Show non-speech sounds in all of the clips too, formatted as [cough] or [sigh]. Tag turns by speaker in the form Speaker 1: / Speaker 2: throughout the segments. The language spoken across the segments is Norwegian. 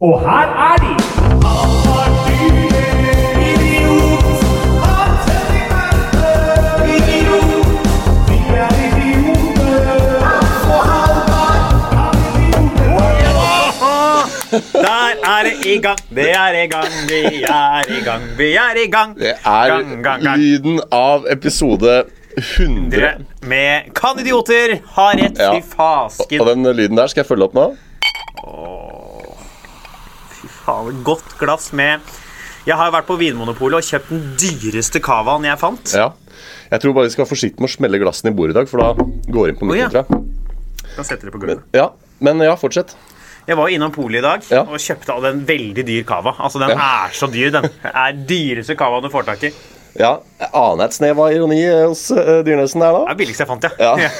Speaker 1: Og her er de! Der er det i gang, det er i gang, vi er i gang, vi er i gang.
Speaker 2: Det er
Speaker 1: gang, gang, gang.
Speaker 2: lyden av episode 100.
Speaker 1: Med Kan idioter ha rett,
Speaker 2: Ja.
Speaker 1: fy fasken.
Speaker 2: Og den lyden der skal jeg følge opp nå.
Speaker 1: faen, et godt glass med Jeg har jo vært på Vinmonopolet og kjøpt den dyreste cavaen jeg fant.
Speaker 2: Ja. Jeg tror bare vi skal være forsiktige med å smelle glassene i bordet i dag, for da går det inn på
Speaker 1: ja.
Speaker 2: midten, tror jeg.
Speaker 1: Jeg setter det på gulvet.
Speaker 2: Ja, men ja, fortsett.
Speaker 1: Jeg var jo innom polet i dag
Speaker 2: Ja.
Speaker 1: og kjøpte av den veldig dyr cava. Altså, den
Speaker 2: Ja.
Speaker 1: er så dyr, den. Det er dyreste cavaen du får tak i. Det
Speaker 2: Ja, jeg aner et snev av ironi eh, hos eh, Dyrnesen der da.
Speaker 1: er billigste jeg fant,
Speaker 2: Ja. [laughs]
Speaker 1: ja.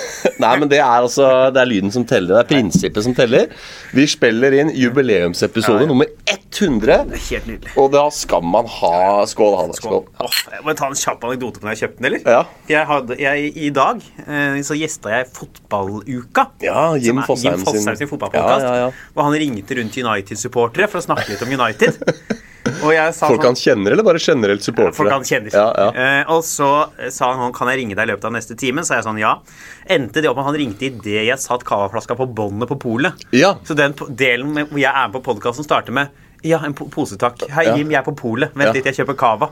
Speaker 2: Nei, men det er altså Det er lyden som teller. Det er prinsippet som teller. Vi spiller inn jubileumsepisode nummer 100,
Speaker 1: [laughs] Helt nydelig.
Speaker 2: og da skal man ha Skål, Hanna. Skål.
Speaker 1: Åh, jeg må ta en kjapp anekdote på når jeg kjøpte den, eller?
Speaker 2: Ja.
Speaker 1: Jeg hadde, jeg, I dag eh, så gjesta jeg Fotballuka.
Speaker 2: Ja, Jim
Speaker 1: som er
Speaker 2: Fosheim
Speaker 1: Jim Fosheim
Speaker 2: sin-
Speaker 1: sin, fotballpodkast.
Speaker 2: Ja, ja, ja.
Speaker 1: Og han ringte rundt til United-supportere for å snakke litt om United. Og jeg sa
Speaker 2: Folk
Speaker 1: sånn-
Speaker 2: han kjenner, eller bare generelt supportere?
Speaker 1: Folk han kjenner.
Speaker 2: Ja, ja.
Speaker 1: Eh, og så eh, sa han kan jeg ringe deg i løpet av neste time. Så jeg sånn ja. Endte det opp med at han ringte idet jeg satt cavaflaska på båndet på polet.
Speaker 2: Ja.
Speaker 1: Så den po- delen med, hvor jeg er med på podkasten, starter med ja, en po pose takk. Hei,
Speaker 2: Ja.
Speaker 1: Jim, jeg er på polet. Vent
Speaker 2: Ja.
Speaker 1: litt, jeg kjøper cava.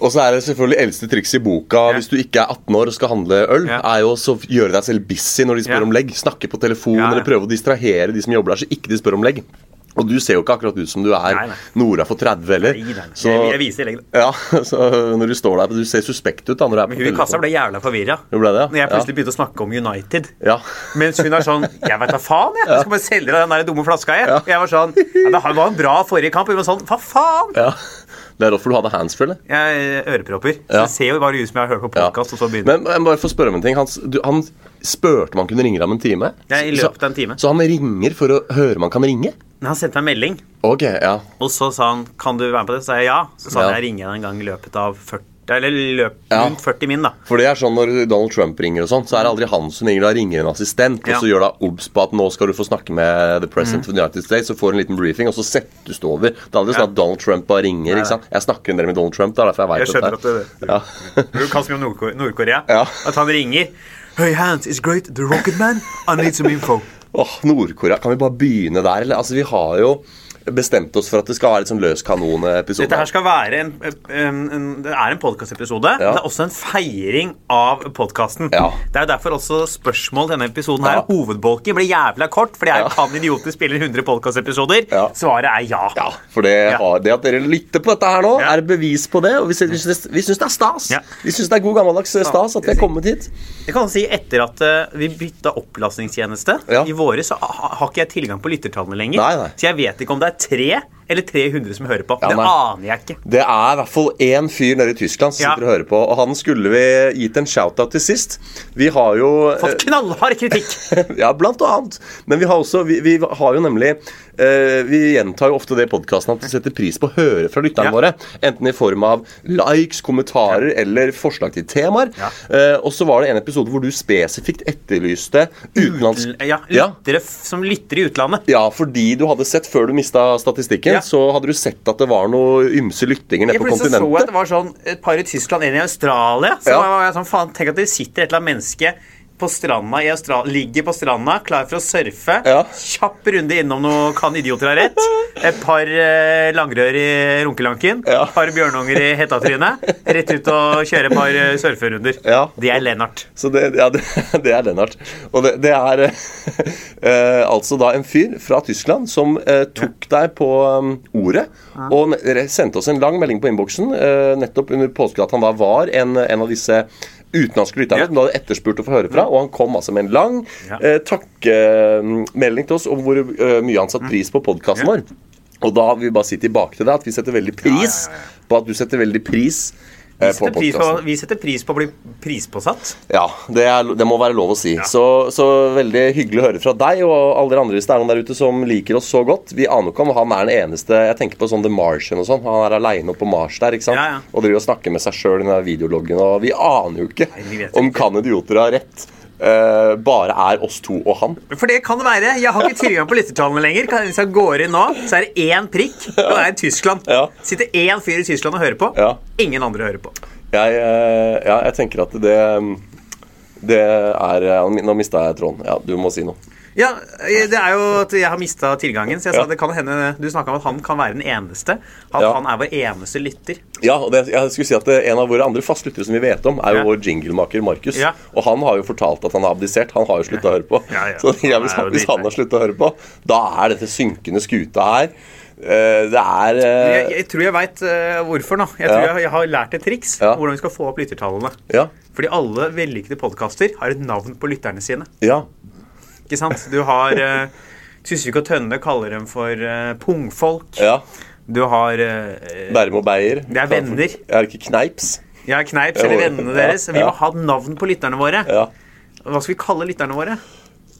Speaker 2: Og så er det selvfølgelig eldste trikset i boka hvis du ikke er 18 år og skal handle øl,
Speaker 1: Ja.
Speaker 2: er jo også å gjøre deg selv busy når de spør
Speaker 1: Ja.
Speaker 2: om legg. Snakke på telefon
Speaker 1: Ja, ja.
Speaker 2: eller prøve å distrahere de som jobber der, så ikke de spør om legg. Og du ser jo ikke akkurat ut som du er
Speaker 1: Nei, nei.
Speaker 2: Nora for 30 heller.
Speaker 1: Nei, nei, nei.
Speaker 2: Så,
Speaker 1: Jeg- jeg viser legg,
Speaker 2: ja, [laughs] så når du står der, du ser suspekt ut da når du er på
Speaker 1: Hun i kassa
Speaker 2: telefon.
Speaker 1: ble jævla forvirra
Speaker 2: Hun ble det, ja.
Speaker 1: når jeg
Speaker 2: Ja.
Speaker 1: plutselig begynte å snakke om United.
Speaker 2: Ja.
Speaker 1: Mens hun er sånn Jeg vet da faen, jeg. Jeg skal bare selge deg den der dumme flaska, jeg. Og jeg var sånn ja, Det var en bra forrige kamp. Hun var sånn Hva faen?
Speaker 2: Ja. [laughs] Det er derfor du hadde handsfree, eller?
Speaker 1: Jeg har ørepropper. Så
Speaker 2: Ja.
Speaker 1: det ser jo bare ut som jeg har hørt på podkast, og så begynner
Speaker 2: Men jeg må bare få spørre om en ting. Han, s- du, han spurte om han kunne ringe deg om en time.
Speaker 1: Ja, i
Speaker 2: Så-
Speaker 1: løpet av en time.
Speaker 2: Så han ringer for å høre om han kan ringe?
Speaker 1: Men Han sendte meg en melding,
Speaker 2: Ok, ja.
Speaker 1: og så sa han kan du være med på det. Så sa jeg ja. Så sa han
Speaker 2: Ja.
Speaker 1: jeg ringer deg en gang i løpet av 40 Eller løp,
Speaker 2: Ja.
Speaker 1: rundt 40 min, da.
Speaker 2: For det er sånn Når Donald Trump ringer, og sånn så er det aldri han som ringer. Da ringer en assistent,
Speaker 1: Ja.
Speaker 2: og så gjør da obs på at nå skal du få snakke med the president of the United States, og får en liten briefing, og så settes du over. Det er aldri sånn at Donald Trump bare ringer. ikke sant? Jeg snakker en del med Donald Trump. Det er derfor jeg
Speaker 1: Jeg
Speaker 2: vet
Speaker 1: skjønner at
Speaker 2: dette.
Speaker 1: det
Speaker 2: her. Ja. [laughs]
Speaker 1: Du kan så mye om Nordko- Nord-Korea.
Speaker 2: Ja.
Speaker 1: At han ringer. Hey, Hans, it's great. The Rocket Man. I need some info.
Speaker 2: Åh, Nord-Korea. Kan vi bare begynne der, eller? Altså, vi har jo bestemt oss for at det skal være litt sånn løs kanon-episode.
Speaker 1: Dette her skal være en, en, en, Det er en podkastepisode.
Speaker 2: Ja.
Speaker 1: Det er også en feiring av podkasten.
Speaker 2: Ja.
Speaker 1: Det er jo derfor også spørsmål denne episoden her.
Speaker 2: Ja.
Speaker 1: Hovedbolken blir jævla kort, for det er
Speaker 2: Ja.
Speaker 1: kan idioter spille 100 podkastepisoder.
Speaker 2: Ja.
Speaker 1: Svaret er ja.
Speaker 2: Ja, for det,
Speaker 1: Ja.
Speaker 2: har, det at dere lytter på dette her nå,
Speaker 1: Ja.
Speaker 2: er et bevis på det. Og vi, sy- vi syns vi syns det er stas.
Speaker 1: Ja.
Speaker 2: Vi syns det er god gammeldags eh, stas at vi er kommet hit.
Speaker 1: Jeg kan si etter at eh, vi bytta opplastningstjeneste
Speaker 2: Ja.
Speaker 1: i våre, så ha, har ikke jeg tilgang på lyttertallene lenger.
Speaker 2: Nei, nei.
Speaker 1: Så jeg vet ikke om det er tre eller 300 som hører på.
Speaker 2: Ja,
Speaker 1: det
Speaker 2: nei.
Speaker 1: aner jeg ikke.
Speaker 2: Det er i hvert fall én fyr nede i Tyskland som
Speaker 1: Ja.
Speaker 2: sitter og hører på, og han skulle vi gitt en shout-out til sist. Vi har jo eh,
Speaker 1: Fått knallhard
Speaker 2: [laughs]
Speaker 1: kritikk.
Speaker 2: Ja, blant annet. Men vi har også Vi, vi har jo nemlig eh, Vi gjentar jo ofte det i podkasten at vi setter pris på å høre fra lytterne
Speaker 1: Ja.
Speaker 2: våre. Enten i form av likes, kommentarer eller forslag til temaer.
Speaker 1: Ja.
Speaker 2: Eh, og så var det en episode hvor du spesifikt etterlyste utenlandsk
Speaker 1: Ja,
Speaker 2: ja.
Speaker 1: lyttere f- som lytter i utlandet.
Speaker 2: Ja, fordi du hadde sett før du mista statistikken,
Speaker 1: Ja.
Speaker 2: så hadde du sett at det var noe ymse lyttinger nede
Speaker 1: Jeg
Speaker 2: på
Speaker 1: plutselig så jeg at
Speaker 2: kontinentet.
Speaker 1: det var sånn et par i Tyskland, en i Australia. Så
Speaker 2: Ja.
Speaker 1: var jeg sånn, faen, Tenk at det sitter et eller annet menneske på stranda i Australia, ligger på stranda, klar for å surfe.
Speaker 2: Ja.
Speaker 1: Kjapp runde innom noe Kan idioter ha rett? Et par eh, langrør i runkelanken.
Speaker 2: Ja.
Speaker 1: Et par bjørnunger i hettatrynet. Rett ut og kjøre et par eh, surferunder.
Speaker 2: Ja.
Speaker 1: Det er Lennart.
Speaker 2: Så det, ja, det, [laughs] det er Lennart. Og det, det er eh, eh, altså da en fyr fra Tyskland som eh, tok deg på eh, ordet og ne- re- sendte oss en lang melding på innboksen eh, nettopp under påske at han da var en, en av disse utenlandske lytterne
Speaker 1: Ja.
Speaker 2: som du hadde etterspurt å få høre fra. Og han kom altså med en lang
Speaker 1: Ja.
Speaker 2: eh, takkemelding til oss om hvor eh, mye han satte pris på podkasten vår. Og da vil vi bare si tilbake til deg at vi setter veldig pris
Speaker 1: ja,
Speaker 2: på at du setter veldig pris
Speaker 1: Vi
Speaker 2: eh, på
Speaker 1: setter, pris på,
Speaker 2: podkasten.
Speaker 1: vi setter pris på å bli prispåsatt.
Speaker 2: Ja, det, er, det må være lov å si. Så, så veldig hyggelig å høre fra deg og alle dere andre hvis det er noen der ute som liker oss så godt. Vi aner ikke om han er den eneste Jeg tenker på sånn The Martian og sånn. Han er aleine oppe på Mars der ikke sant?
Speaker 1: Ja, ja.
Speaker 2: og driver og snakker med seg sjøl i den der videologgen. Og vi aner jo ikke
Speaker 1: vi vet
Speaker 2: om
Speaker 1: ikke.
Speaker 2: kan idioter ha rett. eh, eh, bare er oss to og han.
Speaker 1: For det kan det være. Jeg har ikke tilgang på lyttertallene lenger. Kan- Hvis jeg går inn nå, så er det én prikk. Og det er i Tyskland.
Speaker 2: Ja.
Speaker 1: Sitter én fyr i Tyskland og hører på.
Speaker 2: Ja.
Speaker 1: Ingen andre hører på.
Speaker 2: Jeg, eh, ja, jeg tenker at det det er ja, Nå mista jeg tråden. Ja, du må si noe.
Speaker 1: Ja, eh, det er jo at jeg har mista tilgangen. Så jeg sa
Speaker 2: Ja.
Speaker 1: det kan hende Du snakka om at han kan være den eneste. At
Speaker 2: Ja.
Speaker 1: han er vår eneste lytter.
Speaker 2: Ja, og det, jeg skulle si at eh, En av våre andre fastlyttere som vi vet om, er jo
Speaker 1: Ja.
Speaker 2: vår jinglemaker Markus.
Speaker 1: Ja.
Speaker 2: Og han har jo fortalt at han har abdisert. Han har jo slutta å høre på.
Speaker 1: [laughs] Ja, ja.
Speaker 2: Så jeg, hvis,
Speaker 1: Han er
Speaker 2: han,
Speaker 1: jo
Speaker 2: hvis han
Speaker 1: dritfeit.
Speaker 2: har slutta å høre på, da er dette synkende skuta her eh, Det er eh,
Speaker 1: Jeg, jeg tror jeg veit hvorfor nå. Jeg tror
Speaker 2: Ja.
Speaker 1: jeg, jeg har lært et triks.
Speaker 2: Ja.
Speaker 1: Hvordan vi skal få opp lyttertallene.
Speaker 2: Ja.
Speaker 1: Fordi alle vellykkede podkaster har et navn på lytterne sine.
Speaker 2: ja.
Speaker 1: Ikke sant? Du har eh, Tysvik og Tønne kaller dem for eh, pungfolk.
Speaker 2: ja.
Speaker 1: Du har eh,
Speaker 2: Bærum og Beyer.
Speaker 1: Det er venner.
Speaker 2: Er det ikke Kneips?
Speaker 1: Ja, Kneips eller
Speaker 2: Ja,
Speaker 1: vennene deres. Vi
Speaker 2: ja.
Speaker 1: må ha navn på lytterne våre.
Speaker 2: Ja.
Speaker 1: Hva skal vi kalle lytterne våre?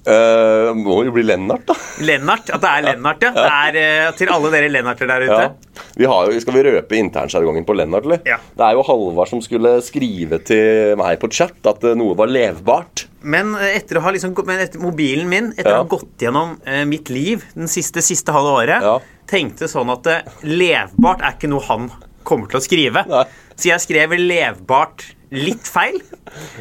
Speaker 2: Eh, må jo bli Lennart, da.
Speaker 1: Lennart. At det er Lennart, ja. Det er eh, Til alle dere Lennarter der ute.
Speaker 2: Ja. Vi har jo, skal vi røpe internsjargongen på Lennart, eller?
Speaker 1: Ja.
Speaker 2: Det er jo Halvard som skulle skrive til meg på chat at eh, noe var levbart.
Speaker 1: Men eh, etter å ha liksom, gå- men etter mobilen min, etter
Speaker 2: Ja.
Speaker 1: å ha gått gjennom eh, mitt liv den siste, siste halve året,
Speaker 2: Ja.
Speaker 1: tenkte sånn at eh, levbart er ikke noe han kommer til å skrive.
Speaker 2: Nei.
Speaker 1: Så jeg skrev levbart litt feil.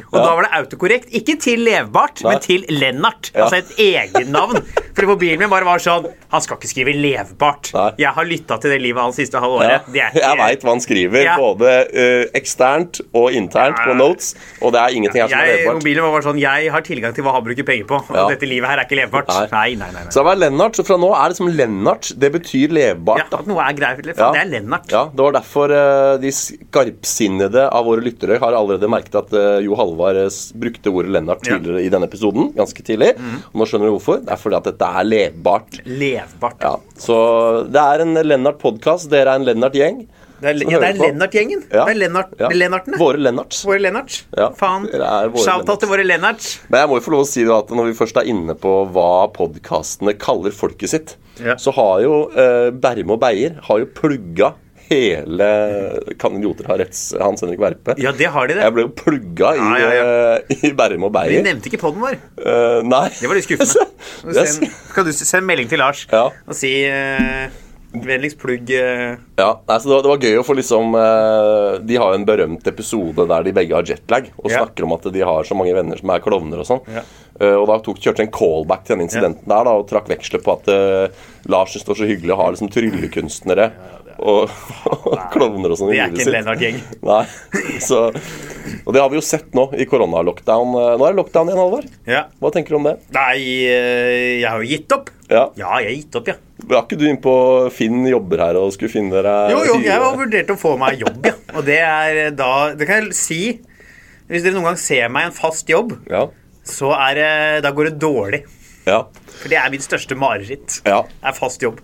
Speaker 1: Og da var det autokorrekt. Ikke til levbart,
Speaker 2: Nei.
Speaker 1: men til Lennart. Altså et egennavn. For mobilen min bare var sånn Han skal ikke skrive levbart.
Speaker 2: Nei.
Speaker 1: Jeg har lytta til det livet hans siste halve året. Det er ikke-
Speaker 2: Jeg veit hva han skriver,
Speaker 1: Ja.
Speaker 2: både eh, eksternt og internt på
Speaker 1: Ja.
Speaker 2: notes. Og det er ingenting her som er
Speaker 1: jeg,
Speaker 2: levbart.
Speaker 1: mobilen var bare sånn Jeg har tilgang til hva han bruker penger på. Og
Speaker 2: Ja.
Speaker 1: dette livet her er ikke levbart.
Speaker 2: Nei.
Speaker 1: Nei, nei, nei, nei.
Speaker 2: Så det var Lennart, så fra nå er det som Lennart. Det betyr
Speaker 1: Ja,
Speaker 2: levbart. da.
Speaker 1: at noe er greit. eller?
Speaker 2: Ja.
Speaker 1: Det er Lennart.
Speaker 2: Ja, Det var derfor eh, de skarpsinnede av våre lyttere har allerede merket at eh, Jo Halvard eh, s- brukte ordet Lennart
Speaker 1: Ja. Mhm.
Speaker 2: tidligere i denne episoden. ganske tidlig. Og nå skjønner du hvorfor. Det er fordi at dette er levbart.
Speaker 1: Levbart.
Speaker 2: Ja, Så det er en Lennart-podkast. Dere er en Lennart-gjeng.
Speaker 1: Det er,
Speaker 2: som
Speaker 1: ja, det
Speaker 2: Sånn hører
Speaker 1: er
Speaker 2: på.
Speaker 1: Lennart-gjengen.
Speaker 2: Ja.
Speaker 1: Det er Lennart,
Speaker 2: Ja.
Speaker 1: Lennartene.
Speaker 2: Våre Lennarts.
Speaker 1: Våre Lennarts.
Speaker 2: Ja,
Speaker 1: Faen.
Speaker 2: det er våre
Speaker 1: Shout-out til våre Lennarts.
Speaker 2: Men jeg må jo få lov å si da at når vi først er inne på hva podkastene kaller folket sitt,
Speaker 1: Ja.
Speaker 2: så har jo eh, Berme og Beyer har jo plugga hele Kan idioter ha retts Hans Henrik Verpe?
Speaker 1: Ja, det har de, det.
Speaker 2: Jeg ble jo plugga i,
Speaker 1: Ja, ja,
Speaker 2: eh, i Berme og
Speaker 1: De
Speaker 2: Beyer.
Speaker 1: nevnte ikke podden vår.
Speaker 2: Eh, nei.
Speaker 1: Det var litt
Speaker 2: [laughs]
Speaker 1: skuffende. Kan du
Speaker 2: Jeg
Speaker 1: sende- Kan du sende melding til Lars
Speaker 2: Ja.
Speaker 1: og si eh, Vennligst plugg eh,
Speaker 2: Ja, nei, så det, var, det var gøy å få liksom eh, De har jo en berømt episode der de begge har jetlag og
Speaker 1: Ja.
Speaker 2: snakker om at de har så mange venner som er klovner og sånn.
Speaker 1: Ja.
Speaker 2: Eh, og da tok, kjørte de en callback til den incidenten der da, og trakk veksler på at eh, Lars syns det var så hyggelig å ha liksom tryllekunstnere og, [laughs] og klovner og sånn i
Speaker 1: Det er
Speaker 2: livet
Speaker 1: ikke en
Speaker 2: sitt.
Speaker 1: Lennart-gjeng.
Speaker 2: [laughs] Nei, så Og det har vi jo sett nå i koronalockdown. Eh, Nå er det lockdown igjen, Halvor.
Speaker 1: Ja.
Speaker 2: Hva tenker du om det?
Speaker 1: Nei, eh, jeg har jo gitt opp.
Speaker 2: Ja.
Speaker 1: Ja, jeg har gitt opp, ja.
Speaker 2: Var ikke du inne på Finn jobber her og skulle finne dere
Speaker 1: Jo, jo, jeg har
Speaker 2: hyre?
Speaker 1: vurdert å få meg jobb, ja. Og det er eh, da Det kan jeg si. Hvis dere noen gang ser meg i en fast jobb,
Speaker 2: Ja.
Speaker 1: så er det Da går det dårlig.
Speaker 2: ja.
Speaker 1: For det er mitt største mareritt.
Speaker 2: Ja.
Speaker 1: Er fast jobb.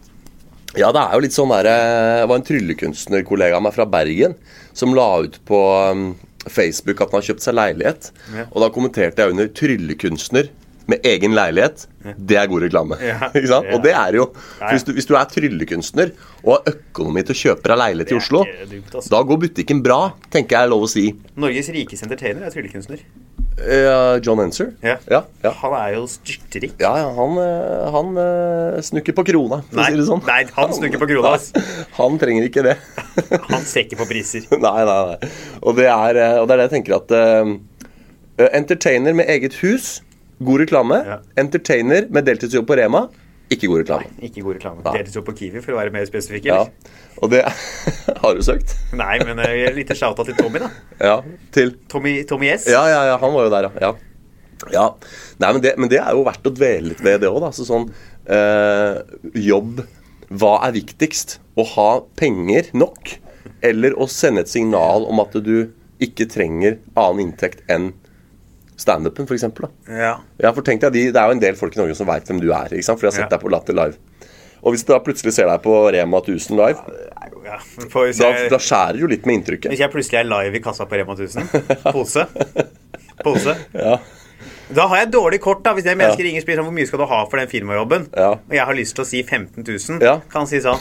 Speaker 2: Ja, det er jo litt sånn der eh, Det var en tryllekunstnerkollega av meg fra Bergen som la ut på um, Facebook at han har kjøpt seg leilighet.
Speaker 1: Ja.
Speaker 2: Og da kommenterte jeg under 'tryllekunstner med egen leilighet'. Det er god reklame.
Speaker 1: Ja.
Speaker 2: [laughs] Ikke sant?
Speaker 1: Ja.
Speaker 2: Og det er jo
Speaker 1: Ja,
Speaker 2: for
Speaker 1: ja.
Speaker 2: hvis du, hvis du er tryllekunstner og har økonomi til å kjøpe deg leilighet
Speaker 1: Det
Speaker 2: i
Speaker 1: er
Speaker 2: Oslo,
Speaker 1: ikke dumt, altså.
Speaker 2: da går butikken bra, tenker jeg er lov å si.
Speaker 1: Norges rikeste entertainer er tryllekunstner.
Speaker 2: Eh, John Enser?
Speaker 1: Ja.
Speaker 2: Ja, ja.
Speaker 1: Han er jo styrtrik.
Speaker 2: ja, ja han, eh, han eh, snukker på krona, for å
Speaker 1: Nei,
Speaker 2: si det sånn.
Speaker 1: nei, han snukker på
Speaker 2: [laughs]
Speaker 1: krona. ass.
Speaker 2: Han trenger ikke det.
Speaker 1: [laughs] Han ser ikke på priser.
Speaker 2: [laughs] Nei, nei, nei. Og det er, eh, og det, er det jeg tenker at eh, Entertainer med eget hus, god reklame.
Speaker 1: Ja.
Speaker 2: Entertainer med deltidsjobb på Rema, ikke god reklame.
Speaker 1: Ikke god reklame.
Speaker 2: Nei.
Speaker 1: Deltidsjobb på Kiwi, for å være mer spesifikk.
Speaker 2: Ja.
Speaker 1: eller?
Speaker 2: Og det [laughs] Har du søkt?
Speaker 1: Nei, men eh, et lite shout-out til Tommy, da.
Speaker 2: Ja. Til
Speaker 1: Tommy, Tommy S.
Speaker 2: Ja, ja, ja. Han var jo der, ja. ja. ja. Nei, men det, men det er jo verdt å dvele litt ved det òg, da. Altså sånn eh, Jobb. Hva er viktigst? Å ha penger nok? Eller å sende et signal om at du ikke trenger annen inntekt enn standupen, f.eks.?
Speaker 1: Ja.
Speaker 2: Ja, for tenk deg, de, Det er jo en del folk i Norge som veit hvem du er, ikke sant? for de har sett
Speaker 1: Ja.
Speaker 2: deg på Latter Live. Og hvis du da plutselig ser deg på Rema 1000 live,
Speaker 1: ja. For hvis
Speaker 2: da,
Speaker 1: jeg-
Speaker 2: da skjærer det jo litt med inntrykket.
Speaker 1: Hvis jeg plutselig er live i kassa på Rema
Speaker 2: [laughs]
Speaker 1: 1000 Pose. Pose.
Speaker 2: Ja.
Speaker 1: Da har jeg dårlig kort, da. Hvis det er mennesker ringer og spør sånn, hvor mye skal du ha for den firmajobben,
Speaker 2: Ja.
Speaker 1: og jeg har lyst til å si 15 000,
Speaker 2: Ja.
Speaker 1: kan si sånn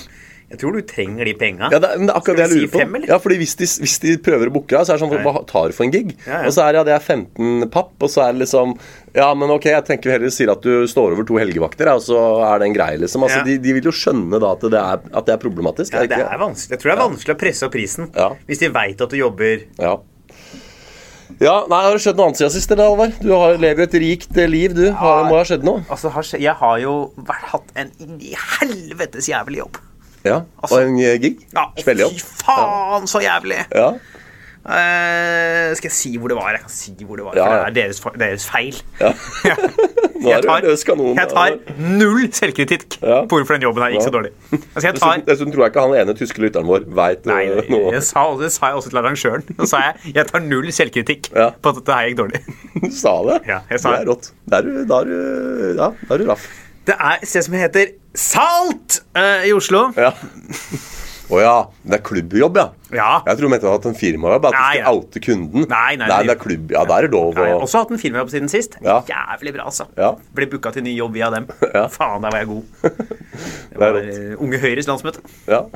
Speaker 1: Jeg tror du trenger de penga.
Speaker 2: Ja, det, er- men det er akkurat det
Speaker 1: Skal vi
Speaker 2: jeg lurer
Speaker 1: si
Speaker 2: på.
Speaker 1: fem, eller?
Speaker 2: ja, fordi hvis de, hvis de prøver å booke deg, så er det sånn
Speaker 1: Nei.
Speaker 2: Hva tar du for en gig?
Speaker 1: Ja, ja.
Speaker 2: Og så er det ja, det er 15 papp, og så er det liksom Ja, men ok, jeg tenker vi heller sier at du står over to helgevakter, ja, og så er det en greie, liksom. Altså,
Speaker 1: Ja.
Speaker 2: de, de vil jo skjønne da at det er, at det er problematisk.
Speaker 1: Ja,
Speaker 2: er
Speaker 1: det
Speaker 2: det
Speaker 1: er
Speaker 2: ikke?
Speaker 1: vanskelig. Jeg tror det er vanskelig å presse opp prisen
Speaker 2: Ja.
Speaker 1: hvis de veit at du jobber
Speaker 2: Ja. ja. Nei, har det skjedd noe annet siden sist, eller, Alvar? Du har, lever jo et rikt eh, liv, du. Har, må ha skjedd noe?
Speaker 1: Altså, har skje- Jeg har jo vært, hatt en i helvetes jævlig jobb.
Speaker 2: Ja.
Speaker 1: Altså-
Speaker 2: og en eh, gig?
Speaker 1: Ja, å,
Speaker 2: Spille
Speaker 1: fy
Speaker 2: jobb?
Speaker 1: faen, så jævlig!
Speaker 2: Ja.
Speaker 1: Eh, skal jeg si hvor det var? Jeg kan si hvor det var,
Speaker 2: Ja,
Speaker 1: for
Speaker 2: ja.
Speaker 1: det er deres, fe- deres feil.
Speaker 2: ja. [laughs] Nå
Speaker 1: [laughs] Jeg
Speaker 2: er du
Speaker 1: tar,
Speaker 2: en løs kanon.
Speaker 1: jeg
Speaker 2: Alvar.
Speaker 1: tar null selvkritikk
Speaker 2: Ja.
Speaker 1: på hvorfor den jobben her gikk så
Speaker 2: Ja.
Speaker 1: dårlig. Altså, jeg tar
Speaker 2: Dessuten, dessuten tror jeg ikke han ene tyske lytteren vår veit
Speaker 1: Nei, det,
Speaker 2: noe.
Speaker 1: jeg sa, det sa jeg også til arrangøren. [laughs] Så sa jeg jeg tar null selvkritikk
Speaker 2: Ja.
Speaker 1: på at dette her gikk dårlig.
Speaker 2: Du sa det?
Speaker 1: Ja, jeg sa
Speaker 2: det. er
Speaker 1: det.
Speaker 2: rått. Da er du, da er du, ja, da er du raff.
Speaker 1: Det er et sted som heter Salt eh, i Oslo.
Speaker 2: Ja. [laughs] Å ja. Det er klubbjobb, ja.
Speaker 1: Ja.
Speaker 2: Jeg tror du mente at en firmajobb. At du
Speaker 1: Nei,
Speaker 2: skal
Speaker 1: ja.
Speaker 2: oute kunden.
Speaker 1: Nei, nei,
Speaker 2: det
Speaker 1: det-
Speaker 2: er klubb. Ja, da er det lov
Speaker 1: Ja, jeg har
Speaker 2: å
Speaker 1: også hatt en firmajobb siden sist.
Speaker 2: Ja.
Speaker 1: Jævlig bra, altså.
Speaker 2: Ja.
Speaker 1: Ble booka til ny jobb via dem.
Speaker 2: Ja.
Speaker 1: Faen, der var jeg god. Det var
Speaker 2: rått.
Speaker 1: eh, Unge Høyres landsmøte.
Speaker 2: ja.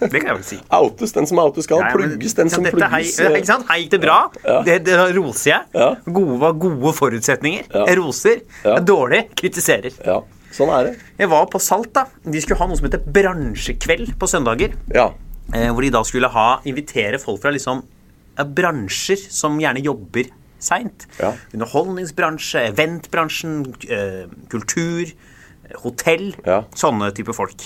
Speaker 1: Det kan jeg vel si.
Speaker 2: Outes den som outes skal.
Speaker 1: Nei, men-
Speaker 2: plugges den som
Speaker 1: Ja, dette her-
Speaker 2: plugges. eh,
Speaker 1: Ikke sant? Her gikk det bra. Det, det roser jeg.
Speaker 2: Ja.
Speaker 1: Gode var gode forutsetninger.
Speaker 2: Ja.
Speaker 1: Jeg roser.
Speaker 2: Ja.
Speaker 1: Jeg er dårlig. Kritiserer.
Speaker 2: Ja. Sånn er det.
Speaker 1: Jeg var på Salt, da. De skulle ha noe som heter bransjekveld på søndager.
Speaker 2: Ja.
Speaker 1: Eh, hvor de da skulle ha, invitere folk fra liksom, ja, bransjer som gjerne jobber seint.
Speaker 2: Ja.
Speaker 1: Underholdningsbransje, eventbransjen, eh, kultur, hotell.
Speaker 2: Ja.
Speaker 1: Sånne type folk.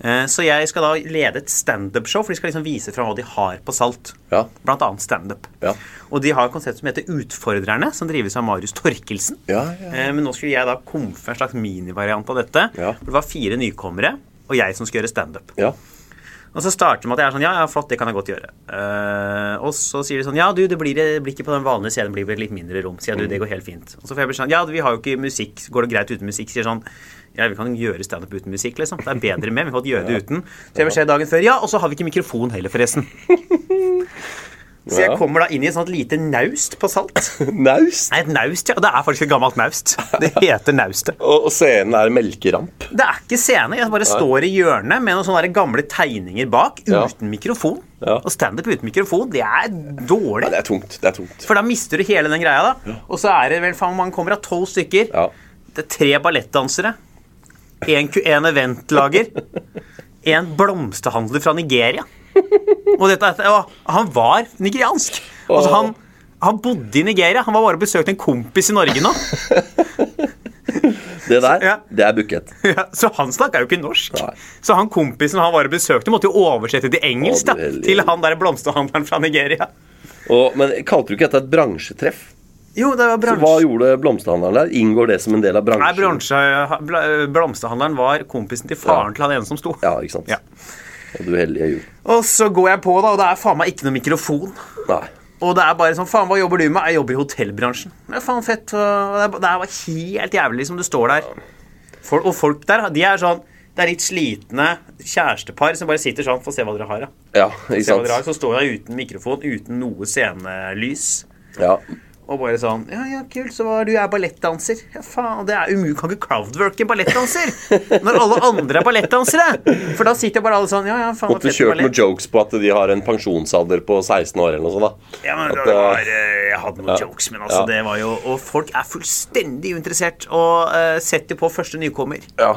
Speaker 1: Eh, så jeg skal da lede et standup-show, for de skal liksom vise fram hva de har på Salt.
Speaker 2: Ja.
Speaker 1: Blant annet standup.
Speaker 2: Ja.
Speaker 1: Og de har et konsept som heter Utfordrerne, som drives av Marius Torkelsen.
Speaker 2: Ja, ja.
Speaker 1: Eh, Men nå skulle jeg da komfe en slags minivariant av dette.
Speaker 2: Ja.
Speaker 1: For det var fire nykommere og jeg som skulle gjøre standup.
Speaker 2: Ja. [laughs]
Speaker 1: Og så starter det med at jeg er sånn Ja, ja, flott, det kan jeg godt gjøre. Eh, og så sier de sånn Ja, du, det blir, det blir ikke på den vanlige scenen, det blir vel litt mindre rom. Sier jeg, du, det går helt fint. Og så får jeg bli sånn Ja, vi har jo ikke musikk, går det greit uten musikk? Sier sånn ja, Vi kan gjøre standup uten musikk, liksom. Det er bedre med. Vi kan godt gjøre det uten. Så jeg beskjed dagen før Ja, og så har vi ikke mikrofon heller, forresten. Så jeg
Speaker 2: Ja.
Speaker 1: kommer da inn i et sånt lite naust på salt.
Speaker 2: Naust.
Speaker 1: Nei, et naust, ja. Det er faktisk et gammelt naust. Det heter naustet.
Speaker 2: Og, og scenen er melkeramp.
Speaker 1: Det er ikke scene. Jeg bare står i hjørnet med noen sånne der gamle tegninger bak,
Speaker 2: Ja.
Speaker 1: uten mikrofon.
Speaker 2: Ja.
Speaker 1: Og standup uten mikrofon, det er
Speaker 2: Ja,
Speaker 1: dårlig.
Speaker 2: det er tungt. Det er tungt.
Speaker 1: For da mister du hele den greia, da. Og så er det vel faen man kommer av tolv stykker.
Speaker 2: Ja.
Speaker 1: Det er tre ballettdansere. En, ku- en eventlager. En blomsterhandler fra Nigeria. Og dette, er- å, han var nigeriansk. Altså, han, han bodde i Nigeria. Han var bare og besøkte en kompis i Norge nå.
Speaker 2: Det der,
Speaker 1: Ja.
Speaker 2: det er bukket.
Speaker 1: [laughs] Ja, så han snakka jo ikke norsk.
Speaker 2: Nei.
Speaker 1: Så han kompisen han var og besøkte, måtte jo oversette til engelsk da,
Speaker 2: Å, du heldige.
Speaker 1: til han der blomsterhandleren fra Nigeria.
Speaker 2: Og, men kalte du ikke dette et bransjetreff?
Speaker 1: Jo, det var
Speaker 2: Hva
Speaker 1: bransje.
Speaker 2: gjorde blomsterhandleren der? Inngår det som en del av bransjen?
Speaker 1: Nei, bransje, bla- blomsterhandleren var kompisen til faren til han ene som sto.
Speaker 2: Ja, ikke sant?
Speaker 1: Ja.
Speaker 2: Og du hellige jul.
Speaker 1: Og så går jeg på, da, og det er faen meg ikke noe mikrofon.
Speaker 2: Nei.
Speaker 1: Og det er bare sånn Faen, hva jobber du med? Jeg jobber i hotellbransjen. Ja, faen fett. og Det er ba- det er bare helt jævlig, liksom. Du står der. Folk- og folk der, de er sånn Det er litt slitne kjærestepar som bare sitter sånn. Få se hva dere har, da.
Speaker 2: Ja, ikke
Speaker 1: Se hva dere har.
Speaker 2: sant?
Speaker 1: Så står jeg uten mikrofon, uten noe scenelys.
Speaker 2: Ja.
Speaker 1: Og bare sånn Ja, ja, kult, så var du er ballettdanser. Ja, faen, det er umulig. Kan ikke crowdworke en ballettdanser! Når alle andre er ballettdansere! For da sitter bare alle sånn Ja, ja, faen,
Speaker 2: Måtte kjørt med jokes på at de har en pensjonsalder på 16 år eller noe sånt. da.
Speaker 1: Ja, men
Speaker 2: At,
Speaker 1: det var,
Speaker 2: eh,
Speaker 1: eh, jeg hadde noen
Speaker 2: ja.
Speaker 1: jokes, men altså,
Speaker 2: Ja.
Speaker 1: det var jo Og folk er fullstendig uinteressert og eh, setter på første nykommer.
Speaker 2: ja.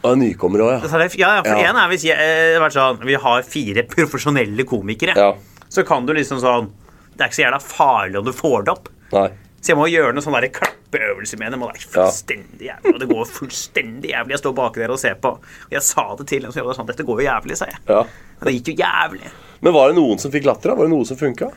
Speaker 2: Og en nykommer òg, ja.
Speaker 1: Så det, ja, ja, for
Speaker 2: Ja.
Speaker 1: én er hvis jeg, eh, det har vært sånn, vi har fire profesjonelle komikere,
Speaker 2: Ja.
Speaker 1: så kan du liksom sånn Det er ikke så jævla farlig om du får det opp.
Speaker 2: Nei.
Speaker 1: Så jeg må gjøre noen sånne der klappeøvelser med dem. Og det er fullstendig jævlig, og det går fullstendig jævlig. Jeg står bak der og ser på. Og jeg sa det til dem som jobbet der, sånn Dette går jo jævlig, sa jeg.
Speaker 2: Ja.
Speaker 1: Og det gikk jo jævlig.
Speaker 2: Men var det noen som fikk latter? da? Var det noe som funka?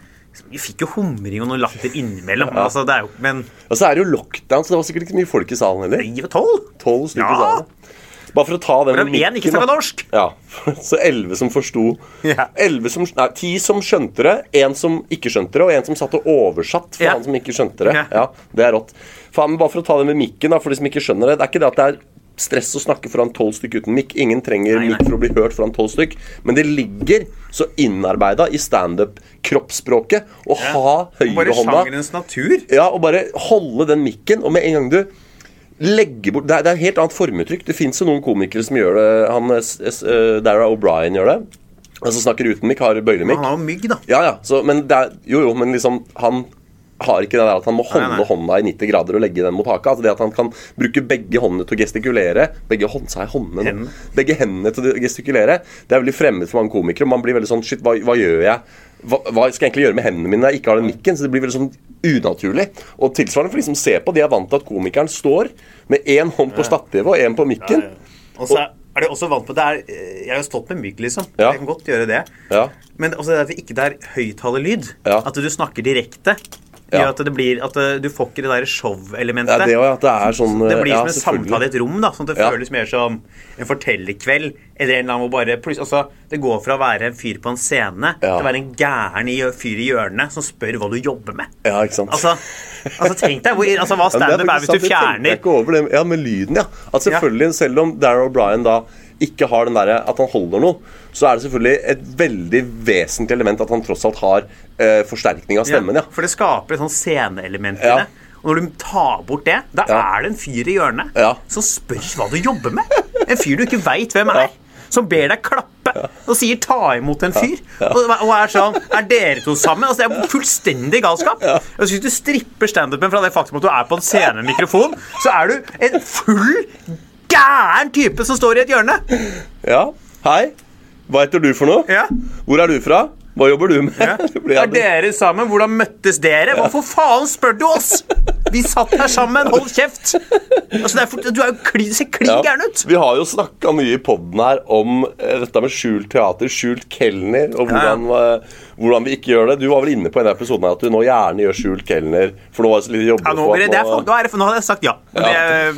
Speaker 1: Vi fikk jo humring og noe latter innimellom. Altså, det er jo, men
Speaker 2: Og så er det jo lockdown, så det var sikkert ikke mye folk i salen heller.
Speaker 1: vi var tolv.
Speaker 2: Tolv stykker i
Speaker 1: Ja.
Speaker 2: salen. Bare for å ta den
Speaker 1: Hvorav én ikke
Speaker 2: mikken, da.
Speaker 1: snakka norsk.
Speaker 2: Ja. [laughs] Så elleve som forsto.
Speaker 1: Ja.
Speaker 2: Elleve som Nei, ti som skjønte det, én som ikke skjønte det, og én som satt og oversatt for
Speaker 1: Ja.
Speaker 2: han som ikke skjønte det.
Speaker 1: Ja.
Speaker 2: Ja. Det er rått. Faen, men bare for å ta det med mikken, da, for de som ikke skjønner det. Det er ikke det at det er stress å snakke foran tolv stykk uten mikk. Ingen trenger
Speaker 1: Nei, nei.
Speaker 2: mikk for å bli hørt foran tolv stykk. Men det ligger så innarbeida i standup-kroppsspråket å ha
Speaker 1: Bare
Speaker 2: høyrehånda
Speaker 1: sjangerens natur.
Speaker 2: ja, og bare holde den mikken, og med en gang du legge bort Det er, det er et helt annet formuttrykk. Det fins jo noen komikere som gjør det. Han, eh, s- s- eh, Dara O'Brien gjør det. Han som snakker uten mikk, har bøylemikk.
Speaker 1: Han har jo mygg, da.
Speaker 2: Ja, ja. Så, men det er, jo, jo, men liksom han har ikke det der at han må
Speaker 1: Nei,
Speaker 2: holde
Speaker 1: nei.
Speaker 2: hånda i 90 grader og legge den mot haka. Altså det at han kan bruke begge håndene til å gestikulere Begge hånd, sa jeg håndene? nå?
Speaker 1: Hendene.
Speaker 2: Begge hendene til å gestikulere. Det er veldig fremmed for mange komikere. Man blir veldig sånn Shit, hva, hva gjør jeg? Hva, hva skal jeg egentlig gjøre med hendene mine når jeg ikke har den mikken? Så det blir veldig sånn unaturlig. Og tilsvarende for de som ser på, de er vant til at komikeren står med én hånd på stativet og én på mikken.
Speaker 1: Og så er- er det også vant på det er, eh, Jeg har jo stått med mygg, liksom.
Speaker 2: Ja.
Speaker 1: Jeg kan godt gjøre det.
Speaker 2: Ja.
Speaker 1: Men også det at det ikke er høyttalerlyd.
Speaker 2: Ja.
Speaker 1: At du snakker direkte.
Speaker 2: Ja.
Speaker 1: Gjør at det blir At eh, du får ikke det der
Speaker 2: Det
Speaker 1: show-elementet.
Speaker 2: er det òg, at det er sånn
Speaker 1: det blir
Speaker 2: ja,
Speaker 1: som en
Speaker 2: selvfølgelig.
Speaker 1: samtale i et rom, da. Sånn at det
Speaker 2: Ja.
Speaker 1: føles mer som en fortellerkveld. Eller en eller annen hvor bare plutselig- altså, Det går fra å være en fyr på en scene til
Speaker 2: Ja.
Speaker 1: å være en gæren i, fyr i hjørnet som spør hva du jobber med.
Speaker 2: Ja, ikke sant.
Speaker 1: Altså, altså tenk deg hvor, altså, hva
Speaker 2: Ja, men
Speaker 1: standup
Speaker 2: det
Speaker 1: er
Speaker 2: faktisk
Speaker 1: hvis du
Speaker 2: sant, jeg tenkte
Speaker 1: fjerner
Speaker 2: ikke over det. Ja, med lyden, ja. At selvfølgelig, Selv om Darren O'Brien da ikke har den derre at han holder noe, så er det selvfølgelig et veldig vesentlig element at han tross alt har eh, forsterkning av stemmen, ja.
Speaker 1: For det skaper et sånn sceneelement i
Speaker 2: Ja.
Speaker 1: det. Og når du tar bort det, da
Speaker 2: Ja.
Speaker 1: er det en fyr i hjørnet
Speaker 2: Ja.
Speaker 1: som spør hva du jobber med. En fyr du ikke veit hvem er.
Speaker 2: Ja.
Speaker 1: Som ber deg klappe og sier 'ta imot en fyr'. Og, og er sånn 'Er dere to sammen?' Altså, det er fullstendig galskap. Og så Hvis du stripper standupen fra det faktum at du er på en scene med mikrofon, så er du en full gæren type som står i et hjørne.
Speaker 2: ja. Hei, hva heter du for noe?
Speaker 1: Ja.
Speaker 2: Hvor er du fra? Hva jobber du med?
Speaker 1: Ja.
Speaker 2: [laughs] Det blir
Speaker 1: Er
Speaker 2: aldri-
Speaker 1: dere sammen? Hvordan møttes dere? Hvorfor faen spør du oss? Vi satt her sammen, hold kjeft! Altså, det er for, du er jo kli, du ser klin
Speaker 2: Ja.
Speaker 1: gæren ut.
Speaker 2: Vi har jo snakka mye i poden her om eh, dette med skjult teater, skjult kelner, og hvordan, eh, hvordan vi ikke gjør det. Du var vel inne på i denne episoden her at du nå gjerne gjør skjult kelner, for nå var det så lite jobber
Speaker 1: Ja, nå,
Speaker 2: på at
Speaker 1: blir det, det er,
Speaker 2: nå-
Speaker 1: for- nå, er det, for- nå hadde jeg sagt ja. Men det, er- det er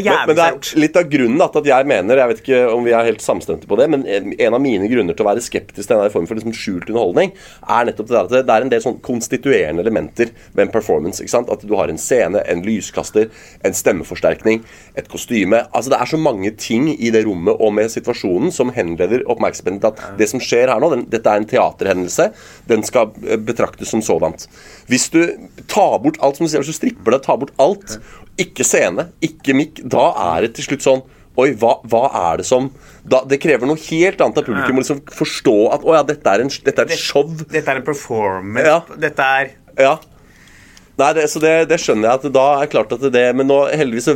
Speaker 2: Men,
Speaker 1: jævlig
Speaker 2: men det
Speaker 1: gjort.
Speaker 2: er litt av grunnen da, til at jeg mener Jeg vet ikke om vi er helt samstemte på det Men en en av mine grunner til å være skeptisk til denne formen for liksom skjult underholdning Er nettopp det der at det- det er en del sånn konstituerende elementer Ved en performance, ikke sant? At du har en scene, en lyskaster, en stemmeforsterkning Et kostyme Altså det er så mange ting i det rommet og med situasjonen Som henleder oppmerksomheten til at Det som skjer her nå, den, dette er en teaterhendelse Den skal eh, betraktes som sådant Hvis du tar bort alt som du sier Hvis du stripper det, tar bort alt ikke scene, ikke mikk. Da er det til slutt sånn Oi, hva, hva er det som da, Det krever noe helt annet av publikum å liksom forstå at å ja, dette er, en, dette er et show.
Speaker 1: Dette er en performance.
Speaker 2: Ja.
Speaker 1: Dette er
Speaker 2: Ja. Nei, det, så det, det skjønner jeg at da er klart at det Men nå heldigvis så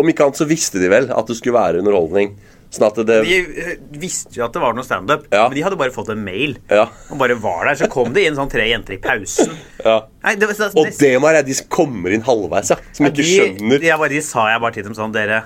Speaker 2: Om ikke annet så visste de vel at det skulle være underholdning. Sånn at det
Speaker 1: De eh, visste jo at det var noe standup,
Speaker 2: Ja.
Speaker 1: men de hadde bare fått en mail.
Speaker 2: Ja.
Speaker 1: Og bare var der, Så kom det inn sånn tre jenter i pausen.
Speaker 2: Ja.
Speaker 1: Nei, det, var- det,
Speaker 2: Og det må jeg, de som kommer inn halvveis, ja. Som ikke
Speaker 1: de,
Speaker 2: skjønner.
Speaker 1: Jeg bare, de sa jeg bare til dem sånn Dere,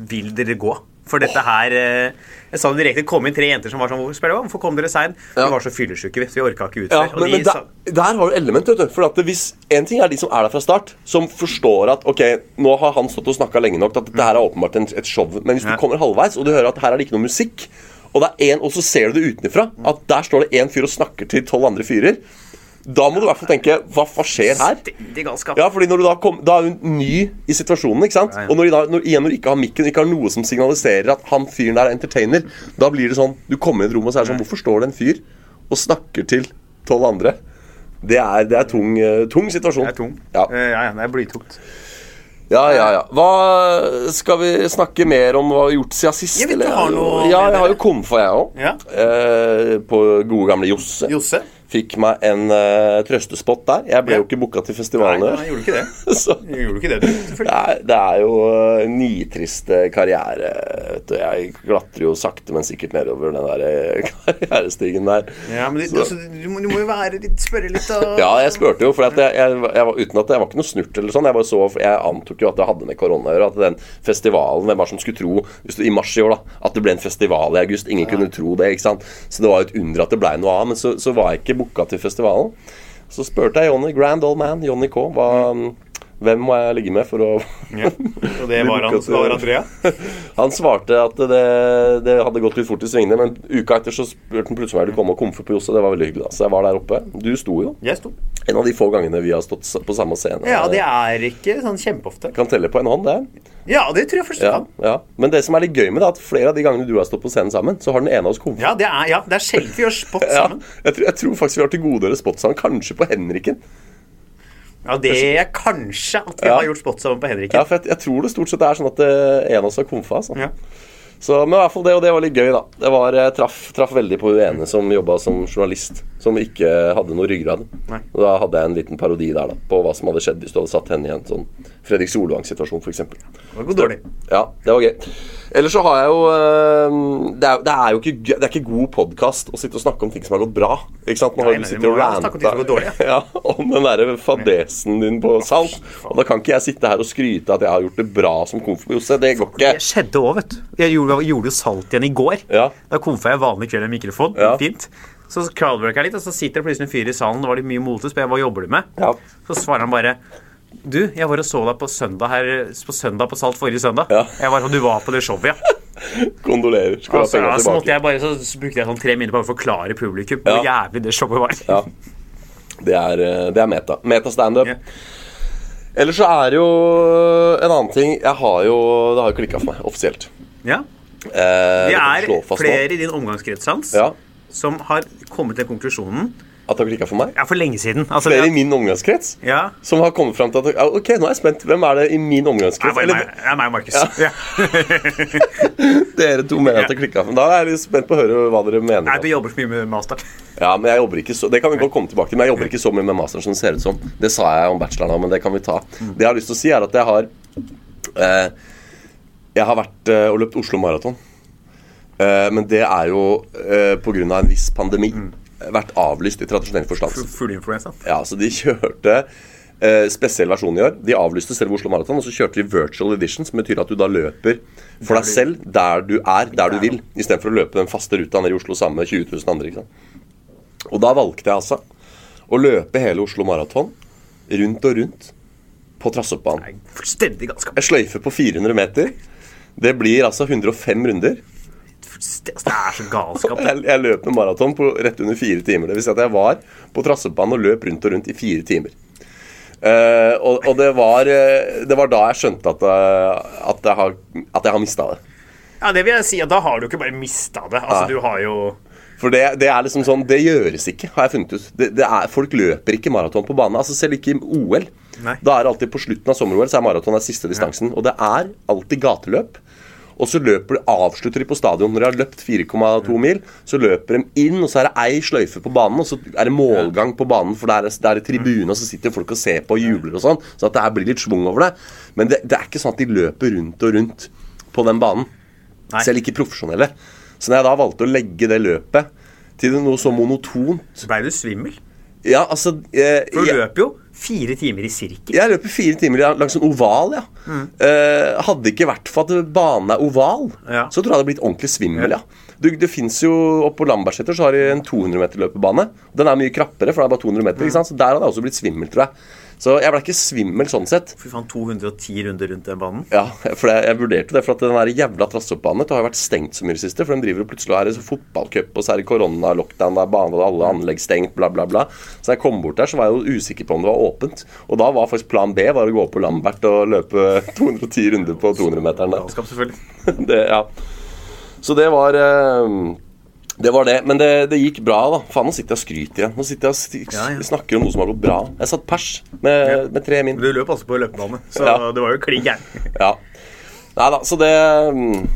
Speaker 1: vil dere gå? For dette her eh, Jeg sa det direkte. Det kom inn tre jenter som var sånn Hvorfor, spør jeg, hvorfor kom dere seint?
Speaker 2: Ja.
Speaker 1: Vi var så fyllesyke, vi, så vi orka ikke ut
Speaker 2: Ja,
Speaker 1: før. Og de sånn.
Speaker 2: men, men der,
Speaker 1: sa-
Speaker 2: der har du element, vet du. For at det- hvis En ting er de som er der fra start, som forstår at ok, nå har han stått og snakka lenge nok til at dette her er åpenbart en, et show. Men hvis du
Speaker 1: Ja.
Speaker 2: kommer halvveis, og du hører at her er det ikke noe musikk, og, det er en, og så ser du det utenfra, at der står det én fyr og snakker til tolv andre fyrer, da må du i hvert fall tenke hva, hva skjer her?
Speaker 1: Stendig galskap.
Speaker 2: Ja, fordi når du da, kom, da er hun ny i situasjonen, ikke sant?
Speaker 1: Ja, ja.
Speaker 2: Og når, de da, når, igjen når de ikke har mikken, ikke har noe som signaliserer at han fyren der er entertainer, da blir det sånn Du kommer inn i et rom og så er det sånn Hvorfor står det en fyr og snakker til tolv andre? Det er, det er tung, eh, tung situasjon.
Speaker 1: Det er tung.
Speaker 2: Ja,
Speaker 1: Eh, ja, ja, det er blytungt.
Speaker 2: ja, ja. ja. Hva Skal vi snakke mer om hva vi har gjort siden sist?
Speaker 1: Jeg vet
Speaker 2: eller?
Speaker 1: du har noe
Speaker 2: Ja,
Speaker 1: med
Speaker 2: jeg har
Speaker 1: det.
Speaker 2: jo komfa, jeg òg.
Speaker 1: Ja.
Speaker 2: Eh, på gode gamle Josse.
Speaker 1: Josse?
Speaker 2: Fikk meg en eh, trøstespott der. Jeg ble
Speaker 1: Ja.
Speaker 2: jo ikke booka til
Speaker 1: Nei,
Speaker 2: festivalen i
Speaker 1: nei,
Speaker 2: år.
Speaker 1: jeg gjorde ikke det.
Speaker 2: [laughs] Så
Speaker 1: Jeg gjorde ikke det, du.
Speaker 2: Det
Speaker 1: Selvfølgelig.
Speaker 2: er, det er jo eh, nitrist eh, karriere. Vet du. Jeg klatrer jo sakte, men sikkert nedover den der eh, [laughs] karrierestigen der.
Speaker 1: Ja, men du,
Speaker 2: Så-
Speaker 1: altså, du, må, du må jo være litt, spørre litt og
Speaker 2: ja, jeg spurte jo, for at jeg, jeg, jeg var, uten at jeg var ikke noe snurt eller sånn. Jeg bare så, jeg antok jo at det hadde med korona å gjøre. At den festivalen Hvem var det som skulle tro hvis du, i mars i år da, at det ble en festival i august? Ingen kunne tro det, ikke sant? Så det var jo et under at det blei noe av. Men så, så var jeg ikke booka til festivalen. Så spurte jeg Johnny, grand old man, Johnny K, hva, mm, hvem må jeg ligge med for å
Speaker 1: Ja, Og det var han, var Andrea.
Speaker 2: han svarte at det, det hadde gått litt fort i svingene, men uka etter så spurte han plutselig om jeg ville komme og komfe på Josse. Det var veldig hyggelig. da. Så jeg var der oppe. Du sto jo.
Speaker 1: Jeg sto.
Speaker 2: En av de få gangene vi har stått s- på samme scene.
Speaker 1: Ja, det er ikke sånn kjempeofte.
Speaker 2: Kan telle på en hånd, det.
Speaker 1: Ja, det tror jeg først du
Speaker 2: Ja,
Speaker 1: kan.
Speaker 2: ja. Men det som er litt gøy med det, er at flere av de gangene du har stått på scenen sammen, så har den ene av oss komfet.
Speaker 1: Ja, det er, ja, det er sjelden vi gjør spot
Speaker 2: Ja,
Speaker 1: sammen.
Speaker 2: jeg, tror, jeg tror faktisk vi har til gode å spotte sammen. Kanskje på Henriken.
Speaker 1: Ja, det er kanskje at vi
Speaker 2: Ja.
Speaker 1: har gjort spotsam på Henrik.
Speaker 2: Ja, for jeg, jeg tror det stort sett er sånn at eh, en av oss har komfa. Altså.
Speaker 1: Ja.
Speaker 2: Så, men i hvert fall det, og det var litt gøy, da. Det var, eh, traff, traff veldig på hun ene som jobba som journalist, som ikke hadde noe ryggrad.
Speaker 1: Nei.
Speaker 2: Og da hadde jeg en liten parodi der da, på hva som hadde skjedd hvis du hadde satt henne i en sånn Fredrik Solvang-situasjon, f.eks.
Speaker 1: Det var god dårlig.
Speaker 2: Ja, det var gøy. Ellers så har jeg jo eh, Det er, det er jo ikke, gøy- det er ikke god podkast å sitte og snakke om ting som har gått bra. Ikke sant?
Speaker 1: Nei,
Speaker 2: Nå har du
Speaker 1: nei,
Speaker 2: sittet
Speaker 1: vi må
Speaker 2: og
Speaker 1: jo snakke om ting som har gått
Speaker 2: ranta
Speaker 1: dårlig,
Speaker 2: [laughs] ja, om den derre fadesen din på salt. Og da kan ikke jeg sitte her og skryte at jeg har gjort det bra som konfirmose. Det går
Speaker 1: Det
Speaker 2: ikke.
Speaker 1: skjedde òg, vet du. Jeg gjorde, gjorde jo salt igjen i går.
Speaker 2: Ja.
Speaker 1: Da komfa jeg vanlig kveld med mikrofon.
Speaker 2: Ja.
Speaker 1: Fint. Så crowdworker jeg litt, og så sitter det plutselig en fyr i salen. Det var litt mye motløst, men jeg hva jobber du med?
Speaker 2: Ja.
Speaker 1: Så svarer han bare Du, jeg var og så deg på søndag her På søndag på Salt forrige søndag.
Speaker 2: Ja.
Speaker 1: Jeg var sånn, Du var på det
Speaker 2: [laughs]
Speaker 1: showet, ja.
Speaker 2: Kondolerer. Skal
Speaker 1: Altså,
Speaker 2: ha
Speaker 1: ja,
Speaker 2: penga
Speaker 1: så, måtte
Speaker 2: tilbake.
Speaker 1: jeg bare, så brukte jeg sånn tre minutter på å forklare publikum hvor
Speaker 2: Ja.
Speaker 1: jævlig det showet var.
Speaker 2: Ja. Det er, eh, det er meta. Meta-standup.
Speaker 1: Ja.
Speaker 2: Ellers så er det jo en annen ting Jeg har jo Det har jo klikka for meg, offisielt.
Speaker 1: Ja.
Speaker 2: Eh, det
Speaker 1: Det
Speaker 2: kan
Speaker 1: er
Speaker 2: jeg slå fast nå.
Speaker 1: flere i din omgangskrets hans
Speaker 2: Ja,
Speaker 1: som har kommet til konklusjonen
Speaker 2: At det har klikka for meg?
Speaker 1: Ja, for lenge siden. Altså,
Speaker 2: Flere
Speaker 1: vi
Speaker 2: i min omgangskrets?
Speaker 1: har- ja.
Speaker 2: Som har kommet fram til at ja, Ok, nå er jeg spent. Hvem er det i min
Speaker 1: Nei,
Speaker 2: omgangskrets?
Speaker 1: bare meg.
Speaker 2: Eller
Speaker 1: Det er meg og Markus. Ja.
Speaker 2: dere to mener at det klikka for meg? Da er jeg litt spent på å høre hva dere mener.
Speaker 1: Nei, du jobber så mye med master.
Speaker 2: Ja, men jeg jobber ikke så Det kan vi godt komme tilbake til, men jeg jobber ikke så mye med masteren som det ser ut som. Det sa jeg om bacheloren òg, men det kan vi ta. Det jeg har lyst til å si, er at jeg har eh, Jeg har vært eh, og løpt Oslo Maraton. Eh, men det er jo eh, på grunn av en viss pandemi vært avlyst i tradisjonell forstand.
Speaker 1: Fugleinfluensa.
Speaker 2: Ja, så de [laughs] kjørte eh, spesiell versjon i år. De avlyste selve Oslo Maraton, og så kjørte de virtual edition, som betyr at du da løper for deg selv der du er, der du vil, istedenfor å løpe den faste ruta ned i Oslo sammen med 20 000 andre. Ikke sant? Og da valgte jeg altså å løpe hele Oslo Maraton rundt og rundt på Trassoppbanen.
Speaker 1: Nei, Fullstendig galskap.
Speaker 2: Jeg sløyfer på 400 meter. Det blir altså 105 runder.
Speaker 1: Fullste- altså, Det er så galskap. det.
Speaker 2: Jeg, jeg løp en maraton på rett under fire timer. Det vil si at jeg var på trassebanen og løp rundt og rundt i fire timer. Eh, og og det, var, eh, det var da jeg skjønte at, eh, at jeg har, at jeg har mista det.
Speaker 1: Ja, det vil jeg si at Da har du ikke bare mista det. Altså,
Speaker 2: Nei.
Speaker 1: du har jo
Speaker 2: For det, det er liksom sånn Det gjøres ikke, har jeg funnet ut. Det, det er, folk løper ikke maraton på bane. Altså Selv ikke i OL.
Speaker 1: Nei.
Speaker 2: Da er det alltid på slutten av sommer-OL så er maraton den siste distansen. Og det er alltid gateløp. Og så løper de, avslutter de på stadion. Når de har løpt 4,2 mil, så løper de inn, og så er det ei sløyfe på banen, og så er det målgang på banen, for der er, der er tribune, og så sitter folk og ser på og jubler og sånn. Så at det her blir litt schwung over det. Men det, det er ikke sånn at de løper rundt og rundt på den banen.
Speaker 1: Nei.
Speaker 2: Selv ikke profesjonelle. Så når jeg da valgte å legge det løpet til noe så monotont
Speaker 1: Blei du svimmel?
Speaker 2: Ja, altså eh,
Speaker 1: For du
Speaker 2: jeg-
Speaker 1: løper jo fire timer i sirkel.
Speaker 2: jeg løper fire timer langs en oval, ja.
Speaker 1: Mm.
Speaker 2: Eh, hadde ikke vært for at banen er oval,
Speaker 1: Ja.
Speaker 2: så tror jeg det hadde blitt ordentlig svimmel, ja. Du, det fins jo oppe på Lambertseter så har de en 200 meter løpebane. Den er mye krappere, for det er bare 200
Speaker 1: Mm.
Speaker 2: meter, ikke sant? så der hadde jeg også blitt svimmel, tror jeg. Så jeg ble ikke svimmel sånn sett.
Speaker 1: Fy faen, 210 runder rundt den banen.
Speaker 2: Ja, for jeg, jeg vurderte det, for at den der jævla trasseoppbanen det har jo vært stengt så mye i det siste. For de driver og plutselig er det så fotballcup, og så er det korona-lockdown, der banen og alle anlegg stengt, bla, bla, bla. Så da jeg kom bort der, så var jeg jo usikker på om det var åpent. Og da var faktisk plan B var å gå opp på Lambert og løpe [laughs] 210 runder på 200-meteren. der.
Speaker 1: Galskap, selvfølgelig.
Speaker 2: [laughs] Det, ja. Så det var eh, det var det, Men det, det gikk bra, da. Faen, nå sitter jeg og skryter igjen. Nå sitter jeg og
Speaker 1: Ja, ja.
Speaker 2: s- snakker om noe som har gått bra. Jeg satt pers med, med tre min.
Speaker 1: Du løp altså på løpebane, så
Speaker 2: Ja.
Speaker 1: det var jo klin gæren.
Speaker 2: Ja. Nei da, så det mm,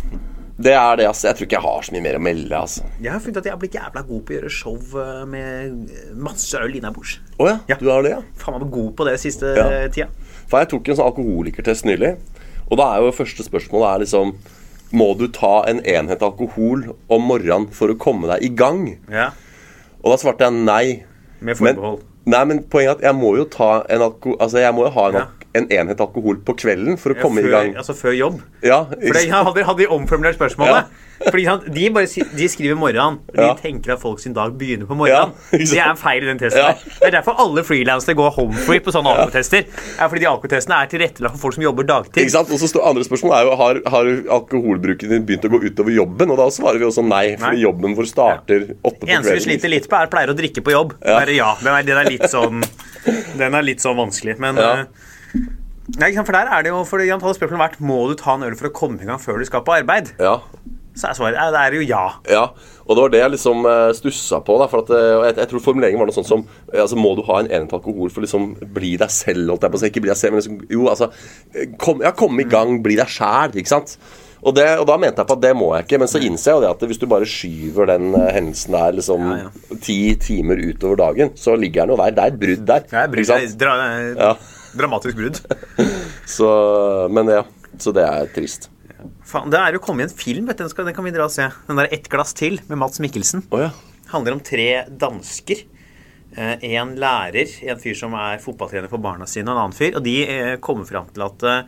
Speaker 2: Det er det, altså. Jeg tror ikke jeg har så mye mer å melde, altså.
Speaker 1: Jeg har funnet at jeg har blitt jævla god på å gjøre show eh, med masse øl innabords.
Speaker 2: Å ja,
Speaker 1: Ja.
Speaker 2: du har det, ja?
Speaker 1: Faen meg god på det siste
Speaker 2: Ja.
Speaker 1: eh, tida.
Speaker 2: For jeg tok en sånn alkoholikertest nylig, og da er jo første spørsmål er liksom Må du ta en enhet alkohol om morgenen for å komme deg i gang?
Speaker 1: Ja.
Speaker 2: Og da svarte jeg nei.
Speaker 1: Med forbehold.
Speaker 2: Men, nei, men poenget er at jeg må jo ta en alko, Altså, jeg må jo ha en,
Speaker 1: Ja.
Speaker 2: alk- en enhet alkohol på kvelden for å
Speaker 1: Ja,
Speaker 2: komme
Speaker 1: før,
Speaker 2: i gang.
Speaker 1: Altså før jobb.
Speaker 2: Ja,
Speaker 1: For det,
Speaker 2: ikke-
Speaker 1: hadde, hadde vi omformulert spørsmålet Fordi sant, De bare si- de skriver morgenen. De
Speaker 2: Ja.
Speaker 1: tenker at folk sin dag begynner på morgenen.
Speaker 2: Ja, ikke sant?
Speaker 1: det er en feil i den testen.
Speaker 2: Ja.
Speaker 1: her. Det er derfor alle frilansere går homefree på sånne alkotester. Er fordi de alkotestene er tilrettelagt for folk som jobber dagtid.
Speaker 2: Ikke sant? Og så står andre spørsmål er jo har, har alkoholbruken din begynt å gå utover jobben. Og da svarer vi også nei, fordi
Speaker 1: Nei.
Speaker 2: jobben vår starter åtte på
Speaker 1: Det
Speaker 2: kvelden.
Speaker 1: eneste vi sliter litt på, er pleier å drikke på jobb. Bare ja, den er, den er litt sånn Den er litt sånn vanskelig, men
Speaker 2: Ja.
Speaker 1: eh, Nei, ikke sant, for der er det jo for det hadde spørsmålet vært Må du ta en øl for å komme i gang før du skal på arbeid.
Speaker 2: Ja.
Speaker 1: Så er svaret ja, det er jo ja.
Speaker 2: Ja, og det var det jeg liksom eh, stussa på. da, for at, eh, og jeg, jeg tror formuleringen var noe sånn som eh, altså, Må du ha en enhet alkohol for å liksom bli deg selv? holdt jeg på å si, ikke bli deg selv, men liksom, Jo, altså eh, kom, Ja, kom i gang, bli deg sjæl, ikke sant? Og, det, og da mente jeg på at det må jeg ikke, men så innser jeg jo det at hvis du bare skyver den eh, hendelsen der liksom
Speaker 1: Ja,
Speaker 2: ti timer utover dagen, så ligger den jo der. Det er et brudd der.
Speaker 1: Det er brudd.
Speaker 2: ikke
Speaker 1: Det er
Speaker 2: sant?
Speaker 1: Dra, eh,
Speaker 2: Ja.
Speaker 1: Dramatisk brudd.
Speaker 2: Så, men ja, så det er trist.
Speaker 1: Faen, det er jo kommet en film, vet du. Den, skal, den kan vi dra og se. Den der 'Ett glass til' med Mats Mikkelsen.
Speaker 2: Å ja.
Speaker 1: handler om tre dansker. Eh, En lærer, en fyr som er fotballtrener for barna sine, og en annen fyr. Og de eh, kommer fram til at eh,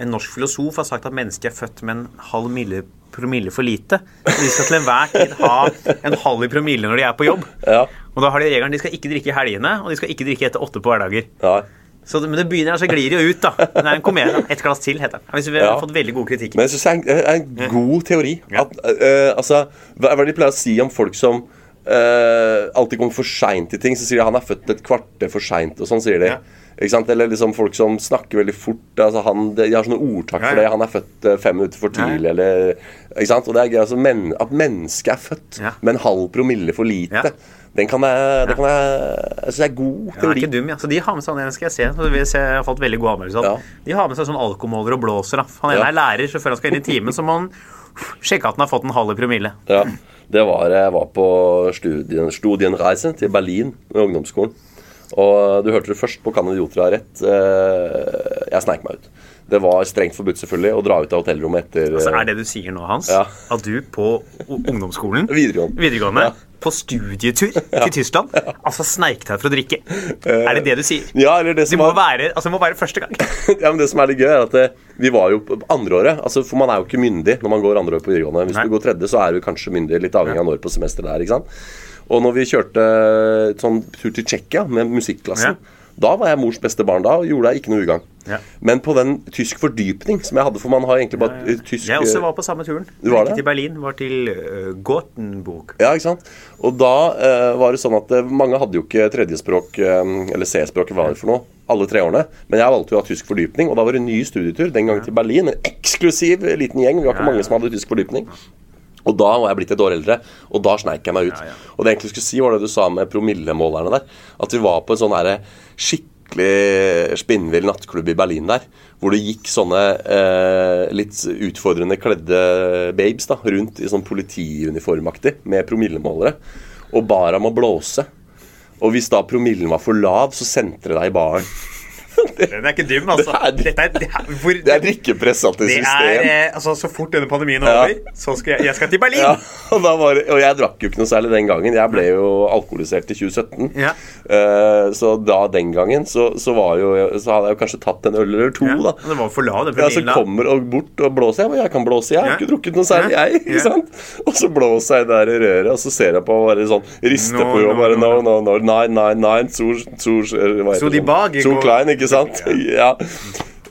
Speaker 1: en norsk filosof har sagt at mennesket er født med en halv mille, promille for lite. Så de skal til enhver tid ha en halv i promille når de er på jobb.
Speaker 2: Ja.
Speaker 1: Og da har de regelen de skal ikke drikke i helgene, og de skal ikke drikke etter åtte på hverdager.
Speaker 2: ja.
Speaker 1: Så, det- men det begynner, så glir det jo ut, da. Det er en komedie. Et glass til, heter den. Hvis vi har
Speaker 2: Ja.
Speaker 1: fått veldig gode kritikker.
Speaker 2: Men jeg synes det er en, en god teori.
Speaker 1: Ja.
Speaker 2: At, eh, altså, hva hva er det de pleier å si om folk som eh, alltid kommer for seint til ting? Så sier de han er født et kvarter for seint, og sånn sier de.
Speaker 1: Ja.
Speaker 2: Ikke sant? Eller liksom folk som snakker veldig fort. Altså han, de har sånne ordtak
Speaker 1: Ja,
Speaker 2: for
Speaker 1: ja.
Speaker 2: det. Han er født eh, fem minutter for tidlig, eller ikke sant? Og det er gøy, altså, men, At mennesket er født
Speaker 1: Ja.
Speaker 2: med en halv promille for lite.
Speaker 1: Ja.
Speaker 2: Den kan jeg, det kan jeg, jeg synes det er god
Speaker 1: Den er
Speaker 2: teori.
Speaker 1: ikke dum, ja. Så de har med seg han ene, skal jeg se. Så vi ser, jeg har fått veldig gode anmeldelser. av den. De har med seg sånn alkomåler og blåser. Da. Han ene
Speaker 2: Ja.
Speaker 1: er lærer, så før han skal inn i timen, så må han sjekke at han har fått en halv i promille.
Speaker 2: Ja, det var jeg var på studien, studienreise til Berlin med ungdomsskolen. Og du hørte det først på Kan idioter ha rett. Eh, Jeg sneik meg ut. Det var strengt forbudt selvfølgelig å dra ut av hotellrommet etter
Speaker 1: Så Altså, er
Speaker 2: eh,
Speaker 1: det du sier nå, Hans,
Speaker 2: Ja.
Speaker 1: at du på o- ungdomsskolen
Speaker 2: eh, Videregående.
Speaker 1: videregående,
Speaker 2: Ja.
Speaker 1: på
Speaker 2: [laughs]
Speaker 1: studietur til Tyskland, altså sneik deg for å drikke.
Speaker 2: Eh,
Speaker 1: Er det det du sier?
Speaker 2: Ja, eller det
Speaker 1: Det
Speaker 2: som,
Speaker 1: må
Speaker 2: var,
Speaker 1: være, altså, det må være første gang.
Speaker 2: [laughs] ja, men det som er litt gøy, er at eh, vi var jo på på andreåret. Altså, for man er jo ikke myndig når man går andreåret på videregående. Hvis
Speaker 1: Nei.
Speaker 2: du går tredje, så er du kanskje myndig, litt avhengig av når på semesteret det er. ikke sant? Og når vi kjørte eh, sånn tur til Tsjekkia med musikklassen,
Speaker 1: Ja.
Speaker 2: da var jeg mors beste barn da og gjorde deg ikke noe ugagn.
Speaker 1: Ja.
Speaker 2: Men på den tysk fordypning som jeg hadde, for man har egentlig bare eh, tysk
Speaker 1: Jeg også var på samme turen.
Speaker 2: Du var
Speaker 1: Ikke
Speaker 2: det?
Speaker 1: til Berlin, var til øh, Gothenburg.
Speaker 2: Ja, ikke sant? Og da eh, var det sånn at eh, mange hadde jo ikke tredjespråk, eh, eller C-språk, hva var det for noe, alle tre årene. Men jeg valgte jo å ha tysk fordypning, og da var det en ny studietur, den gang til Berlin. En eksklusiv eh, liten gjeng, vi var ikke mange som hadde tysk fordypning. Og da var jeg blitt et år eldre, og da sneik jeg meg ut.
Speaker 1: Ja, ja.
Speaker 2: Og det jeg egentlig skulle si, var det du sa med promillemålerne der. At vi var på en sånn her skikkelig spinnvill nattklubb i Berlin der. Hvor det gikk sånne eh, litt utfordrende kledde babes da, rundt i sånn politiuniformaktig med promillemålere. Og ba dem å blåse. Og hvis da promillen var for lav, så sendte de deg i baren.
Speaker 1: Den er ikke dum, altså.
Speaker 2: Det er-
Speaker 1: Dette er, det er, hvor,
Speaker 2: Det er drikkepress alt i
Speaker 1: Det er,
Speaker 2: system.
Speaker 1: eh, altså Så fort denne pandemien er
Speaker 2: Ja.
Speaker 1: over, så skal jeg, jeg skal til Berlin!
Speaker 2: Ja, [laughs] og, da var, det- og jeg drakk jo ikke noe særlig den gangen. Jeg ble jo alkoholisert i 2017.
Speaker 1: Ja.
Speaker 2: Eh, så da den gangen så, så, var jo, så hadde jeg jo kanskje tatt en øl eller to,
Speaker 1: Ja,
Speaker 2: da.
Speaker 1: Det var for lav, den
Speaker 2: Ja, så
Speaker 1: promillen. da.
Speaker 2: kommer og bort og blåser. Jeg bare, jeg kan blåse, jeg har
Speaker 1: Ja.
Speaker 2: ikke drukket noe særlig,
Speaker 1: Ja.
Speaker 2: jeg. ikke
Speaker 1: Ja.
Speaker 2: sant? Og så blåser jeg der i røret, og så ser jeg på og bare sånn rister
Speaker 1: No,
Speaker 2: på jo,
Speaker 1: no,
Speaker 2: bare
Speaker 1: no,
Speaker 2: no, no, no, nei, nei, nei, zur, zur, eh, hva heter
Speaker 1: So die
Speaker 2: det?
Speaker 1: Bag,
Speaker 2: Zur
Speaker 1: går-
Speaker 2: Klein, ikke sant? [laughs] Ja.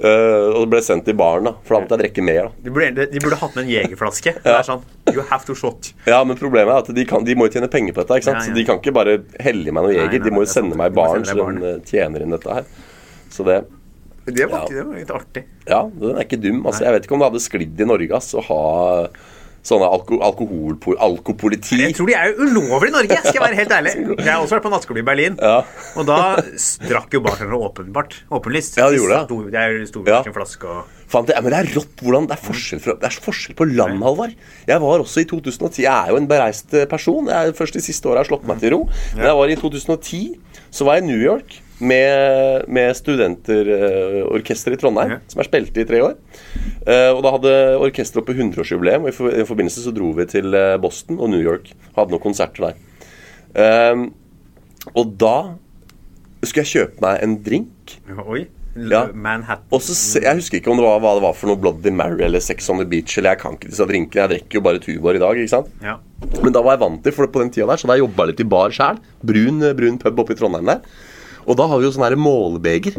Speaker 2: Eh, og ble sendt i baren, da, for da måtte jeg drikke mer. da.
Speaker 1: de, burde, de burde hatt med en jegerflaske. Det er sånn You have to shot.
Speaker 2: Ja, men problemet er at de, kan, de må jo tjene penger på dette. ikke sant?
Speaker 1: Ja, ja.
Speaker 2: Så de kan ikke bare helle i meg noe
Speaker 1: nei,
Speaker 2: jeger. de må
Speaker 1: det
Speaker 2: jo
Speaker 1: er sant.
Speaker 2: sende meg i
Speaker 1: De må
Speaker 2: baren,
Speaker 1: sende
Speaker 2: så
Speaker 1: deg i
Speaker 2: de tjener inn dette her. Så det
Speaker 1: Det
Speaker 2: var ikke- det
Speaker 1: litt artig.
Speaker 2: Ja, den er ikke dum. altså. Jeg vet ikke om det hadde sklidd i Norge ass, å ha sånne alko alkoholpo- alkopoliti.
Speaker 1: Jeg tror de er jo ulovlig i Norge, skal jeg være helt
Speaker 2: [laughs]
Speaker 1: ærlig. Jeg har også vært på nattklubb i Berlin,
Speaker 2: Ja.
Speaker 1: og da strakk jo bartenderne åpenbart. Åpenlyst.
Speaker 2: Ja, de gjorde det.
Speaker 1: Stor, det er jo stor
Speaker 2: Ja.
Speaker 1: en flaske og
Speaker 2: Faen, det, ja, men det er rått hvordan det er forskjell, fra, det er forskjell på land, Halvard. Jeg var også i 2010 Jeg er jo en bereist eh, person. Jeg, er først de siste åra har slått meg til ro. Men jeg var i 2010, så var jeg i New York med, med studenterorkesteret i Trondheim,
Speaker 1: Ja.
Speaker 2: som jeg spilte i tre år. Eh, og da hadde orkesteret oppe 100-årsjubileum, og i, for, i forbindelse så dro vi til eh, Boston og New York. Hadde noen konserter der. Ehm, og da skulle jeg kjøpe meg en drink.
Speaker 1: Oi.
Speaker 2: Ja.
Speaker 1: Manhattan.
Speaker 2: Og så se, Jeg husker ikke om det var, hva det var for noe Bloody Mary eller Sex on the Beach. eller Jeg kan ikke disse drinkene, jeg drikker jo bare Tuborg i dag. ikke sant?
Speaker 1: Ja.
Speaker 2: Men da var jeg vant til for på den tida der, så da jobba jeg litt i bar sjæl. Brun, brun pub oppe i Trondheim der. Og Og da har vi jo sånn her målbeger.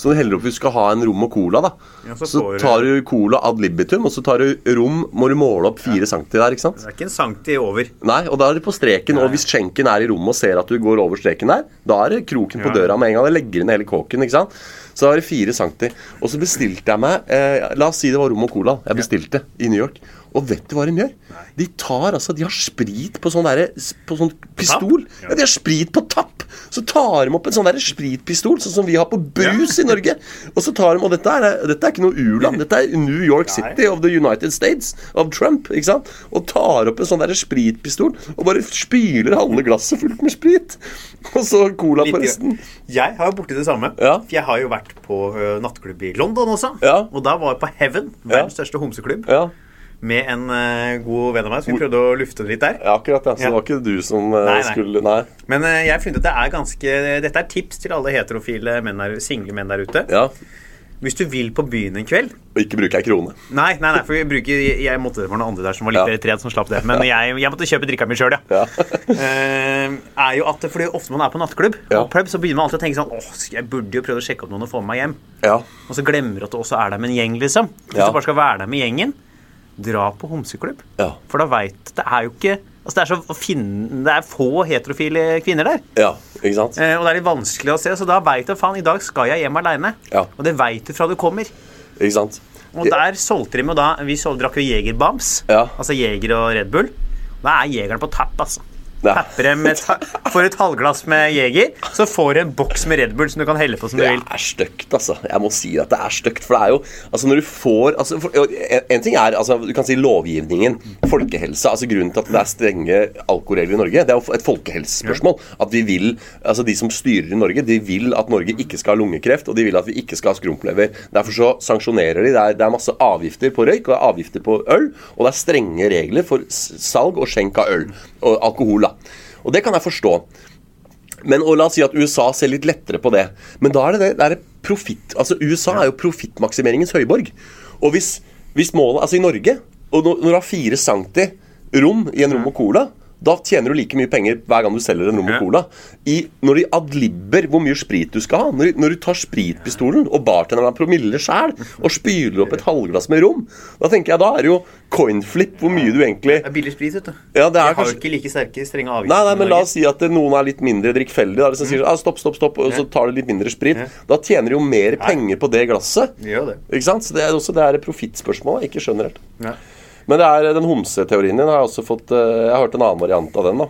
Speaker 2: Så du heller opp hvis du skal ha en rom og cola, da.
Speaker 1: Ja,
Speaker 2: så,
Speaker 1: så får du-
Speaker 2: tar du cola ad libitum, og så tar du rom Må du måle opp fire centimeter der, ikke sant?
Speaker 1: Det er ikke en sankti over.
Speaker 2: Nei, og da er det på streken. Og hvis skjenken er i rommet og ser at du går over streken der, da er det kroken på
Speaker 1: Ja.
Speaker 2: døra med en gang. Da legger du ned hele kåken. ikke sant? Så da er det fire centi. Og så bestilte jeg meg eh, La oss si det var rom og cola. Jeg bestilte i New York. Og vet du hva de gjør? De tar altså, de har sprit på sånn derre På sånn pistol.
Speaker 1: Ja.
Speaker 2: Ja, de har sprit på tapp! Så tar de opp en sånn derre spritpistol, sånn som vi har på brus i Norge. Og så tar de, og dette er, dette er ikke noe u-land, dette er New York City of the United States of Trump. ikke sant? Og tar opp en sånn derre spritpistol og bare spyler halve glasset fullt med sprit. [laughs] Og så cola på resten.
Speaker 1: Jeg har jo borti det samme.
Speaker 2: Ja.
Speaker 1: For jeg har jo vært på ø, nattklubb i London også.
Speaker 2: Ja.
Speaker 1: Og da var jeg på Heaven, verdens største homseklubb,
Speaker 2: Ja,
Speaker 1: med en ø, god venn av meg. Så vi prøvde å lufte det litt der.
Speaker 2: ja akkurat. Ja. Så
Speaker 1: Ja.
Speaker 2: det var ikke du som eh,
Speaker 1: Nei, nei.
Speaker 2: skulle Nei.
Speaker 1: Men ø, jeg har funnet at det er ganske Dette er tips til alle heterofile menn der, single menn der ute.
Speaker 2: Ja.
Speaker 1: Hvis du vil på byen en kveld
Speaker 2: Og ikke bruker ei krone.
Speaker 1: Nei, nei, nei, for vi bruker, jeg måtte det var noen andre der som var litt
Speaker 2: Ja.
Speaker 1: ja. som slapp det. Men jeg, jeg måtte kjøpe drikka mi sjøl, ja.
Speaker 2: Ja.
Speaker 1: [laughs] Eh, er jo at, fordi Ofte man er på nattklubb,
Speaker 2: Ja.
Speaker 1: og pub, så begynner man alltid å tenke sånn Åh, jeg burde jo prøvd å sjekke opp noen og få med meg hjem.
Speaker 2: ja.
Speaker 1: Og så glemmer du at du også er der med en gjeng, liksom. Hvis
Speaker 2: Ja.
Speaker 1: du bare skal være der med gjengen, dra på homseklubb.
Speaker 2: Ja.
Speaker 1: For da veit Det er jo ikke Altså, det er så å finne Det er få heterofile kvinner der.
Speaker 2: Ja, ikke sant?
Speaker 1: Eh, og det er litt vanskelig å se, så da veit du faen, i dag skal jeg hjem aleine.
Speaker 2: Ja.
Speaker 1: Og det veit du fra du kommer.
Speaker 2: Ikke sant?
Speaker 1: Og der solgte de meg da Vi sol- drakk jo Jegerbams.
Speaker 2: Ja.
Speaker 1: Altså Jeger og Red Bull. Da er Jegeren på tapp, altså.
Speaker 2: Ja.
Speaker 1: Tapper dem med ta Får et halvglass med Jeger, så får du en boks med Red Bull som du kan helle på som du
Speaker 2: Det
Speaker 1: vil.
Speaker 2: er stygt, altså. Jeg må si at det er stygt. For det er jo Altså, når du får altså, for, en, en ting er altså, Du kan si lovgivningen, folkehelse. Altså Grunnen til at det er strenge alkoholregler i Norge, det er jo et folkehelsespørsmål. At vi vil Altså, de som styrer i Norge, de vil at Norge ikke skal ha lungekreft, og de vil at vi ikke skal ha skrumplever. Derfor så sanksjonerer de. Det er, det er masse avgifter på røyk, og det er avgifter på øl, og det er strenge regler for s- salg og skjenk av øl. Og alkohol, da. Og det kan jeg forstå. Men og la oss si at USA ser litt lettere på det. Men da er det det, det er profitt Altså USA er jo profittmaksimeringens høyborg. Og hvis, hvis målet Altså i Norge og når, når du har fire centi rom i en rom og cola da tjener du like mye penger hver gang du selger en rom og
Speaker 1: Mm. Ja.
Speaker 2: cola. I, når de adlibber hvor mye sprit du skal ha Når, de- når du tar spritpistolen og bartenderen har promille sjæl og spyler opp et halvglass med rom, da tenker jeg da er det jo coinflip hvor mye du egentlig
Speaker 1: Det er billig sprit, vet du.
Speaker 2: Ja,
Speaker 1: Vi
Speaker 2: det er
Speaker 1: har jo
Speaker 2: kanskje-
Speaker 1: ikke like sterke, strenge avgifter.
Speaker 2: Nei, nei,
Speaker 1: i
Speaker 2: men
Speaker 1: Norge. Mm.
Speaker 2: la oss si at eh, noen er litt mindre drikkfeldige. da, Hvis de sier ah, stopp, stopp, stopp, og så tar de litt mindre sprit. Da tjener de jo mer penger på det glasset.
Speaker 1: Vi gjør jo det.
Speaker 2: Ikke sant? Så det er også det er et profittspørsmål. Ikke skjønner helt.
Speaker 1: Ja.
Speaker 2: Men det er den homseteorien din har jeg også fått eh, Jeg har hørt en annen variant av den, da.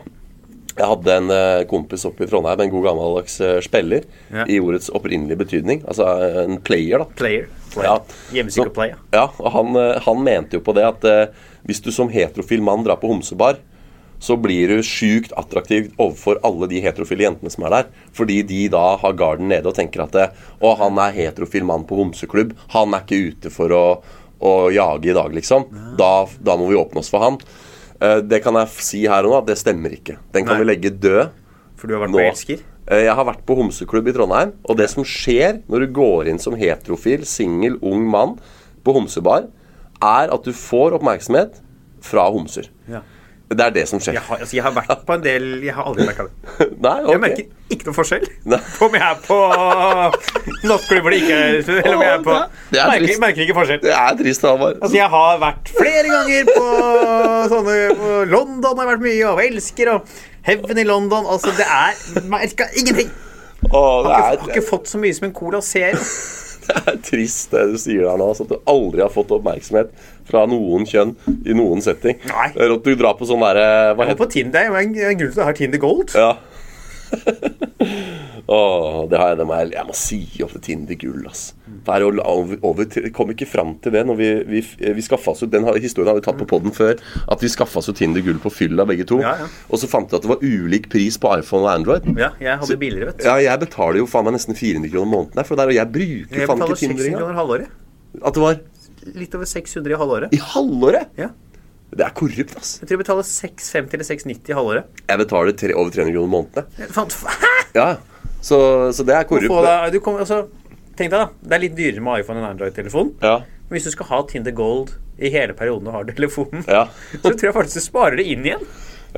Speaker 2: Jeg hadde en eh, kompis oppe i Trondheim, en god gammeldags eh, speller,
Speaker 1: Ja.
Speaker 2: i ordets opprinnelige betydning. Altså eh, en player, da.
Speaker 1: Player. player.
Speaker 2: Ja.
Speaker 1: Hjemmesykepleie.
Speaker 2: Så- Ja, og han, eh, han mente jo på det at eh, hvis du som heterofil mann drar på homsebar, så blir du sjukt attraktiv overfor alle de heterofile jentene som er der. Fordi de da har garden nede og tenker at eh, Å, han er heterofil mann på homseklubb. Han er ikke ute for å, å jage i dag, liksom. Da, da må vi åpne oss for han. Eh, Det kan jeg f- si her og nå at det stemmer ikke. Den kan
Speaker 1: Nei.
Speaker 2: vi legge død
Speaker 1: For du har vært
Speaker 2: nå.
Speaker 1: på elsker.
Speaker 2: Eh, Jeg har vært på homseklubb i Trondheim, og det som skjer når du går inn som heterofil, singel, ung mann på homsebar, er at du får oppmerksomhet fra homser.
Speaker 1: Ja.
Speaker 2: Det er det som skjer.
Speaker 1: Jeg har, altså, jeg har vært på en del Jeg har aldri merka det.
Speaker 2: [laughs] Nei,
Speaker 1: Jeg
Speaker 2: ok.
Speaker 1: merker ikke noe forskjell
Speaker 2: Nei.
Speaker 1: på om jeg er på nattklubb eller ikke. Eller om jeg er på
Speaker 2: Det er
Speaker 1: merker,
Speaker 2: trist.
Speaker 1: merker ikke forskjell.
Speaker 2: Det er trist, Halvard.
Speaker 1: Altså, jeg har vært flere ganger på sånne på London har jeg vært mye, og elsker og Heaven i London Altså, det er merka ingenting.
Speaker 2: Å, det,
Speaker 1: Har ikke, har
Speaker 2: er,
Speaker 1: ikke fått så mye som en cola ser.
Speaker 2: [laughs] det er trist det du sier der nå. altså, At du aldri har fått oppmerksomhet fra noen kjønn i noen setting.
Speaker 1: Nei.
Speaker 2: Eller at du drar på sånn derre Hva
Speaker 1: Og
Speaker 2: heter det?
Speaker 1: på Tinder, det er jo en- en grunn til at jeg har Tinder Gold.
Speaker 2: Ja. Åh, det har jeg, det må jeg, jeg må si opp til Tinder Gull, ass. Det er jo la- over, over, til- kom ikke fram til det når vi, vi, vi skaffa oss jo Den har- historien har vi tatt på podden før. At vi skaffa oss jo Tinder Gull på fylla, begge to.
Speaker 1: Ja, ja.
Speaker 2: Og så fant vi at det var ulik pris på iPhone og Android.
Speaker 1: Ja, jeg hadde billigere, vet du.
Speaker 2: Ja, jeg betaler jo faen meg nesten 400 kroner måneden her, for der, og jeg bruker
Speaker 1: Jeg
Speaker 2: faen
Speaker 1: betaler
Speaker 2: ikke
Speaker 1: 600
Speaker 2: Tinder engang.
Speaker 1: kroner halvåret.
Speaker 2: At det var
Speaker 1: Litt over 600 i halvåret.
Speaker 2: i halvåret!
Speaker 1: Ja.
Speaker 2: Det er korrupt, ass.
Speaker 1: Jeg tror jeg betaler 650 eller 690 i halvåret.
Speaker 2: Jeg betaler tre, over 300 kroner måneden, jeg.
Speaker 1: Jeg fant- [laughs] Hæ?!
Speaker 2: Ja, ja. så, så det er
Speaker 1: Du får
Speaker 2: korrupt.
Speaker 1: da- du kommer- altså, tenk deg, da. Det er litt dyrere med iPhone enn Android-telefon.
Speaker 2: det. Ja.
Speaker 1: Men hvis du skal ha Tinder Gold i hele perioden du har telefonen, [laughs]
Speaker 2: Ja.
Speaker 1: så tror jeg faktisk du sparer det inn igjen.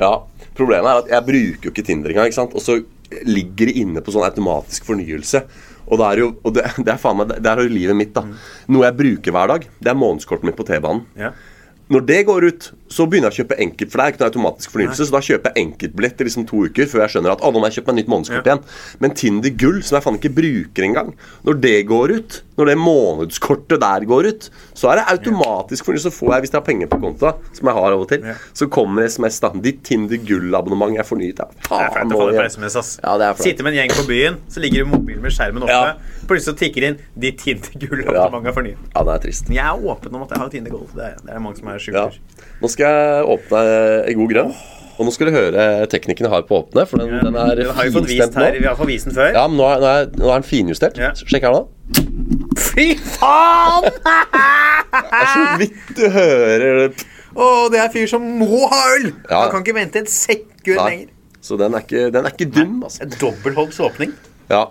Speaker 2: Ja, Problemet er at jeg bruker jo ikke Tinder engang. ikke sant? Og så ligger inne på sånn automatisk fornyelse. Og det er jo og det, det er faen meg, det er jo livet mitt, da. Noe jeg bruker hver dag. Det er månedskortet mitt på T-banen.
Speaker 1: Ja.
Speaker 2: Når det går ut, så begynner jeg å kjøpe enkelt, for det er ikke noe automatisk fornyelse, så da kjøper jeg enkeltbillett i liksom to uker før jeg skjønner at å, nå må jeg kjøpe meg nytt månedskort
Speaker 1: Ja.
Speaker 2: igjen. Men Tinder Gull, som jeg faen ikke bruker engang, når det går ut, når det månedskortet der går ut, så er det automatisk fornyelse. Så får jeg, hvis jeg har penger på konta, som jeg har av og til,
Speaker 1: Ja.
Speaker 2: så kommer SMS, da. Ditt Tinder Gull-abonnement er fornyet. Ja,
Speaker 1: Det er flaut å få det på SMS, ass.
Speaker 2: Ja, det er flaut.
Speaker 1: Sitte med en gjeng på byen, så ligger du i mobilen med skjermen oppe.
Speaker 2: Ja.
Speaker 1: Plutselig så tikker det inn ditt Tinder-gull
Speaker 2: Ja.
Speaker 1: abonnement er fornyet.
Speaker 2: Ja, det er trist.
Speaker 1: Men jeg er åpen om at jeg har Tinder Gold. Det er, det er mange som er
Speaker 2: Ja.
Speaker 1: sjuker.
Speaker 2: Nå skal jeg åpne en god grønn. Og nå skal du høre teknikken jeg har på å åpne, for den, den er
Speaker 1: Vi har jo fått
Speaker 2: finstemt
Speaker 1: vist her,
Speaker 2: nå.
Speaker 1: vi har fått vist den før.
Speaker 2: Ja, men nå er, nå er, nå er den finjustert.
Speaker 1: Ja.
Speaker 2: Sjekk her nå.
Speaker 1: Fy faen!
Speaker 2: Det er
Speaker 1: Ah.
Speaker 2: så vidt du hører det.
Speaker 1: Å, det er en fyr som må ha øl! Han
Speaker 2: Ja.
Speaker 1: kan ikke vente et sekund
Speaker 2: Nei.
Speaker 1: lenger.
Speaker 2: Så den er ikke, den er ikke dum, altså.
Speaker 1: Dobbeltholds åpning.
Speaker 2: Ja.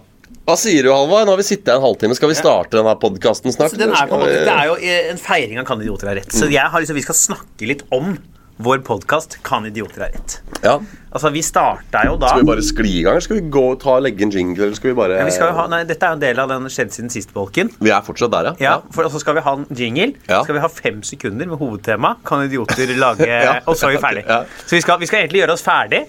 Speaker 2: Hva sier du, Halvard? Nå har vi sittet her en halvtime. Skal vi starte denne podkasten snart?
Speaker 1: Så den er på en måte,
Speaker 2: Skal vi- Mm.
Speaker 1: det er jo eh, en feiring av Kan idioter ha rett. Så jeg har liksom, vi skal snakke litt om vår podkast Kan idioter ha rett.
Speaker 2: Ja.
Speaker 1: Altså, vi starta jo da
Speaker 2: Skal vi bare skli i gang? eller Skal vi gå og ta, legge en jingle, eller skal vi bare
Speaker 1: Ja, vi skal jo ha, nei, Dette er jo en del av den skjedd siden sist-bolken.
Speaker 2: Vi er fortsatt der, ja?
Speaker 1: Ja, for så skal vi ha en jingle.
Speaker 2: Ja.
Speaker 1: Skal vi ha fem sekunder med hovedtema. Kan idioter lage
Speaker 2: [laughs] Ja.
Speaker 1: Og så er vi ferdig.
Speaker 2: Ja.
Speaker 1: Så vi skal, vi skal egentlig gjøre oss ferdig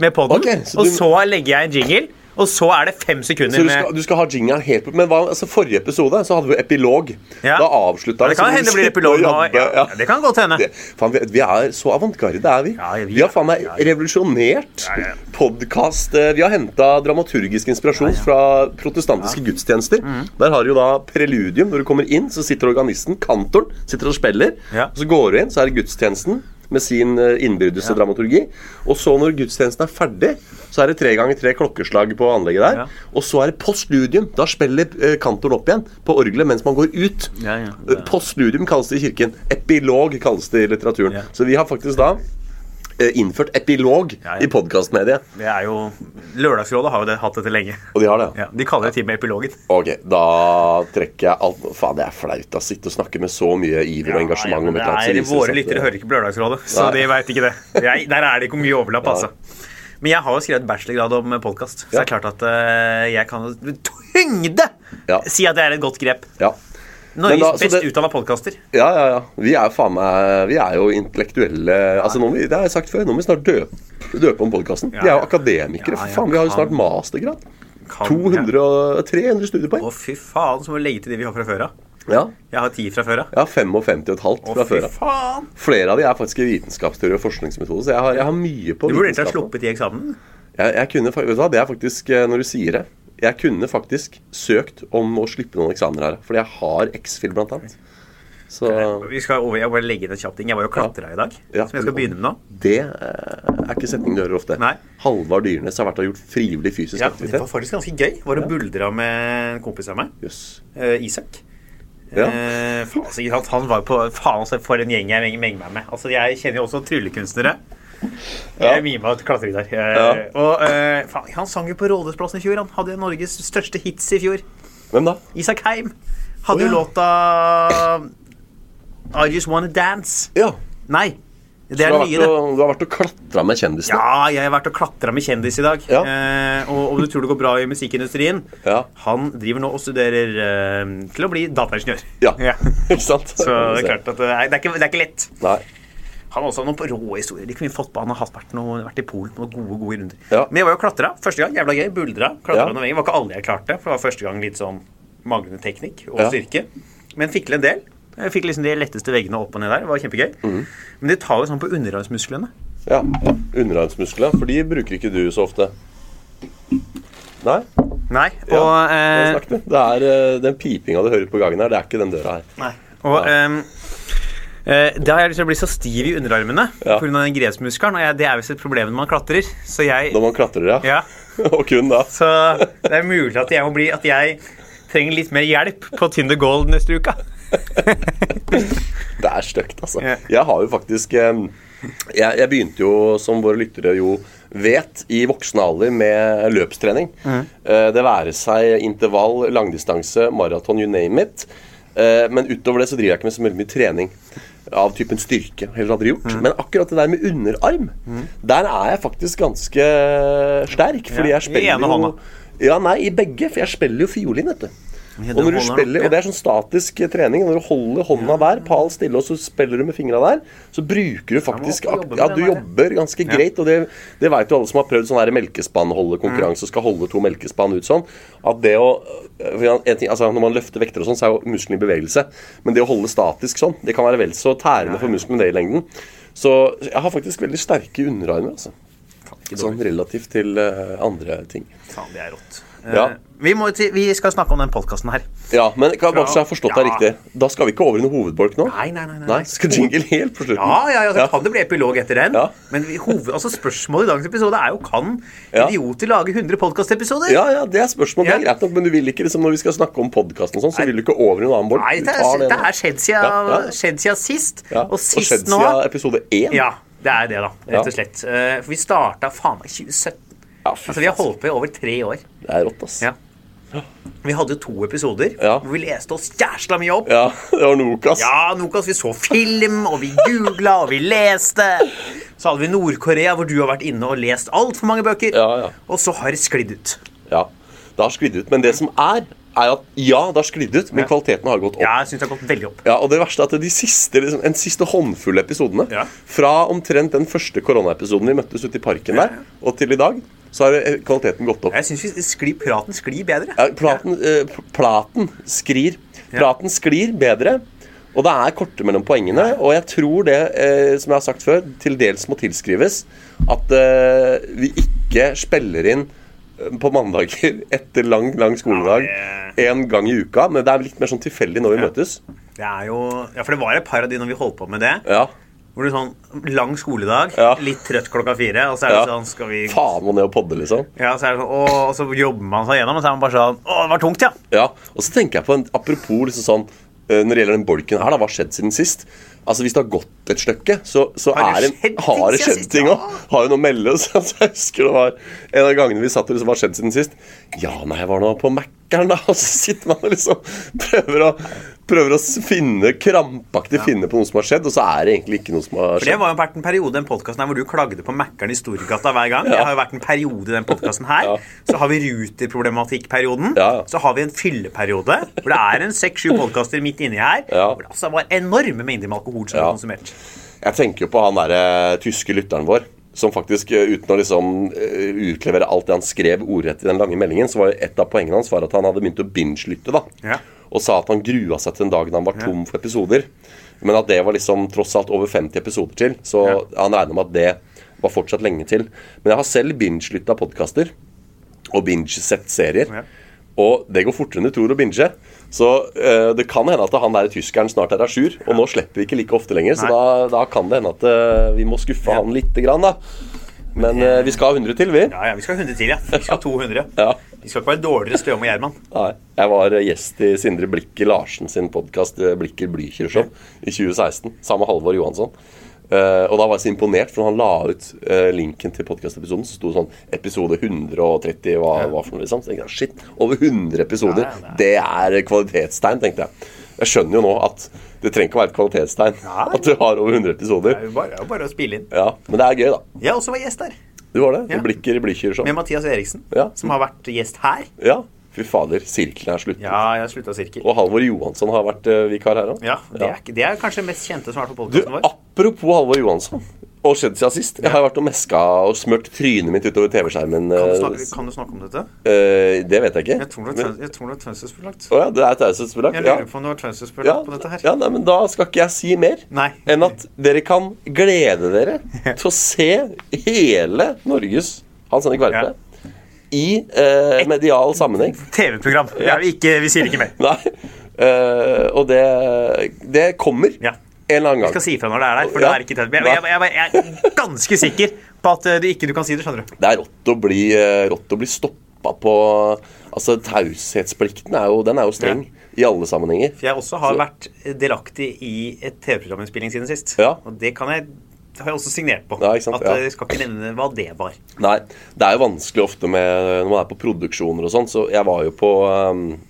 Speaker 1: med poden,
Speaker 2: Ok, så
Speaker 1: og
Speaker 2: du-
Speaker 1: så legger jeg en jingle. Og så er det fem sekunder
Speaker 2: Så du
Speaker 1: med
Speaker 2: skal, du skal ha jingeren helt på Men hva, altså forrige episode så hadde vi jo epilog.
Speaker 1: Ja.
Speaker 2: Da sånn. avslutta
Speaker 1: Det kan hende det blir epilog nå. Ja, det kan godt hende.
Speaker 2: Det, faen, vi, vi er så avantgarde, er vi.
Speaker 1: Ja, ja, vi
Speaker 2: vi, har
Speaker 1: er-
Speaker 2: faen meg
Speaker 1: ja, ja.
Speaker 2: revolusjonert
Speaker 1: Ja, ja.
Speaker 2: podkast. Vi har henta dramaturgisk inspirasjon fra protestantiske gudstjenester.
Speaker 1: Mhm.
Speaker 2: Der har du jo da preludium. Når du kommer inn, så sitter organisten, kantoren, sitter og spiller.
Speaker 1: Ja.
Speaker 2: Så går du inn, så er det gudstjenesten. Med sin eh, innbyrdes dramaturgi. Og så, når gudstjenesten er ferdig, så er det tre ganger tre klokkeslag på anlegget der.
Speaker 1: Ja.
Speaker 2: Og så er det postludium. Da spiller eh, kantoren opp igjen på orgelet mens man går ut.
Speaker 1: Ja, ja,
Speaker 2: Eh, Postludium kalles det i kirken. Epilog kalles det i litteraturen.
Speaker 1: Ja.
Speaker 2: Så vi har faktisk da eh, innført epilog
Speaker 1: Ja, ja.
Speaker 2: i podkastmediet.
Speaker 1: Det er jo Lørdagsrådet har jo det, hatt dette lenge.
Speaker 2: Og de har det?
Speaker 1: Ja, de kaller det til og med epilogen.
Speaker 2: Ok, da trekker jeg alt Faen, det er flaut å sitte og snakke med så mye iver og engasjement. om et
Speaker 1: det
Speaker 2: eller annet, så
Speaker 1: er,
Speaker 2: viser det
Speaker 1: Våre
Speaker 2: seg at
Speaker 1: lyttere
Speaker 2: det-
Speaker 1: hører ikke på Lørdagsrådet, så
Speaker 2: Nei.
Speaker 1: de veit ikke det. Jeg, der er det ikke mye overlapp, altså. Men jeg har jo skrevet bachelorgrad om podkast, så
Speaker 2: Ja.
Speaker 1: det er klart at eh, jeg kan jo tyngde
Speaker 2: Ja.
Speaker 1: si at det er et godt grep.
Speaker 2: Ja. Men
Speaker 1: Norges
Speaker 2: da, så
Speaker 1: best
Speaker 2: det-
Speaker 1: utdanna podkaster.
Speaker 2: Ja, ja, ja. Vi er, faen meg, vi er jo intellektuelle altså, nå må vi, Det har jeg sagt før, nå må vi snart døpe, døpe om podkasten.
Speaker 1: Ja,
Speaker 2: Vi er
Speaker 1: ja.
Speaker 2: jo akademikere.
Speaker 1: Ja, ja,
Speaker 2: for faen, Vi har jo snart
Speaker 1: kan-
Speaker 2: mastergrad.
Speaker 1: kan-
Speaker 2: 200, og- 300 studiepoeng.
Speaker 1: Å, fy faen, så må vi legge til de vi har fra før av.
Speaker 2: Ja.
Speaker 1: Jeg har ti fra før av.
Speaker 2: Jeg har 55 og et halvt
Speaker 1: Å,
Speaker 2: fra
Speaker 1: fy
Speaker 2: før av.
Speaker 1: faen!
Speaker 2: Flere av de er faktisk i vitenskapsteori og forskningsmetode, så jeg har, jeg har mye på
Speaker 1: Du burde egentlig ha
Speaker 2: vitenskap.
Speaker 1: sluppet de eksamen.
Speaker 2: Jeg, jeg kunne, fa- vet du hva, det er faktisk, eh, når du sier det Jeg kunne faktisk søkt om å slippe noen eksamener her, fordi jeg har X-fil, blant annet. Så
Speaker 1: Vi skal over, jeg bare legge inn en kjapp ting. Jeg var jo klatra i dag,
Speaker 2: Ja.
Speaker 1: som jeg skal begynne med nå.
Speaker 2: det eh, er ikke setning du hører ofte.
Speaker 1: Nei.
Speaker 2: Halvard Dyrnes har vært og gjort frivillig fysisk
Speaker 1: Ja, det
Speaker 2: aktivitet.
Speaker 1: var faktisk ganske gøy. Var og buldra med en kompis av meg.
Speaker 2: Jøss.
Speaker 1: Eh, Isak.
Speaker 2: Ja.
Speaker 1: Eh, faen, altså, ikke sant? han var på Faen, altså, for en gjeng jeg meng- menger meg med. Altså, jeg kjenner jo også tryllekunstnere. Jeg mima et klatregitar. Eh,
Speaker 2: Ja.
Speaker 1: Og eh, faen, han sang jo på Rådhusplassen i fjor. Han hadde jo Norges største hits i fjor.
Speaker 2: Hvem da?
Speaker 1: Isak Heim hadde jo
Speaker 2: Å,
Speaker 1: låta I Just Wanna Dance.
Speaker 2: Ja.
Speaker 1: Nei, det
Speaker 2: Du
Speaker 1: er
Speaker 2: har,
Speaker 1: det nye,
Speaker 2: vært
Speaker 1: det.
Speaker 2: og, du har vært og klatra med kjendisene.
Speaker 1: Ja, jeg har vært og klatra med kjendis i dag.
Speaker 2: Ja.
Speaker 1: Eh, og om du tror det går bra i musikkindustrien
Speaker 2: Ja.
Speaker 1: Han driver nå og studerer eh, til å bli dataingeniør.
Speaker 2: [laughs] ikke sant?
Speaker 1: Så det er klart at det er, det er, ikke, det er ikke lett.
Speaker 2: Nei.
Speaker 1: Han har også noen rå historier. De kunne vi fått på. Han har hatt- vært, noe, vært i Polen på noen gode gode runder.
Speaker 2: Ja.
Speaker 1: Men jeg var jo klatra første gang. Jævla gøy. Buldra. Klatra
Speaker 2: Ja.
Speaker 1: noen ganger. Det var ikke alle jeg klarte, for det var første gang litt sånn manglende teknikk og
Speaker 2: Ja.
Speaker 1: styrke. Men fikk til en del. Jeg fikk liksom de letteste veggene opp og ned der. Det var kjempegøy.
Speaker 2: Mm.
Speaker 1: Men det tar jo sånn på underarmsmusklene.
Speaker 2: Ja. Underarmsmuskler, for de bruker ikke du så ofte. Nei?
Speaker 1: Nei. Og,
Speaker 2: Ja,
Speaker 1: eh,
Speaker 2: Nå snakket du. Det er eh, den pipinga du hører på gangen her, det er ikke den døra her.
Speaker 1: Og
Speaker 2: Ja.
Speaker 1: ehm, eh, da har jeg lyst til å bli så stiv i underarmene
Speaker 2: Ja.
Speaker 1: pga. den grepsmuskelen. Og jeg, det er visst et problem når man klatrer. Så jeg
Speaker 2: Når man klatrer, ja.
Speaker 1: Ja.
Speaker 2: [laughs] og kun da.
Speaker 1: Så det er mulig at jeg må bli At jeg trenger litt mer hjelp på Tinder Gold neste uke.
Speaker 2: Det er stygt, altså.
Speaker 1: Ja.
Speaker 2: Jeg har jo faktisk eh, jeg, jeg begynte jo, som våre lyttere jo vet, i voksen alder med løpstrening. Eh, Det være seg intervall, langdistanse, maraton, you name it. Eh, Men utover det så driver jeg ikke med så veldig mye trening. av typen styrke. Heller aldri gjort. Men akkurat det der med underarm, der er jeg faktisk ganske sterk.
Speaker 1: Ja, i
Speaker 2: Fordi jeg spiller
Speaker 1: ene hånda.
Speaker 2: jo Ja, nei, i begge. For jeg spiller jo fiolin, vet du.
Speaker 1: Ja,
Speaker 2: Og,
Speaker 1: du
Speaker 2: når
Speaker 1: holder
Speaker 2: du
Speaker 1: opp,
Speaker 2: spiller,
Speaker 1: ja.
Speaker 2: og det er sånn statisk trening. Når du holder hånda der, pal stille, og så spiller du med fingra der, så bruker du faktisk
Speaker 1: Ja, man må jobbe med
Speaker 2: ak- Ja,
Speaker 1: den der,
Speaker 2: du
Speaker 1: ja.
Speaker 2: jobber ganske greit. Og det, det veit jo alle som har prøvd sånn her
Speaker 1: Mm.
Speaker 2: melkespannholdekonkurranse og skal holde to melkespann ut sånn, at det å for en ting, altså Når man løfter vekter og sånn, så er jo musklene i bevegelse. Men det å holde statisk sånn, det kan være vel så tærende for musklene det i lengden. Så jeg har faktisk veldig sterke underarmer, altså. Sånn relativt til eh, andre ting.
Speaker 1: Faen, det er rått.
Speaker 2: Ja.
Speaker 1: Eh, vi, må til, vi skal snakke om den podkasten her.
Speaker 2: Ja, men kan- bare så jeg har forstått deg
Speaker 1: Ja.
Speaker 2: riktig, da skal vi ikke over i noe hovedbolk nå?
Speaker 1: Nei, nei, nei, nei.
Speaker 2: Nei, Skal jingle helt på slutten?
Speaker 1: Ja, ja, ja, så kan det bli epilog etter den.
Speaker 2: Ja.
Speaker 1: Men vi- hoved, altså spørsmålet i dagens episode er jo kan
Speaker 2: Ja.
Speaker 1: idioter lage 100 podkastepisoder?
Speaker 2: Ja, ja, det er spørsmål. Det er
Speaker 1: Ja.
Speaker 2: greit nok, men du vil ikke liksom, når vi skal snakke om podkasten og sånn, så vil du ikke over i noen annen bolt.
Speaker 1: Nei,
Speaker 2: Du
Speaker 1: det,
Speaker 2: tar
Speaker 1: er, det
Speaker 2: nå.
Speaker 1: er skjedd siden,
Speaker 2: Ja, ja, ja.
Speaker 1: skjedd siden sist.
Speaker 2: Ja,
Speaker 1: Og sist
Speaker 2: skjedd
Speaker 1: nå
Speaker 2: siden episode én.
Speaker 1: Ja, det er det, da.
Speaker 2: Ja.
Speaker 1: Rett og slett. Eh, For vi starta faen meg 2017.
Speaker 2: Ja, fy
Speaker 1: Altså, vi har
Speaker 2: faen,
Speaker 1: holdt på i over tre år.
Speaker 2: Det er rått, ass.
Speaker 1: Ja. Vi hadde jo to episoder
Speaker 2: Ja.
Speaker 1: hvor vi leste oss jæsla mye opp.
Speaker 2: Ja, [laughs] det var nok, ass.
Speaker 1: Ja, Nokas, vi så film, og vi googla, og vi leste. Så hadde vi Nord-Korea, hvor du har vært inne og lest altfor mange bøker.
Speaker 2: Ja, ja.
Speaker 1: Og så har det sklidd ut.
Speaker 2: Ja, Det har sklidd ut. Men det som er, er at ja, det har sklidd ut, men kvaliteten har gått opp.
Speaker 1: Ja, jeg syns det har gått veldig opp.
Speaker 2: Ja, og det verste er at de siste, liksom, en siste håndfull episodene
Speaker 1: Ja.
Speaker 2: Fra omtrent den første koronaepisoden vi møttes ute i parken der, og til i dag, så har eh, kvaliteten gått opp.
Speaker 1: Jeg syns skli, praten sklir bedre.
Speaker 2: Ja, platen, eh, pl- platen skrir.
Speaker 1: Ja.
Speaker 2: Platen sklir bedre, og det er korte mellom poengene. Og jeg tror det, eh, som jeg har sagt før, til dels må tilskrives at eh, vi ikke spiller inn eh, på mandager [laughs] etter lang, lang skoledag
Speaker 1: Ja,
Speaker 2: én gang i uka. Men det er litt mer sånn tilfeldig når vi møtes.
Speaker 1: Det er jo, ja, For det var et par av de når vi holdt på med det.
Speaker 2: Ja.
Speaker 1: Hvor det er sånn lang skoledag,
Speaker 2: Ja.
Speaker 1: litt trøtt klokka fire, og så er det
Speaker 2: Ja.
Speaker 1: sånn skal vi...
Speaker 2: Faen må ned og podde, liksom.
Speaker 1: Ja, så er det sånn, å, og så jobber man seg gjennom, og så er man bare sånn Å, det var tungt, ja.
Speaker 2: Ja, og så tenker jeg på en, Apropos liksom sånn eh, når det gjelder den bolken her, da, hva har skjedd siden sist? Altså Hvis det har gått et stykke, så, så
Speaker 1: Har det
Speaker 2: er det,
Speaker 1: skjedd ting
Speaker 2: har det
Speaker 1: siden
Speaker 2: skjedd
Speaker 1: sist?
Speaker 2: ting
Speaker 1: Ja.
Speaker 2: òg. Har jo noe å melde. Så [laughs] jeg husker det var en av gangene vi satt og liksom, hva har skjedd siden sist? Ja, nei, jeg var nå på Mækkern, da. [laughs] Og så sitter man og liksom prøver å, prøver å finne krampaktig finne på noe som har skjedd, og så er det egentlig ikke noe som har
Speaker 1: For Det
Speaker 2: skjedd.
Speaker 1: var jo vært en periode i den podkasten hvor du klagde på Mækkern i Storgata hver [laughs] gang. Det har jo vært en periode i den podcasten [laughs] her.
Speaker 2: Ja.
Speaker 1: Så har vi ruterproblematikkperioden.
Speaker 2: Ja, ja.
Speaker 1: Så har vi en fylleperiode hvor det er en seks-sju podkaster midt inni her.
Speaker 2: Ja.
Speaker 1: Hvor det altså var enorme mengder med alkohol som ble
Speaker 2: Ja.
Speaker 1: konsumert.
Speaker 2: Jeg tenker jo på han derre tyske lytteren vår. Som faktisk, eh, uten å liksom eh, utlevere alt det han skrev ordrett i den lange meldingen, så var jo et av poengene hans var at han hadde begynt å binge-lytte. da.
Speaker 1: Ja.
Speaker 2: Og sa at han grua seg til den dagen han var tom for episoder. Men at det var liksom tross alt over 50 episoder til. Så han regna med at det var fortsatt lenge til. Men jeg har selv binge-lytta podkaster og binge-sett serier.
Speaker 1: Ja.
Speaker 2: Og det går fortere enn du tror å binge. Så eh, det kan hende at han der tyskeren snart er à jour. Og nå slipper vi ikke like ofte lenger, så
Speaker 1: Nei.
Speaker 2: da, da kan det hende at eh, vi må skuffe han lite grann, da. Men eh, vi skal ha 100 til, vi.
Speaker 1: Ja, ja, vi skal ha 100 til, [laughs] ja. Vi skal ha 200.
Speaker 2: Ja.
Speaker 1: Vi skal ikke være dårligere Støme og Gjerman.
Speaker 2: Nei. Jeg var eh, gjest i Sindre Blikker Larsen sin podkast Blikker Blykjer og sånn i 2016, sammen med Halvor Johansson. Eh, og da var jeg så imponert, for han la ut eh, linken til podkastepisoden. Så sto det sånn episode 130 hva hva for noe, liksom. Så tenkte jeg, shit, over 100 episoder!
Speaker 1: Ja,
Speaker 2: det er kvalitetstegn, tenkte jeg. Jeg skjønner jo nå at det trenger ikke å være et kvalitetstegn
Speaker 1: Nei.
Speaker 2: [laughs] at du har over 100
Speaker 1: Det
Speaker 2: episoder.
Speaker 1: er jo bare, det er jo bare å spille inn.
Speaker 2: Ja, Men det er gøy, da.
Speaker 1: Jeg også var gjest der.
Speaker 2: Du var det.
Speaker 1: Ja.
Speaker 2: Blikker Blykjer og
Speaker 1: Med
Speaker 2: sånn.
Speaker 1: Mathias Eriksen,
Speaker 2: Ja.
Speaker 1: som har vært gjest her.
Speaker 2: Ja. Fy fader, sirkelen er slutt.
Speaker 1: Ja, jeg slutta sirkel.
Speaker 2: Og Halvor Johansson har vært eh, vikar her òg.
Speaker 1: Ja, det er, ikke- det er kanskje det mest kjente som har vært på
Speaker 2: Du,
Speaker 1: podkasten vår.
Speaker 2: apropos Halvor Johansson og skjedd siden sist. Jeg har vært og meska og smurt trynet mitt utover TV-skjermen.
Speaker 1: Kan du,
Speaker 2: eh,
Speaker 1: snakke, kan du snakke om dette?
Speaker 2: eh, det vet jeg ikke.
Speaker 1: Jeg tror det var
Speaker 2: Men-
Speaker 1: taus- jeg tror det var taushetsbelagt.
Speaker 2: Å ja, det er taushetsbelagt?
Speaker 1: Jeg
Speaker 2: Ja.
Speaker 1: lurer på om det var taushetsbelagt
Speaker 2: Ja,
Speaker 1: på dette her.
Speaker 2: ja, nei, men da skal ikke jeg si mer
Speaker 1: Nei.
Speaker 2: enn at dere kan glede dere til å se hele Norges Hans Henrik Verpe i eh, medial sammenheng.
Speaker 1: TV-program. Jeg vil ikke- Vi sier ikke mer.
Speaker 2: Nei. Eh, og det, det kommer
Speaker 1: Ja.
Speaker 2: en eller annen gang.
Speaker 1: Jeg skal si fra når det er der. For
Speaker 2: Ja.
Speaker 1: det er ikke TV. Jeg, jeg, jeg, jeg er ganske sikker på at eh, du ikke du kan si det, skjønner du.
Speaker 2: Det er rått å bli, eh, rått å bli stoppa på Altså, taushetsplikten er jo, den er jo streng i alle sammenhenger.
Speaker 1: For jeg også har
Speaker 2: Så-
Speaker 1: vært delaktig i et TV-programinnspilling siden sist.
Speaker 2: Ja.
Speaker 1: Og det kan jeg det har jeg også signert på.
Speaker 2: Ja, ikke sant?
Speaker 1: At eh,
Speaker 2: Ja.
Speaker 1: Jeg skal ikke nevne hva det var.
Speaker 2: Nei, det er jo vanskelig ofte med når man er på produksjoner og sånn, så jeg var jo på ehm,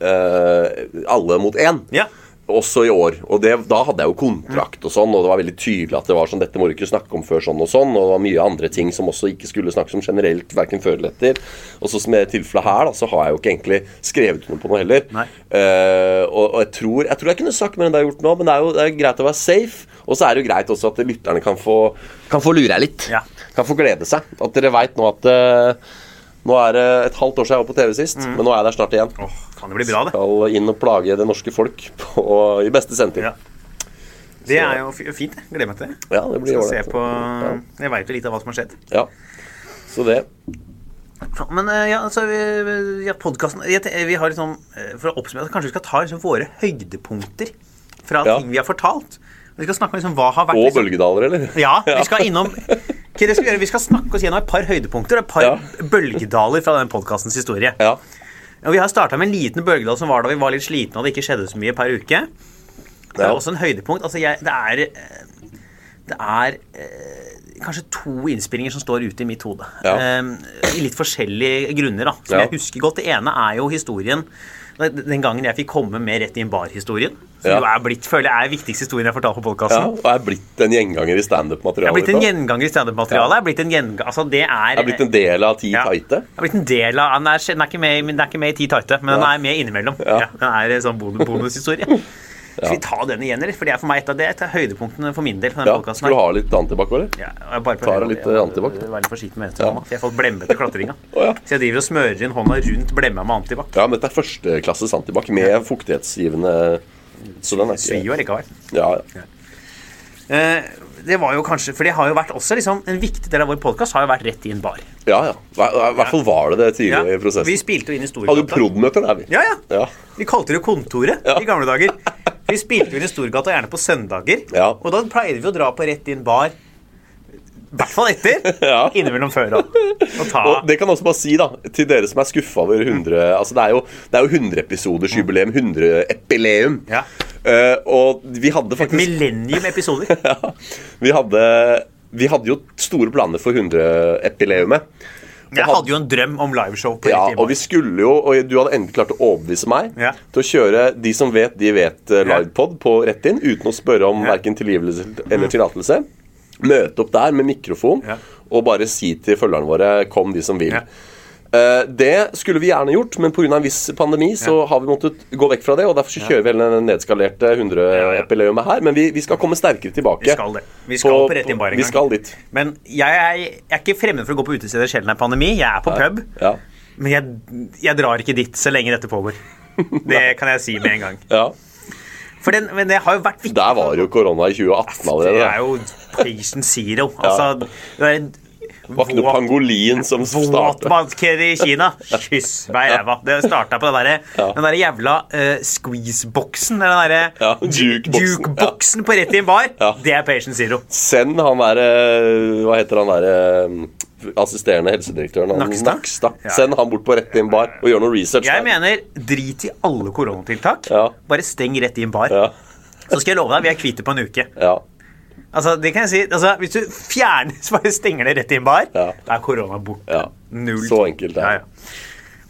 Speaker 2: eh, um, Alle mot én.
Speaker 1: Ja.
Speaker 2: også i år. Og det, da hadde jeg jo kontrakt og sånn, og det var veldig tydelig at det var sånn, dette må du ikke snakke om før sånn og sånn, og det var mye andre ting som også ikke skulle snakkes om generelt, hverken før eller etter. Og så som i tilfellet her, da, så har jeg jo ikke egentlig skrevet noe på noe heller.
Speaker 1: Nei.
Speaker 2: Eh, og, og jeg tror jeg tror jeg kunne sagt mer enn det jeg har gjort nå, men det er jo det er greit å være safe. Og så er det jo greit også at lytterne kan få, kan få lure litt.
Speaker 1: Ja.
Speaker 2: Kan få glede seg. At dere veit nå at eh, nå er det et halvt år siden jeg var på TV sist, men nå er jeg der snart igjen.
Speaker 1: Mm. Åh, kan det bli bra, det?
Speaker 2: Skal inn og plage det norske folk på, i beste sendetid.
Speaker 1: Ja. Det er jo fi- fint. jeg Gleder meg til det.
Speaker 2: Ja, det blir
Speaker 1: Skal se
Speaker 2: ålreit.
Speaker 1: på Jeg veit jo litt av hva som har skjedd.
Speaker 2: Ja. Så det.
Speaker 1: Men eh, ja, altså, vi- ja, podkasten jeg te- Vi har liksom eh, For å oppsummere, så kanskje vi skal ta liksom våre høydepunkter fra
Speaker 2: Ja.
Speaker 1: ting vi har fortalt. Vi skal snakke om liksom hva har vært
Speaker 2: Og
Speaker 1: liksom,
Speaker 2: bølgedaler, eller?
Speaker 1: Ja, vi skal innom Ok, det skal vi, gjøre. vi skal snakke oss gjennom et par høydepunkter og et par
Speaker 2: Ja.
Speaker 1: bølgedaler fra den podkastens historie.
Speaker 2: Ja.
Speaker 1: Og vi har starta med en liten bølgedal som var da vi var litt slitne og det ikke skjedde så mye per uke. Det er
Speaker 2: Ja.
Speaker 1: også en høydepunkt. Altså, jeg, det er eh, Det er eh, kanskje to innspillinger som står ute i mitt hode.
Speaker 2: Ja.
Speaker 1: Eh, I litt forskjellige grunner, da. Som
Speaker 2: Ja.
Speaker 1: jeg husker godt. Det ene er jo historien den gangen jeg fikk komme med rett i en bar-historien. Som
Speaker 2: Ja.
Speaker 1: jo er blitt, føler jeg er viktigste historien jeg har fortalt på
Speaker 2: ja.
Speaker 1: podkasten.
Speaker 2: Og er blitt en gjenganger i
Speaker 1: Jeg er
Speaker 2: standup-materialet.
Speaker 1: blitt en gjenganger i standup-materialet. Jeg er blitt en gjenga- Altså, det er
Speaker 2: Er blitt en del av Ti
Speaker 1: ja.
Speaker 2: tighte.
Speaker 1: Jeg er blitt en del av Den er, den er, ikke, med, i- men den er ikke med i Ti tighte, men den
Speaker 2: Ja.
Speaker 1: er med innimellom.
Speaker 2: Ja.
Speaker 1: Ja, den er en sånn bon-
Speaker 2: [laughs]
Speaker 1: bonushistorie. Skal vi ta den igjen, eller? For det er for meg et av, det er et av høydepunktene for min del. på denne
Speaker 2: Ja.
Speaker 1: podcasten her.
Speaker 2: Skulle du ha litt antibac, eller?
Speaker 1: Ja, og jeg bare
Speaker 2: Tar
Speaker 1: prøver-
Speaker 2: deg litt,
Speaker 1: jeg må-
Speaker 2: eh, antibac, da.
Speaker 1: Vær litt forsiktig med venstrehånda, for jeg har fått blemmete klatringa.
Speaker 2: [laughs] Å, ja.
Speaker 1: Så jeg driver og smører inn hånda rundt blemma med antibac.
Speaker 2: Ja, men dette er førsteklasses antibac med fuktighetsgivende Så den er
Speaker 1: Svir
Speaker 2: ikke
Speaker 1: jo allikevel.
Speaker 2: Ja, ja.
Speaker 1: Eh, det var jo kanskje For det har jo vært også liksom En viktig del av vår podkast har jo vært rett i en bar.
Speaker 2: ja, ja. Hva- I hvert fall var det det
Speaker 1: Ja,
Speaker 2: tidligere i
Speaker 1: Vi
Speaker 2: prosessen.
Speaker 1: spilte jo inn i
Speaker 2: Hadde jo
Speaker 1: Storgata.
Speaker 2: prod-møter der, vi.
Speaker 1: Ja, ja.
Speaker 2: Ja.
Speaker 1: Vi kalte det jo Kontoret i gamle dager. Vi spilte jo i Storgata gjerne på søndager.
Speaker 2: Ja.
Speaker 1: Og da pleide vi å dra på rett inn bar. I hvert fall etter.
Speaker 2: Ja.
Speaker 1: Innimellom før òg. Og ta
Speaker 2: Og det kan jeg også bare si da, til dere som er skuffa over 100 altså Det er jo, det er jo 100-episoders-jubileum. 100-epileum.
Speaker 1: Mm. Ja.
Speaker 2: Eh, og vi hadde faktisk
Speaker 1: millennium-episoder.
Speaker 2: ja, vi, hadde, vi hadde jo store planer for 100-epileumet.
Speaker 1: Jeg hadde jo en drøm om liveshow på
Speaker 2: Ja,
Speaker 1: rett inn bar.
Speaker 2: og vi skulle jo, og du hadde endelig klart å overbevise meg
Speaker 1: Ja.
Speaker 2: til å kjøre De som vet, de vet eh,
Speaker 1: Ja.
Speaker 2: livepod på rett inn, uten å spørre om
Speaker 1: Ja. Mm.
Speaker 2: hverken tilgivelse eller tillatelse. Møte opp der med mikrofon
Speaker 1: Ja.
Speaker 2: og bare si til følgerne våre 'kom, de som vil'.
Speaker 1: Ja.
Speaker 2: Eh, det skulle vi gjerne gjort, men pga. en viss pandemi så har vi måttet gå vekk fra det. og Derfor så kjører vi hele den nedskalerte
Speaker 1: Ja, ja.
Speaker 2: 100-epileumet her. Men vi, vi skal komme sterkere tilbake.
Speaker 1: Vi skal det. Vi skal på Rett Inn Bar en
Speaker 2: Vi
Speaker 1: gang.
Speaker 2: skal dit.
Speaker 1: Men jeg er, jeg er ikke fremmed for å gå på utesteder sjelden det er pandemi. Jeg er på pub.
Speaker 2: Ja.
Speaker 1: Men jeg, jeg drar ikke dit så lenge dette pågår. Det kan jeg si med en gang.
Speaker 2: ja.
Speaker 1: For den, men det har jo vært viktig.
Speaker 2: Der var jo korona i 2018 allerede.
Speaker 1: Det
Speaker 2: da.
Speaker 1: er jo patient zero. Altså, det er en
Speaker 2: Det var ikke noe
Speaker 1: våt-
Speaker 2: pangolin som starta.
Speaker 1: Våtmarker i Kina. Kyss meg i ræva. Det starta på den
Speaker 2: [laughs]
Speaker 1: der, den der jævla eh, squeeze-boksen. Den derre
Speaker 2: Ja, jukeboksen,
Speaker 1: jukeboksen på rett i en bar.
Speaker 2: Ja.
Speaker 1: Det er Patient Zero.
Speaker 2: Send han derre Hva heter han derre assisterende helsedirektøren? Han,
Speaker 1: Nakstad? Ja.
Speaker 2: Send han bort på rett i en bar og gjør noe research.
Speaker 1: Jeg
Speaker 2: der.
Speaker 1: mener, drit i alle koronatiltak.
Speaker 2: Ja.
Speaker 1: Bare steng rett i en bar.
Speaker 2: Ja,
Speaker 1: Så skal jeg love deg, vi er kvitt det på en uke.
Speaker 2: ja.
Speaker 1: Altså, det kan jeg si, altså, Hvis du fjerner, så [laughs] bare stenger det rett i en bar,
Speaker 2: Ja.
Speaker 1: da er korona borte.
Speaker 2: Ja.
Speaker 1: Null.
Speaker 2: Så enkelt er det.
Speaker 1: ja, ja.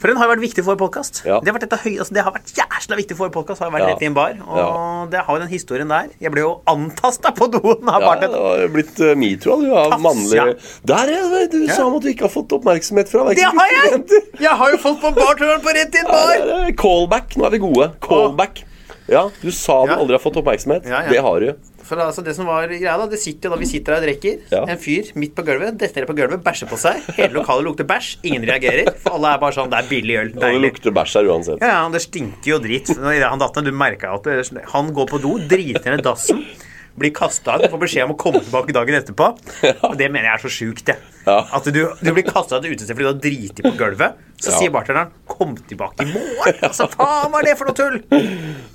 Speaker 1: For den har jo vært viktig for vår podkast.
Speaker 2: Ja.
Speaker 1: Det, har vært et av høy- altså, det har vært jæsla viktig for vår podkast. Har jo vært
Speaker 2: Ja.
Speaker 1: rett i en bar. Og
Speaker 2: Ja.
Speaker 1: det har jo den historien der. Jeg ble jo antasta på doen av
Speaker 2: ja det
Speaker 1: bartenderen.
Speaker 2: har blitt eh, metoo av- av
Speaker 1: Tafs,
Speaker 2: mannlige
Speaker 1: ja.
Speaker 2: Der er det! Du sa om at du ikke har fått oppmerksomhet fra
Speaker 1: Det
Speaker 2: hverken
Speaker 1: har
Speaker 2: gutter [laughs] eller
Speaker 1: jeg!
Speaker 2: jenter.
Speaker 1: Jeg har jo fått på bartenderen på rett i en
Speaker 2: Ja,
Speaker 1: bar!
Speaker 2: det er eh, Callback. Nå er vi gode. Callback. Ja, du sa du
Speaker 1: Ja.
Speaker 2: aldri har fått oppmerksomhet.
Speaker 1: Ja, ja.
Speaker 2: Det har du.
Speaker 1: For altså det som var greia da, det sitter jo da vi sitter her og drikker.
Speaker 2: Ja.
Speaker 1: En fyr midt på gulvet detter ned på gulvet, bæsjer på seg. Hele lokalet lukter bæsj. Ingen reagerer. For alle er bare sånn Det er billig øl.
Speaker 2: Og det
Speaker 1: Deilig.
Speaker 2: lukter bæsj her uansett.
Speaker 1: Ja, ja, det stinker jo dritt. Når Han datt ned, du merket at det, sånn, han går på do, driter ned dassen, blir kasta ut og får beskjed om å komme tilbake dagen etterpå. Og det mener jeg er så sjukt, det.
Speaker 2: Ja.
Speaker 1: At du, du blir kasta ut av et utested fordi du har driti på gulvet. Så
Speaker 2: Ja.
Speaker 1: sier bartenderen 'kom tilbake i
Speaker 2: [laughs]
Speaker 1: morgen'. Altså, faen, hva er det for noe tull?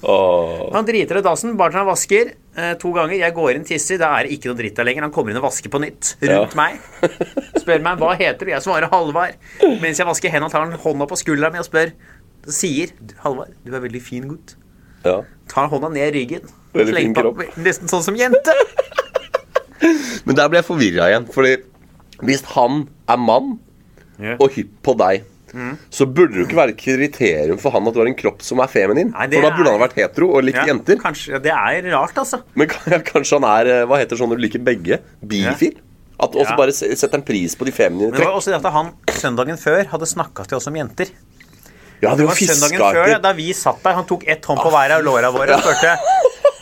Speaker 2: Åh.
Speaker 1: Han driter i dassen, bartenderen vasker eh, to ganger. Jeg går inn, tisser, da er det ikke noe dritt der lenger. Han kommer inn og vasker på nytt rundt
Speaker 2: Ja.
Speaker 1: meg. Spør meg hva heter du? Jeg svarer Halvard. Mens jeg vasker hendene, tar han hånda på skuldra mi og spør. Sier Halvard, du er veldig fin gutt.
Speaker 2: Ja.
Speaker 1: Tar hånda ned i ryggen.
Speaker 2: Veldig fin
Speaker 1: Slenger på- Nesten sånn som jente.
Speaker 2: Men der ble jeg forvirra igjen. Fordi hvis han er mann og hypp på deg,
Speaker 1: Mm.
Speaker 2: så burde det jo ikke være et kriterium for han at du har en kropp som er feminin.
Speaker 1: Nei, det
Speaker 2: for da burde
Speaker 1: er-
Speaker 2: han vært hetero og likt
Speaker 1: Ja,
Speaker 2: [laughs] jenter.
Speaker 1: Kanskje, ja, det er rart, altså.
Speaker 2: Men [laughs] kan- kanskje han er eh, Hva heter sånn når du liker begge? Bifil? At også
Speaker 1: Ja.
Speaker 2: bare se- setter en pris på de feminine
Speaker 1: Men det var
Speaker 2: trekk.
Speaker 1: også det at han søndagen før hadde snakka til oss om jenter.
Speaker 2: Ja, det
Speaker 1: Det
Speaker 2: var
Speaker 1: var søndagen før,
Speaker 2: fiskeaker.
Speaker 1: da vi satt der. Han tok ett hånd på hver av låra våre og spurte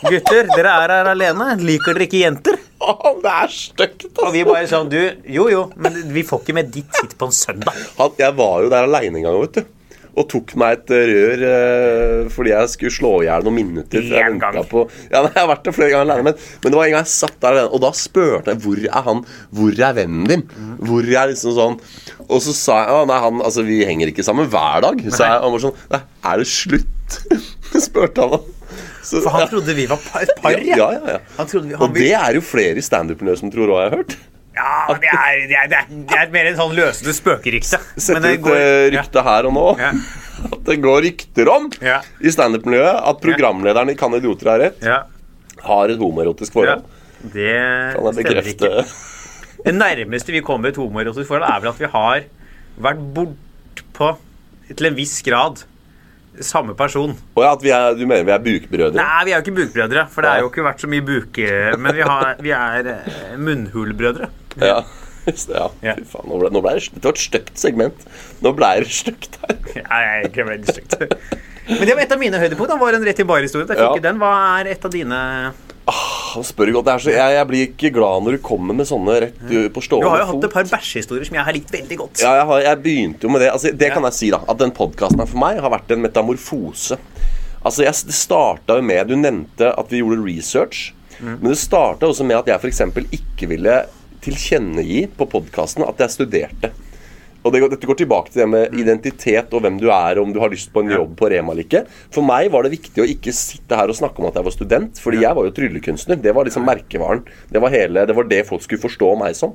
Speaker 2: Ah.
Speaker 1: Gutter, dere er her alene. Liker dere ikke jenter?
Speaker 2: [laughs] Å, det er stygt,
Speaker 1: Og
Speaker 2: altså.
Speaker 1: vi bare sånn Du, jo jo, men vi får ikke med ditt sitt på en søndag.
Speaker 2: Han, jeg var jo der aleine en gang, vet du. Og tok meg et eh, rør eh, fordi jeg skulle slå i hjel noen minutter. for jeg
Speaker 1: En gang.
Speaker 2: ventet På, ja, nei, jeg har vært der flere ganger alene, men, men det var en gang jeg satt der alene, og da spurte jeg hvor er han Hvor er vennen din. Hvor er liksom sånn Og så sa jeg «Å, nei, han, altså, vi henger ikke sammen hver dag. Så jeg, han var sånn Nei, er det slutt? [laughs] spurte han. da. Så,
Speaker 1: For han trodde vi var par, et par
Speaker 2: ja, ja, ja,
Speaker 1: Han trodde vi, han
Speaker 2: Og det er jo flere standup-miljøer som tror òg, har jeg hørt.
Speaker 1: Ja, det er, det er, det er, det er mer en sånn løsende spøkerykte.
Speaker 2: Sette ut eh, rykte her og nå.
Speaker 1: Ja.
Speaker 2: [laughs] At det går rykter om
Speaker 1: Ja.
Speaker 2: i standup-miljøet at programlederen i Kan idioter ha rett,
Speaker 1: Ja,
Speaker 2: har et
Speaker 1: ja.
Speaker 2: homoerotisk forhold.
Speaker 1: Det
Speaker 2: Kan jeg
Speaker 1: stemmer ikke.
Speaker 2: bekrefte? [laughs]
Speaker 1: Det nærmeste vi kommer et homoerotisk forhold, er vel at vi har vært bortpå til en viss grad samme person.
Speaker 2: Og ja, at vi er, du mener vi er bukbrødre?
Speaker 1: Nei, vi er jo ikke bukbrødre, for det har jo ikke vært så mye buke... Men vi, har, vi er eh, munnhulbrødre.
Speaker 2: Ja. [laughs] ja.
Speaker 1: Ja.
Speaker 2: Fy faen, nå ble, nå ble det, det var et stygt segment. Nå ble det stygt her.
Speaker 1: Nei, jeg er ikke veldig stygt. [laughs] Men det var et av mine høydepunkt. da, var en rett i bar-historie. Det er
Speaker 2: Ja.
Speaker 1: ikke den. Hva er et av dine
Speaker 2: Han spør godt. Det er så, jeg, jeg blir ikke glad når du kommer med sånne rett uh, på
Speaker 1: Du har
Speaker 2: stående
Speaker 1: jo hatt et par bæsjehistorier som jeg har likt veldig godt.
Speaker 2: Ja, jeg, har, jeg begynte jo med det. Altså, det kan jeg si, da. At den podkasten her for meg har vært en metamorfose. Altså, jeg, Det starta jo med Du nevnte at vi gjorde research. Men det starta også med at jeg f.eks. ikke ville tilkjennegi på podkasten at jeg studerte. Og det går, Dette går tilbake til det med identitet og hvem du er, om du har lyst på en jobb på Rema eller ikke. For meg var det viktig å ikke sitte her og snakke om at jeg var student, fordi jeg var jo tryllekunstner. Det var liksom merkevaren. Det var, hele, det var det folk skulle forstå meg som.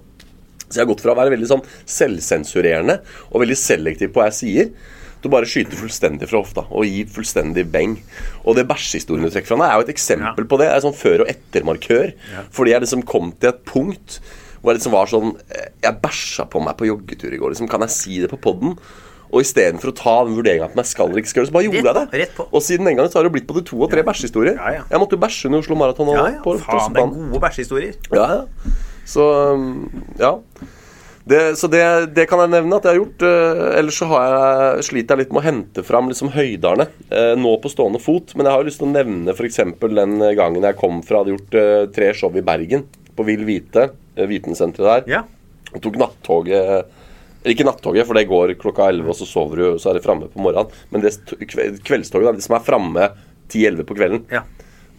Speaker 2: Så jeg har gått fra å være veldig sånn selvsensurerende og veldig selektiv på hva jeg sier, til å bare skyte fullstendig fra hofta og gi fullstendig beng. Og det bæsjehistorien du trekker fram, er jo et eksempel på det. Det er sånn før- og ettermarkør. Fordi jeg liksom kom til et punkt hvor jeg liksom var sånn eh, Jeg bæsja på meg på joggetur i går. Liksom, kan jeg si det på poden? Og istedenfor å ta den vurderinga på om jeg skal eller ikke skal, så bare gjorde
Speaker 1: Rett på,
Speaker 2: jeg
Speaker 1: rett
Speaker 2: det.
Speaker 1: på.
Speaker 2: Og siden den gangen så har det blitt både to og tre bæsjehistorier.
Speaker 1: Ja, ja.
Speaker 2: Jeg måtte jo bæsje under Oslo Maraton.
Speaker 1: Ja, ja. Faen, det er gode bæsjehistorier.
Speaker 2: Ja, ja. Så um, ja. Det, så det, det kan jeg nevne at jeg har gjort. eh, ellers så har jeg, sliter jeg litt med å hente fram liksom høydene eh, nå på stående fot. Men jeg har jo lyst til å nevne f.eks. den gangen jeg kom fra Jeg hadde gjort eh, tre show i Bergen, på Vill Vite, eh, vitensenteret der.
Speaker 1: Ja.
Speaker 2: Og tok nattoget eller ikke nattoget, for det går klokka 11, og så sover du, og så er det framme på morgenen. Men det st- kve- kveldstoget, da, de som er framme 10-11 på kvelden.
Speaker 1: Ja.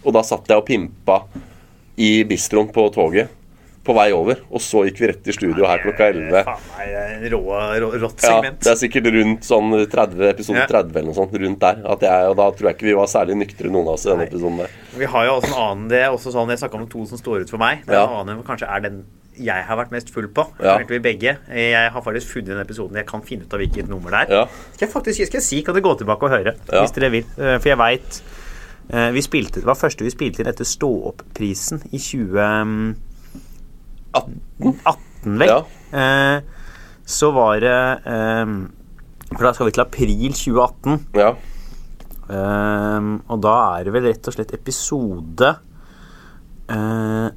Speaker 2: Og da satt jeg og pimpa i bistroen på toget på vei over. Og så gikk vi rett i studio her klokka 11.
Speaker 1: Faen, nei, det er rå, rå, rått
Speaker 2: Ja,
Speaker 1: segment.
Speaker 2: det er sikkert rundt sånn 30, episode
Speaker 1: Ja.
Speaker 2: 30 eller noe sånt. Rundt der. At jeg, og da tror jeg ikke vi var særlig nyktre, noen av oss, i denne
Speaker 1: Nei.
Speaker 2: episoden der.
Speaker 1: Vi har jo også en annen det er også sånn, Jeg snakka om to som står ut for meg. Den
Speaker 2: Ja.
Speaker 1: andre som kanskje er den jeg har vært mest full på.
Speaker 2: Ja.
Speaker 1: Kanskje vi begge. Jeg har faktisk funnet den episoden. Jeg kan finne ut av hvilket nummer det er.
Speaker 2: Ja.
Speaker 1: Skal jeg faktisk skal jeg si, kan dere gå tilbake og høre,
Speaker 2: Ja.
Speaker 1: hvis dere vil. Eh, For jeg veit vi spilte, Det var første vi spilte inn etter Stå-opp-prisen i 2018, vel.
Speaker 2: Ja.
Speaker 1: Eh, Så var det eh, For da skal vi til april 2018.
Speaker 2: Ja.
Speaker 1: Ehm, og da er det vel rett og slett episode eh,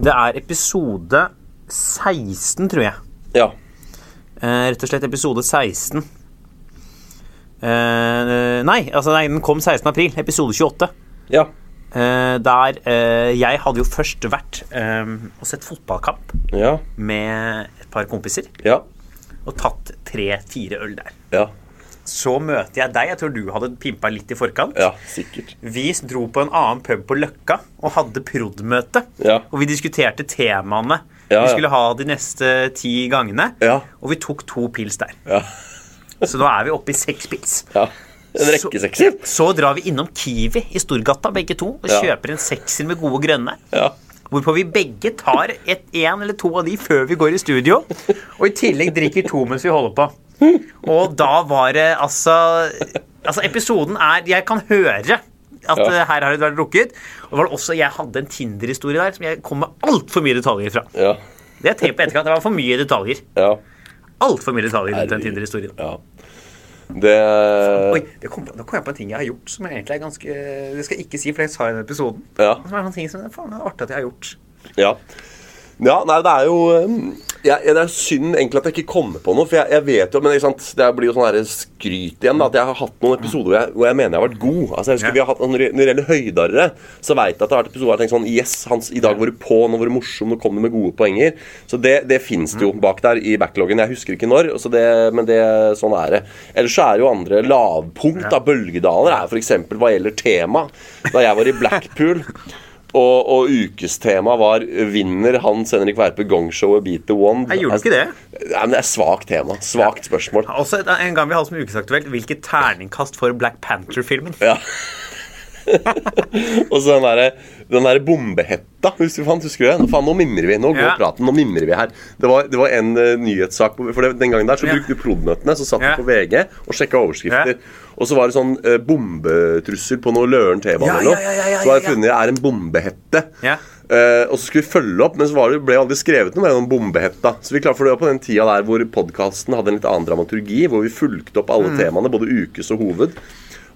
Speaker 1: Det er episode 16, tror jeg.
Speaker 2: ja.
Speaker 1: Eh, rett og slett episode 16. Eh, nei, altså nei, den kom 16. april. Episode 28.
Speaker 2: Ja.
Speaker 1: Eh, der eh, jeg hadde jo først vært eh, og sett fotballkamp
Speaker 2: Ja.
Speaker 1: med et par kompiser.
Speaker 2: Ja.
Speaker 1: Og tatt tre-fire øl der.
Speaker 2: Ja.
Speaker 1: Så møter jeg deg. Jeg tror du hadde pimpa litt i forkant.
Speaker 2: ja. Sikkert.
Speaker 1: Vi dro på en annen pub på Løkka og hadde prod.møte.
Speaker 2: Ja.
Speaker 1: Og vi diskuterte temaene vi
Speaker 2: Ja, ja.
Speaker 1: skulle ha de neste ti gangene.
Speaker 2: Ja.
Speaker 1: Og vi tok to pils der.
Speaker 2: Ja.
Speaker 1: [laughs] Så nå er vi oppe i seks pils.
Speaker 2: ja. En
Speaker 1: Så-
Speaker 2: rekke sekser.
Speaker 1: Så drar vi innom Kiwi i Storgata begge to og
Speaker 2: Ja.
Speaker 1: kjøper en sekser med gode grønne.
Speaker 2: Ja.
Speaker 1: Hvorpå vi begge tar et, en eller to av de før vi går i studio. Og i tillegg drikker vi to mens vi holder på. Og da var det altså Altså, episoden er Jeg kan høre at eh, her har det vært drukket. Og det var det også, jeg hadde en Tinder-historie der som jeg kom med altfor mye detaljer fra.
Speaker 2: Ja.
Speaker 1: Det har jeg tenkt på etterkant. Det var for mye detaljer.
Speaker 2: Ja.
Speaker 1: altfor mye detaljer rundt den Tinder-historien.
Speaker 2: Ja. Det Eh,
Speaker 1: Oi, det kom, på- nå kom jeg på en ting jeg har gjort som jeg egentlig er ganske Det skal jeg ikke si, for jeg sa i den episoden.
Speaker 2: Ja.
Speaker 1: Som er sånne ting som faen, det er artig at jeg har gjort.
Speaker 2: Ja. ja. Nei, det er jo um, jeg, jeg- Det er synd egentlig at jeg ikke kommer på noe. For jeg, jeg vet jo, men ikke sant, det blir jo sånn her skryt igjen. Da, at jeg har hatt noen episoder hvor jeg, hvor jeg mener jeg har vært god. Altså, jeg husker
Speaker 1: Ja.
Speaker 2: vi har hatt Når det når det gjelder høydarere, så veit jeg at det har vært episoder hvor jeg har tenkt sånn Yes, Hans, i dag var du på, nå var du morsom, nå kom du med gode poenger. Så det, det fins det jo bak der i backloggen. Jeg husker ikke når, så det, men det, sånn er det. Ellers så er det jo andre lavpunkt. da, Bølgedaler er f.eks. hva gjelder tema. Da jeg var i Blackpool og, og ukestemaet var 'Vinner Hans Henrik Werpe gongshowet Beat the Wand'?
Speaker 1: Jeg gjorde ikke det.
Speaker 2: Nei, men Det er svakt tema. Svakt spørsmål.
Speaker 1: Også et- en gang vi hadde som ukesaktuelt hvilket terningkast for Black Panther-filmen.
Speaker 2: Ja. [laughs] og så den derre den der bombehetta. Husker du faen, husker du det? Nå, faen, nå mimrer vi. Nå går
Speaker 1: Ja.
Speaker 2: praten. Nå mimrer vi her. Det var, det var en eh, nyhetssak på- For det, den gangen der så
Speaker 1: Ja.
Speaker 2: brukte du prod.møtene. Så satt
Speaker 1: Ja.
Speaker 2: du på VG og sjekka overskrifter.
Speaker 1: Ja.
Speaker 2: Og så var det sånn eh, bombetrussel på noe Løren T-bane
Speaker 1: Ja,
Speaker 2: eller
Speaker 1: ja,
Speaker 2: noe.
Speaker 1: ja, ja, ja,
Speaker 2: så var det
Speaker 1: ja.
Speaker 2: funnet er en bombehette.
Speaker 1: Ja.
Speaker 2: Eh, og så skulle vi følge opp, men så var det, ble det aldri skrevet noe mer om bombehetta. Så vi klarte for det var på den tida der hvor podkasten hadde en litt annen dramaturgi, hvor vi fulgte opp
Speaker 1: Mm.
Speaker 2: alle temaene, både ukes og hoved.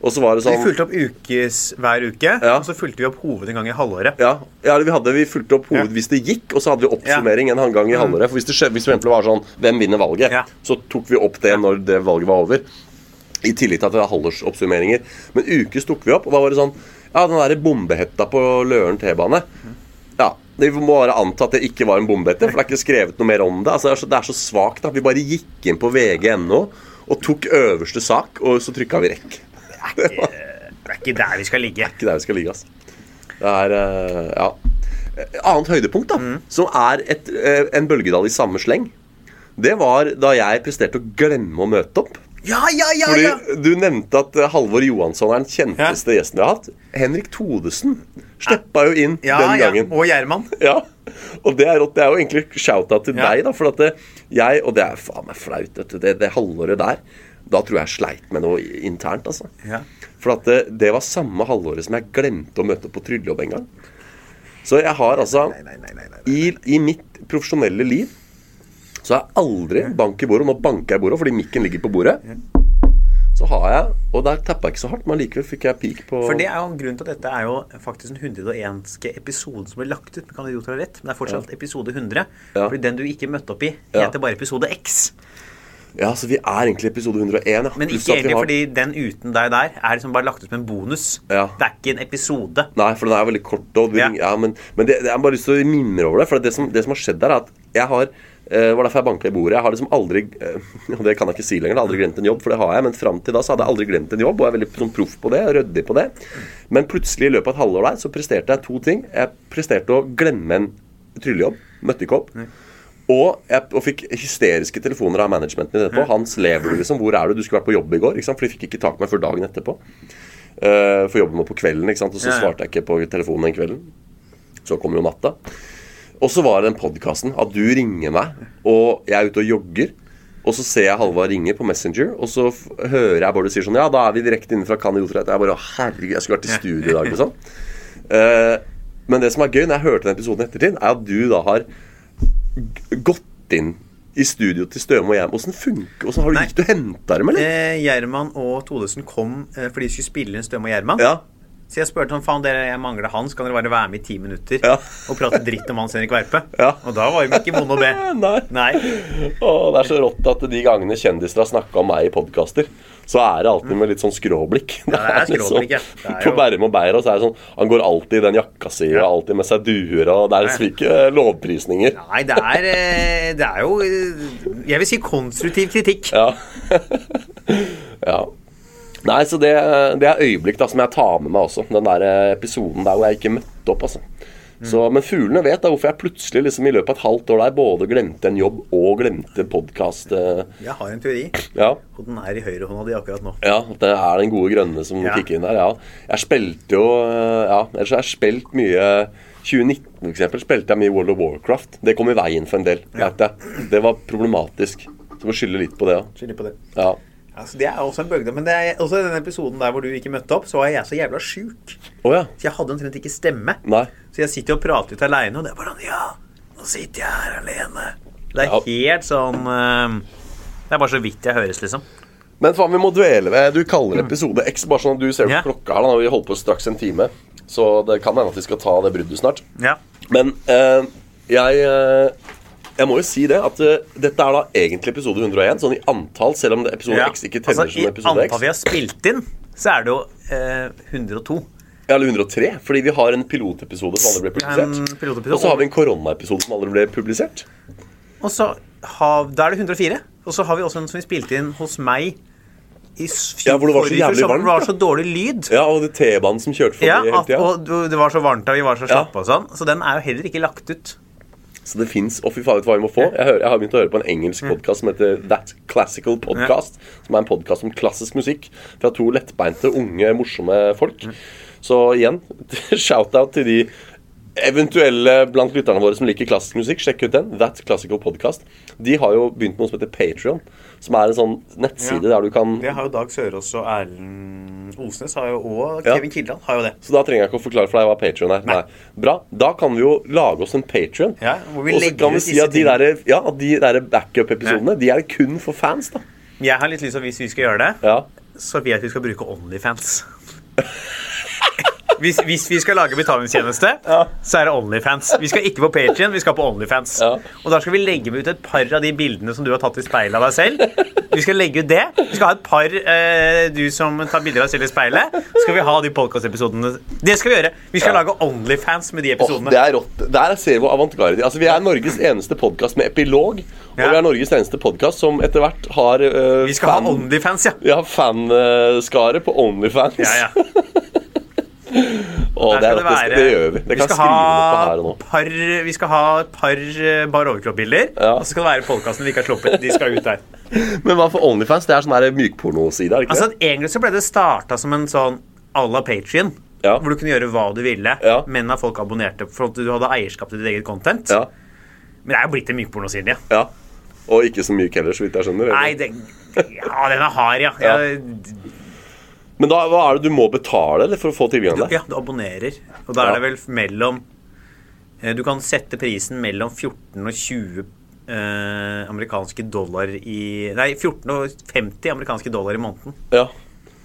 Speaker 2: Og så var det
Speaker 1: Vi
Speaker 2: sånn
Speaker 1: fulgte opp ukes hver uke,
Speaker 2: Ja.
Speaker 1: og så fulgte vi opp hoved en gang i halvåret.
Speaker 2: Ja, ja eller vi, hadde, vi fulgte opp
Speaker 1: Ja. Mm.
Speaker 2: hoved hvis det gikk, og så hadde vi oppsummering en halv gang i halvåret. For hvis det skjedde, hvis det for eksempel var sånn Hvem vinner valget?
Speaker 1: Ja.
Speaker 2: Så tok vi opp det når det valget var over. I tillegg til at det var halvårsoppsummeringer. Men ukes tok vi opp, og da var det sånn Ja, den derre bombehetta på Løren T-bane. Ja. Vi må bare anta at det ikke var en bombehette, for det er ikke skrevet noe mer om det. Altså, det er så, det er så svakt at vi bare gikk inn på vg.no og tok øverste sak, og så trykka vi rekk.
Speaker 1: Det er ikke der vi skal ligge.
Speaker 2: ikke der vi skal ligge, ass. Det er eh, Ja. Eh, Annet høydepunkt, da,
Speaker 1: Mm.
Speaker 2: som er et, eh, en bølgedal i samme sleng, det var da jeg presterte å glemme å møte opp.
Speaker 1: Ja, ja, ja,
Speaker 2: Fordi
Speaker 1: ja!
Speaker 2: Du nevnte at eh, Halvor Johansson er den kjenteste gjesten vi har hatt. Henrik Thodesen steppa jo inn
Speaker 1: Ja,
Speaker 2: den
Speaker 1: ja.
Speaker 2: gangen.
Speaker 1: Og Gjerman.
Speaker 2: Ja, og det er, rått. det er jo egentlig shout-out til
Speaker 1: Ja.
Speaker 2: deg, da. For at det, jeg, og det er faen meg flaut, vet du, det, det halvåret der, da tror jeg jeg sleit med noe i- internt, altså.
Speaker 1: Ja.
Speaker 2: For at det, det var samme halvåret som jeg glemte å møte opp på tryllejobb en gang. Så jeg har altså
Speaker 1: Nei, nei, nei, nei, nei.
Speaker 2: i, I mitt profesjonelle liv så har jeg aldri bank i bordet. Nå banker jeg i bordet fordi mikken ligger på bordet. Så har jeg Og der tappa jeg ikke så hardt, men likevel fikk jeg peak på
Speaker 1: For det er jo en grunn til at dette er jo faktisk den 101. episoden som ble lagt ut. men Kan idioter ha rett, men det er fortsatt episode 100.
Speaker 2: Ja.
Speaker 1: Fordi den du ikke møtte opp i,
Speaker 2: Ja.
Speaker 1: heter bare episode X.
Speaker 2: Ja, så vi er egentlig i episode 101, ja.
Speaker 1: Men
Speaker 2: Pluss
Speaker 1: ikke
Speaker 2: at vi
Speaker 1: egentlig
Speaker 2: har-
Speaker 1: fordi den uten deg der er liksom bare lagt ut som en bonus.
Speaker 2: Ja.
Speaker 1: Det er ikke en episode.
Speaker 2: Nei, for den er veldig kort. Og du,
Speaker 1: Ja.
Speaker 2: ja. men, men det, det- jeg har bare lyst til å minne over det. For det som, det som har skjedd der, er at jeg har eh, var derfor jeg banka i bordet. Jeg har liksom aldri eh, [laughs] og det kan jeg ikke si lenger, jeg har aldri glemt en jobb, for det har jeg. Men fram til da så hadde jeg aldri glemt en jobb, og jeg er veldig sånn, proff på det. og Ryddig på det. Men plutselig i løpet av et halvår der så presterte jeg to ting. Jeg presterte å glemme en tryllejobb. Møtte ikke opp. Og jeg og fikk hysteriske telefoner av managementen min etterpå. Hans lever du, liksom. Hvor er du? Du skulle vært på jobb i går. Ikke sant? For de fikk ikke tak i meg før dagen etterpå. Eh, for jobben var på kvelden, ikke sant? og så
Speaker 1: Ja, ja.
Speaker 2: svarte jeg ikke på telefonen den kvelden. Så kom jo natta. Og så var det den podkasten at du ringer meg, og jeg er ute og jogger. Og så ser jeg Halvard ringe på Messenger, og så f hører jeg Bård sier sånn Ja, da er vi direkte inne fra Kan Idiotrett. Jeg bare «Å, Herregud, jeg skulle vært i studio i dag, liksom. Eh, men det som er gøy, når jeg hørte den episoden i ettertid, er at du da har g- gått inn i studio til Støme og Hjem. Åssen funker Åssen har du
Speaker 1: Nei.
Speaker 2: gikk du og henta dem, eller?
Speaker 1: Eh, Gjerman og Todesen kom eh, fordi de skulle spille inn Støm og Gjerman.
Speaker 2: Ja.
Speaker 1: Så jeg spurte sånn, faen dere, jeg mangler Hans, kan dere bare være med i ti minutter
Speaker 2: Ja.
Speaker 1: og prate dritt om Hans Henrik Verpe?
Speaker 2: Ja.
Speaker 1: Og da var de ikke vonde å be.
Speaker 2: [laughs] Nei.
Speaker 1: Nei.
Speaker 2: Åh, det er så rått at de gangene kjendiser har snakka om meg i podkaster, så er det alltid med litt sånn skråblikk.
Speaker 1: Mm.
Speaker 2: [laughs]
Speaker 1: Ja,
Speaker 2: liksom
Speaker 1: det er skråblikk, ja. Det er
Speaker 2: På
Speaker 1: jo-
Speaker 2: Bærum og Beira så er det sånn Han går alltid i den jakka si og alltid med seg duer og Det er slike eh, lovprisninger.
Speaker 1: Nei, det er, eh, det er jo eh, Jeg vil si konstruktiv kritikk.
Speaker 2: Ja. [laughs] ja. Nei, så det, det er øyeblikk da som jeg tar med meg også. Den der eh, episoden der hvor jeg ikke møtte opp, altså.
Speaker 1: Mm.
Speaker 2: Så, men fuglene vet da hvorfor jeg plutselig liksom i løpet av et halvt år der både glemte en jobb og glemte podkast.
Speaker 1: Jeg har en teori.
Speaker 2: Ja.
Speaker 1: Og den er i høyrehånda di akkurat nå.
Speaker 2: Ja, at det er den gode grønne som
Speaker 1: Ja.
Speaker 2: kicker inn der. Ja. Jeg spilte jo eh, Ja, ellers har jeg spilt mye 2019 for eksempel, spilte jeg mye World of Warcraft. Det kom i veien for en del, vet jeg. Det var problematisk. Så må skylde litt på det, ja.
Speaker 1: Skylder på det.
Speaker 2: ja.
Speaker 1: Altså, det er også en bølgedal. Men det er også i den episoden der hvor du ikke møtte opp, så var jeg så jævla sjuk.
Speaker 2: Å ja.
Speaker 1: Så jeg hadde omtrent ikke stemme.
Speaker 2: Nei.
Speaker 1: Så jeg sitter jo og prater litt aleine, og det er bare sånn Ja, nå sitter jeg her alene. Det er
Speaker 2: Ja.
Speaker 1: helt sånn eh, Det er bare så vidt jeg høres, liksom.
Speaker 2: Men faen, vi må dvele ved Du kaller episode X, bare sånn at du ser på
Speaker 1: Ja.
Speaker 2: klokka her. da Vi holdt på straks en time, så det kan hende at vi skal ta det bruddet snart.
Speaker 1: Ja.
Speaker 2: Men eh, jeg eh, Jeg må jo si det at eh, dette er da egentlig episode 101, sånn i antall, selv om det episode
Speaker 1: ja.
Speaker 2: X ikke teller
Speaker 1: Altså, I
Speaker 2: som episode
Speaker 1: antall
Speaker 2: X.
Speaker 1: vi har spilt inn, så er det jo eh, 102.
Speaker 2: Ja, Eller 103, fordi vi har en pilotepisode som aldri ble
Speaker 1: En
Speaker 2: publisert.
Speaker 1: pilotepisode.
Speaker 2: Og så har vi en koronaepisode som aldri ble publisert.
Speaker 1: Og så har, Da er det 104. Og så har vi også en som vi spilte inn hos meg i s-
Speaker 2: Ja, hvor det var så
Speaker 1: forrige fjor,
Speaker 2: jævlig
Speaker 1: som
Speaker 2: varmt,
Speaker 1: var
Speaker 2: ja.
Speaker 1: så dårlig lyd.
Speaker 2: Ja, og det T-banen som kjørte forbi
Speaker 1: Ja,
Speaker 2: hele
Speaker 1: at,
Speaker 2: tida.
Speaker 1: og du- det var så varmt og vi var så slappe og sånn. Så den er jo heller ikke lagt ut.
Speaker 2: Så det fins Å, fy faen, vet du hva vi må få? Jeg, hører, jeg har begynt å høre på en engelsk podkast som heter That Classical Podcast. Som er en podkast om klassisk musikk fra to lettbeinte, unge, morsomme folk. Så igjen, [laughs] shout-out til de eventuelle blant lytterne våre som liker klassisk musikk. Sjekk ut den. That Classical Podcast. De har jo begynt med noe som heter Patrion. Som er en sånn nettside der du kan
Speaker 1: har jo Dag Sørås og Erlend Osnes har jo, og
Speaker 2: Ja. Kevin
Speaker 1: Kildahl har jo det.
Speaker 2: Så da trenger jeg ikke å forklare for deg hva Patreon er. Nei. Bra. Da kan vi jo lage oss en Patreon.
Speaker 1: Ja, hvor vi
Speaker 2: og så
Speaker 1: legger
Speaker 2: kan vi
Speaker 1: ut
Speaker 2: si
Speaker 1: disse
Speaker 2: at de
Speaker 1: tingene.
Speaker 2: der, ja, at de der backup-episodene De er kun for fans, da.
Speaker 1: Jeg har litt lyst til at hvis vi skal gjøre det,
Speaker 2: Ja.
Speaker 1: så vil jeg at vi skal bruke Onlyfans. [laughs] Hvis, hvis vi skal lage betalingstjeneste, så er det Onlyfans. Vi skal ikke på Patreon, vi skal på Onlyfans.
Speaker 2: Ja.
Speaker 1: Og da skal vi legge ut et par av de bildene som du har tatt i speilet av deg selv. Vi skal legge ut det. Vi skal ha et par eh, du som tar bilder av deg selv i speilet. Så skal vi ha de podkastepisodene. Det skal vi gjøre. Vi skal
Speaker 2: Ja.
Speaker 1: lage Onlyfans med de
Speaker 2: Åh, det
Speaker 1: episodene.
Speaker 2: er rått. Der ser vi hvor avantgarde de Altså, Vi er Norges eneste podkast med epilog.
Speaker 1: Ja.
Speaker 2: Og vi er Norges eneste podkast som etter hvert har øh,
Speaker 1: Vi skal ha
Speaker 2: fan-
Speaker 1: Onlyfans, ja.
Speaker 2: ja, fanskare på Onlyfans.
Speaker 1: ja, ja.
Speaker 2: Åh, det,
Speaker 1: Der
Speaker 2: er
Speaker 1: skal
Speaker 2: rått. det, det gjør vi. Det kan jeg
Speaker 1: skal
Speaker 2: skrive under på
Speaker 1: ha
Speaker 2: her og nå.
Speaker 1: Par, vi skal ha et par eh, bar overkropp-bilder,
Speaker 2: Ja.
Speaker 1: og så skal det være podkasten vi ikke har sluppet. De skal
Speaker 2: [laughs]
Speaker 1: ut der.
Speaker 2: Men hva for Onlyfans? Det er sånn her mykpornoside, er det ikke
Speaker 1: Altså, egentlig så ble det starta som en sånn à la Patrion.
Speaker 2: Ja.
Speaker 1: Hvor du kunne gjøre hva du ville,
Speaker 2: Ja.
Speaker 1: men at folk abonnerte. For at du hadde eierskap til ditt eget content.
Speaker 2: det? Ja.
Speaker 1: Men det er jo blitt en mykpornoside. Ja.
Speaker 2: ja. Og ikke så myk heller, så vidt jeg skjønner. eller?
Speaker 1: Nei, det, ja, den er hard, ja.
Speaker 2: Ja.
Speaker 1: Jeg-
Speaker 2: Men da, hva er det du må betale eller, for å få tilgang til det?
Speaker 1: Ja, du abonnerer. Og da
Speaker 2: Ja.
Speaker 1: er det vel mellom eh, Du kan sette prisen mellom 14 og 20 eh, amerikanske dollar i Nei, 14 og 50 amerikanske dollar i måneden.
Speaker 2: Ja.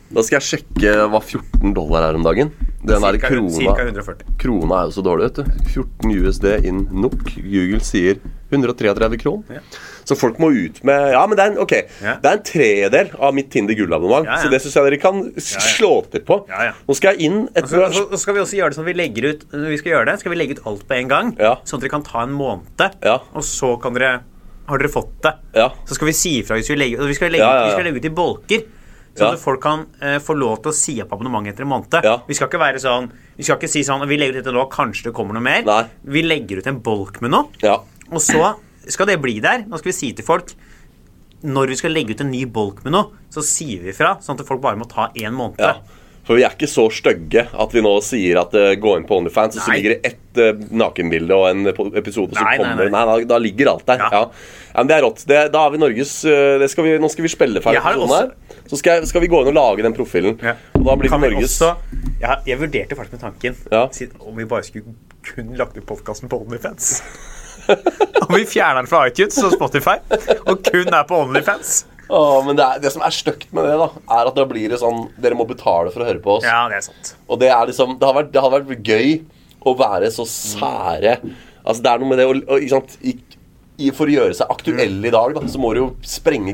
Speaker 2: Da skal jeg sjekke hva 14 dollar er om dagen. Den der
Speaker 1: Cirka- cirka
Speaker 2: krona,
Speaker 1: 140.
Speaker 2: krona er jo så dårlig, vet du. 14 USD in NOK. Google sier 133 kron.
Speaker 1: Ja.
Speaker 2: Så folk må ut med Ja, men det er en, ok,
Speaker 1: Ja.
Speaker 2: det er en tredel av mitt Tinder gullabonnement.
Speaker 1: Ja, ja.
Speaker 2: Så det syns jeg dere kan s- slå til på.
Speaker 1: Ja, ja.
Speaker 2: Nå skal jeg inn etter
Speaker 1: Så, så skal vi også gjøre det sånn at vi legger ut når vi skal gjøre det, skal vi legge ut alt på en gang.
Speaker 2: Ja.
Speaker 1: Sånn at dere kan ta en måned,
Speaker 2: Ja.
Speaker 1: og så kan dere Har dere fått det?
Speaker 2: Ja.
Speaker 1: Så skal vi si ifra hvis vi legger og Vi skal legge,
Speaker 2: Ja, ja, ja.
Speaker 1: Vi skal legge ut i bolker.
Speaker 2: Ja.
Speaker 1: Sånn at folk kan eh, få lov til å si opp abonnementet etter en måned.
Speaker 2: Ja.
Speaker 1: Vi skal ikke være sånn Vi skal ikke si sånn Vi legger ut dette nå, kanskje det kommer noe mer.
Speaker 2: Nei.
Speaker 1: Vi legger ut en bolk med noe,
Speaker 2: Ja.
Speaker 1: og så skal det bli der. Nå skal vi si til folk når vi skal legge ut en ny bolk med noe, så sier vi fra. Sånn at folk bare må ta én måned.
Speaker 2: Ja. For vi er ikke så stygge at vi nå sier at eh, gå inn på OnlyFans, og så
Speaker 1: Nei.
Speaker 2: ligger det ett eh, nakenbilde og en po- episode som
Speaker 1: Nei, nei,
Speaker 2: kommer. Nei,
Speaker 1: nei.
Speaker 2: da, da ligger alt der.
Speaker 1: Ja.
Speaker 2: Ja. Ja, men det er rått. Det, da har vi Norges eh, det skal vi, Nå skal vi spille ferdig
Speaker 1: Jeg har
Speaker 2: episoden her. Så skal, jeg- skal vi gå inn og lage den profilen.
Speaker 1: Ja.
Speaker 2: Og da blir
Speaker 1: Kan
Speaker 2: det
Speaker 1: vi
Speaker 2: Norges
Speaker 1: også- jeg, har- jeg vurderte faktisk med tanken
Speaker 2: Ja.
Speaker 1: siden- om vi bare skulle kun lagt ut podkasten på Onlyfans. [laughs] om vi fjerner den fra iTunes og Spotify og kun er på Onlyfans.
Speaker 2: Å, men det, er, det som er stygt med det, da, er at da blir det sånn Dere må betale for å høre på oss.
Speaker 1: Ja, det er sant.
Speaker 2: Og det er liksom Det har vært, det har vært gøy å være så sære Altså det er noe med det å å- ikke sant, i, i, For å gjøre seg aktuell i dag, da, så må du jo sprenge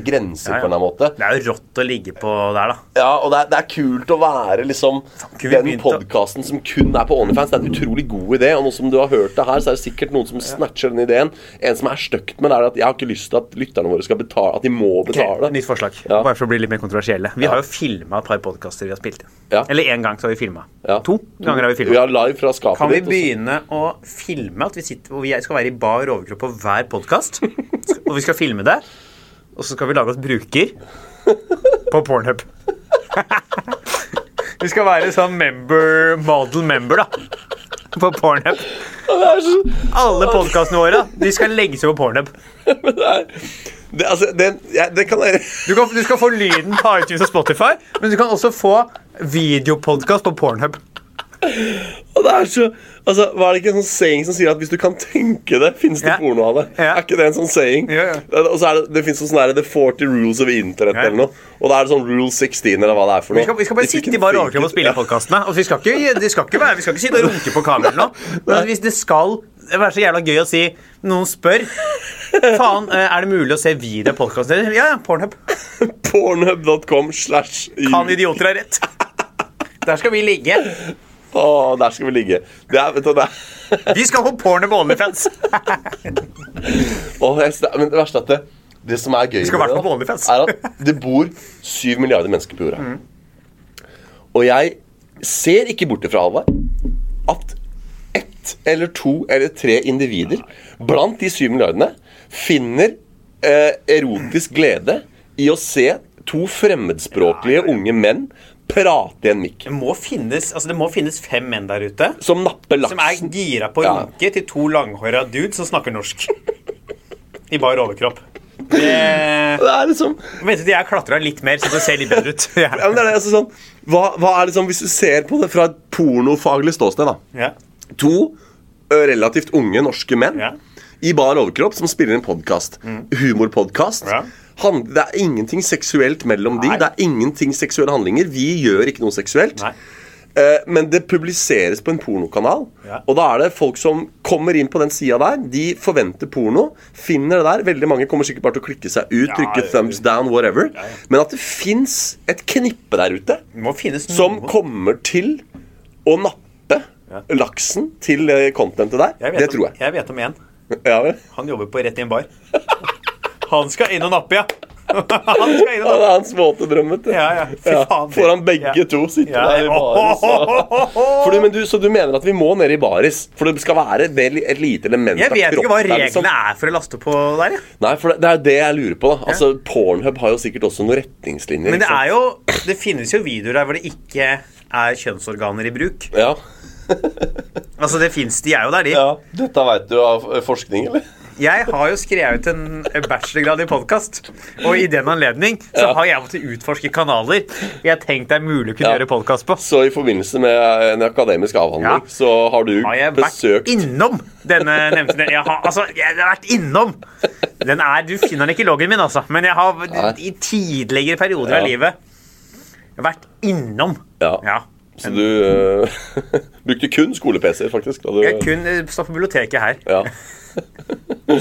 Speaker 1: Ja,
Speaker 2: grenser
Speaker 1: ja.
Speaker 2: på en eller annen måte.
Speaker 1: Det er jo rått å ligge på der, da.
Speaker 2: Ja, og det er, det er kult å være liksom
Speaker 1: kunne vi
Speaker 2: den
Speaker 1: begynt å-
Speaker 2: podkasten som kun er på OnlyFans. Det er en utrolig god idé, og nå som du har hørt det her, så er det sikkert noen som snatcher den ideen. En som er støkt med det, er at jeg har ikke lyst til at lytterne våre skal betale At de må betale.
Speaker 1: Ok, nytt forslag.
Speaker 2: Ja.
Speaker 1: Bare for å bli litt mer kontroversielle. Vi har jo filma et par podkaster vi har spilt inn.
Speaker 2: Ja.
Speaker 1: Eller én gang så har vi filma.
Speaker 2: Ja.
Speaker 1: To ganger har vi filma.
Speaker 2: Vi har live fra skapet
Speaker 1: Kan vi
Speaker 2: ditt, og så-
Speaker 1: begynne å filme at vi sitter, og vi skal være i bar overkropp på hver podkast? Og vi skal filme det, og så skal vi lage oss bruker på Pornhub. [laughs] Vi skal være sånn member, model member, da. På Pornhub.
Speaker 2: [laughs] Det er så...
Speaker 1: Alle podkastene våre de skal legges ut på Pornhub.
Speaker 2: Men det er det, altså, det, ja, det kan være
Speaker 1: Du, kan, du skal få lyden på iTunes og Spotify, men du kan også få videopodkast på Pornhub.
Speaker 2: Og det er så Altså, Var det ikke en sånn saying som sier at hvis du kan tenke det, finnes det
Speaker 1: Ja.
Speaker 2: porno av det?
Speaker 1: Ja.
Speaker 2: Er ikke det en sånn saying?
Speaker 1: Jo, jo.
Speaker 2: Eh, Og så er det, det fins sånn der The 40 Rules of Internet
Speaker 1: Ja.
Speaker 2: eller noe. Og da er det sånn Rule 16 eller hva det er for noe.
Speaker 1: Vi skal, vi skal bare
Speaker 2: If you
Speaker 1: sitte
Speaker 2: can
Speaker 1: i bar
Speaker 2: think
Speaker 1: overkropp og
Speaker 2: it-
Speaker 1: spille
Speaker 2: Ja.
Speaker 1: podkastene. Altså, vi, skal ikke- det skal ikke være- vi skal ikke sitte og runke på kameraet
Speaker 2: [laughs]
Speaker 1: nå. Men hvis det skal være så jævla gøy å si Noen spør Faen, eh, er det mulig å se videre podkasten deres? Ja, ja, Pornhub.
Speaker 2: Pornhub.com slash
Speaker 1: Han idioter har rett. Der skal vi ligge.
Speaker 2: Å, der skal vi ligge. Det er, vet du, det er
Speaker 1: Vi skal på porno på OnlyFans.
Speaker 2: Åh, jeg, men det verste er at det, det som er gøy
Speaker 1: skal
Speaker 2: med
Speaker 1: i hvert fall
Speaker 2: det,
Speaker 1: på OnlyFans. Mm.
Speaker 2: er at det bor syv milliarder mennesker på jorda. Og jeg ser ikke bort ifra, Halvard, at ett eller to eller tre individer blant de syv milliardene finner eh, erotisk glede i å se to fremmedspråklige unge menn prate i en mikk.
Speaker 1: Det må finnes, altså, det må finnes fem menn der ute
Speaker 2: Som napper
Speaker 1: som er
Speaker 2: laksen.
Speaker 1: gira på å
Speaker 2: Ja.
Speaker 1: runke til to langhåra dudes som snakker norsk. I bar overkropp. Det
Speaker 2: Det er liksom
Speaker 1: Vent til jeg klatra litt mer, så det ser litt bedre ut.
Speaker 2: Ja, men det er det, altså sånn, hva, hva er det som, Hvis du ser på det fra et pornofaglig ståsted da.
Speaker 1: Ja.
Speaker 2: To ø, relativt unge norske menn
Speaker 1: Ja. Mm.
Speaker 2: i bar overkropp som spiller en podkast. Humorpodkast.
Speaker 1: Ja.
Speaker 2: Han- Det er ingenting seksuelt mellom de.
Speaker 1: Nei.
Speaker 2: Det er ingenting seksuelle handlinger. Vi gjør ikke noe seksuelt.
Speaker 1: Nei.
Speaker 2: Eh, Men det publiseres på en pornokanal.
Speaker 1: Ja.
Speaker 2: Og da er det folk som kommer inn på den sida der. De forventer porno, finner det der. Veldig mange kommer sikkert bare til å klikke seg ut,
Speaker 1: Ja,
Speaker 2: trykke
Speaker 1: det-
Speaker 2: thumbs down, whatever.
Speaker 1: Ja, ja.
Speaker 2: Men at det fins et knippe der ute
Speaker 1: Det må finnes
Speaker 2: som
Speaker 1: noe.
Speaker 2: kommer til å nappe
Speaker 1: Mhm. Ja.
Speaker 2: laksen til eh, contentet der.
Speaker 1: Jeg vet
Speaker 2: Det tror
Speaker 1: Om,
Speaker 2: jeg.
Speaker 1: jeg vet om en.
Speaker 2: Ja, vel. [laughs]
Speaker 1: Han jobber på rett i en bar. [laughs] Han skal inn og nappe, ja. [laughs] Han skal inn og
Speaker 2: Ja,
Speaker 1: nappe.
Speaker 2: det er hans våte drøm, vet du.
Speaker 1: Ja, ja. Fy faen.
Speaker 2: Får han begge
Speaker 1: Ja.
Speaker 2: to sitte
Speaker 1: Ja.
Speaker 2: der i
Speaker 1: [laughs]
Speaker 2: baris. og-
Speaker 1: Ohohoho!
Speaker 2: For du, men du, så du mener at vi må ned i baris? For det skal være vel et lite element
Speaker 1: Jeg vet ikke hva
Speaker 2: kroppen der, liksom.
Speaker 1: reglene er for å laste på der, jeg.
Speaker 2: Nei, for det, det er det jeg lurer på. da Altså, Pornhub har jo sikkert også noen retningslinjer.
Speaker 1: Men det
Speaker 2: ikke
Speaker 1: er jo Det finnes jo videoer der hvor det ikke er kjønnsorganer i bruk.
Speaker 2: sant? ja.
Speaker 1: Altså, det fins de er jo der, de.
Speaker 2: ja, Dette veit du av eh, forskning, eller?
Speaker 1: Jeg har jo skrevet en bachelorgrad i podkast, og i den anledning så har jeg måttet utforske kanaler jeg tenkte det er mulig å kunne
Speaker 2: Ja.
Speaker 1: gjøre podkast på.
Speaker 2: Så i forbindelse med en akademisk avhandling
Speaker 1: Ja.
Speaker 2: så har du
Speaker 1: Har jeg vært
Speaker 2: besøkt
Speaker 1: innom denne nevnte den. Jeg har, altså, jeg har vært innom! Den er, Du finner den ikke i loggen min, altså, men jeg har i tidligere perioder
Speaker 2: Ja.
Speaker 1: av livet vært innom.
Speaker 2: Ja. Så du eh, [laughs] brukte kun skole-PC-er, faktisk? Da du,
Speaker 1: Jeg kun eh, satt på biblioteket her.
Speaker 2: Ja.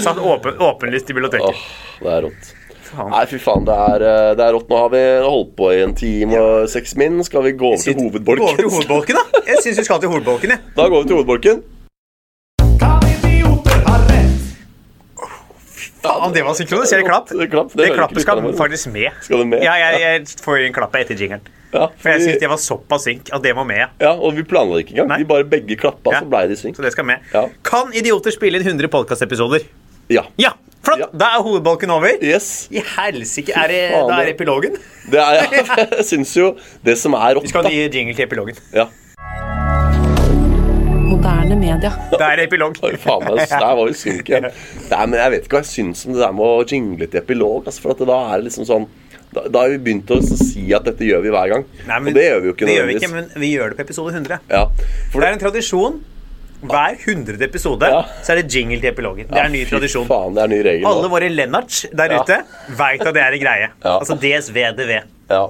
Speaker 1: Satt åpen, åpenlyst i biblioteket.
Speaker 2: Åh, det er rått.
Speaker 1: Faen.
Speaker 2: Nei, fy faen, det er, eh, det er rått. Nå har vi holdt på i en time og seks min. Skal vi gå over til
Speaker 1: Gå over til
Speaker 2: hovedbolken?
Speaker 1: hovedbolken, da. Jeg syns vi skal til hovedbolken, jeg.
Speaker 2: Da går vi til hovedbolken.
Speaker 1: Faen, det var synkronisert klapp.
Speaker 2: Det klapp, det
Speaker 1: Det,
Speaker 2: hører ikke
Speaker 1: klappet skal
Speaker 2: lytterne våre.
Speaker 1: faktisk med.
Speaker 2: Skal det med?
Speaker 1: Ja, jeg, jeg får inn klappet etter jingeren.
Speaker 2: Ja,
Speaker 1: For jeg
Speaker 2: vi-
Speaker 1: syns det var såpass synk at det må med. ja.
Speaker 2: Ja, og vi planla ikke engang.
Speaker 1: Nei.
Speaker 2: Vi bare begge klappa,
Speaker 1: Ja.
Speaker 2: så blei det sving.
Speaker 1: Så det skal med.
Speaker 2: Ja.
Speaker 1: Kan idioter spille inn 100 podkastepisoder?
Speaker 2: Ja.
Speaker 1: Ja! Flott!
Speaker 2: Ja.
Speaker 1: Da er hovedbalken over.
Speaker 2: Yes.
Speaker 1: I helsike! Er det,
Speaker 2: Fy faen,
Speaker 1: da er
Speaker 2: det-
Speaker 1: epilogen?
Speaker 2: Det er, [laughs] ja, jeg syns jo det som er rått,
Speaker 1: Vi skal
Speaker 2: da.
Speaker 1: gi jingle til epilogen.
Speaker 2: Ja.
Speaker 3: Moderne media.
Speaker 1: Det er epilog.
Speaker 2: Oi, faen meg, så der var vi synk igjen. Nei, men jeg vet ikke hva jeg syns om det der med å jingle til epilog. Altså, for at da er det liksom sånn Da, da har vi begynt å si at dette gjør vi hver gang.
Speaker 1: [laughs] Nei, men
Speaker 2: og det gjør vi jo ikke
Speaker 1: det gjør vi
Speaker 2: nødvendigvis.
Speaker 1: ikke, men vi gjør det på episode 100.
Speaker 2: Ja, for
Speaker 1: For det er en tradisjon. Hver 100. episode
Speaker 2: Ja.
Speaker 1: så er det jingle til epilogen. Det er en ny
Speaker 2: Fy
Speaker 1: tradisjon.
Speaker 2: Faen, det er en ny regel.
Speaker 1: Alle
Speaker 2: nå.
Speaker 1: våre Lennarts der
Speaker 2: Ja.
Speaker 1: ute veit at det er en greie.
Speaker 2: Ja.
Speaker 1: Altså DSVDV.
Speaker 2: Ja.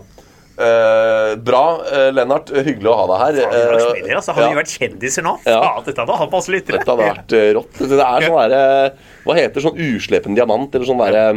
Speaker 2: Eh, bra, eh, Lennart. Hyggelig å ha deg her.
Speaker 1: Har vi vært
Speaker 2: Eh,
Speaker 1: spillere, altså? Hadde
Speaker 2: ja.
Speaker 1: vi vært kjendiser nå?
Speaker 2: Ja.
Speaker 1: Faen, dette hadde hatt masse lyttere.
Speaker 2: Dette hadde vært eh, rått. Det er sånn derre Hva heter sånn uslepen diamant, eller sånn derre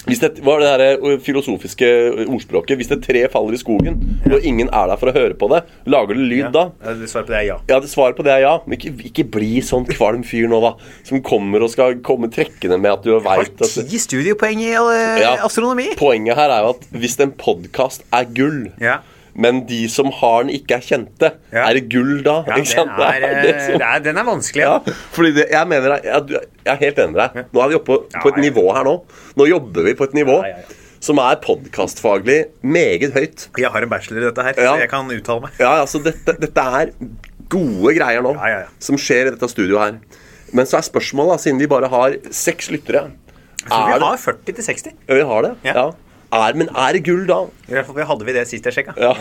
Speaker 2: hvis det var det der eh, filosofiske ordspråket Hvis et tre faller i skogen, og ingen er der for å høre på det, lager det lyd da?
Speaker 1: Ja, Svaret på det er ja.
Speaker 2: Ja, det Svaret på det er ja. Men ikke, ikke bli sånn kvalm fyr nå, da. Som kommer og skal komme trekkende med at du
Speaker 1: Har
Speaker 2: veit
Speaker 1: du ti studiepoeng i eh,
Speaker 2: altså. Ja.
Speaker 1: astronomi?
Speaker 2: Poenget her er jo at hvis en podkast er gull,
Speaker 1: Ja.
Speaker 2: men de som har den, ikke er kjente,
Speaker 1: Ja.
Speaker 2: er det gull da?
Speaker 1: Ja,
Speaker 2: ikke sant?
Speaker 1: den,
Speaker 2: [laughs]
Speaker 1: er,
Speaker 2: Det er
Speaker 1: eh,
Speaker 2: det som-
Speaker 1: det er, den er vanskelig. Ja.
Speaker 2: Ja, fordi det, jeg mener jeg, jeg, jeg er helt enig med deg. Nå er vi oppe på, på et
Speaker 1: Ja, ja.
Speaker 2: nivå her nå. Nå jobber vi på et nivå
Speaker 1: Ja, ja, ja.
Speaker 2: som er podkastfaglig meget høyt.
Speaker 1: Jeg har en bachelor i dette her,
Speaker 2: Ja.
Speaker 1: så jeg kan uttale
Speaker 2: [laughs]
Speaker 1: meg.
Speaker 2: Ja, altså dette, dette er gode greier nå
Speaker 1: Ja, ja, ja.
Speaker 2: som skjer i dette studioet her. Men så er spørsmålet, da, siden vi bare har seks lyttere
Speaker 1: Så
Speaker 2: er
Speaker 1: vi
Speaker 2: det,
Speaker 1: har 40 til 60.
Speaker 2: ja, vi har det?
Speaker 1: Ja.
Speaker 2: Ja. Er, men er det gull da? [laughs]
Speaker 1: I hvert fall hadde vi det sist jeg sjekka.
Speaker 2: Ja.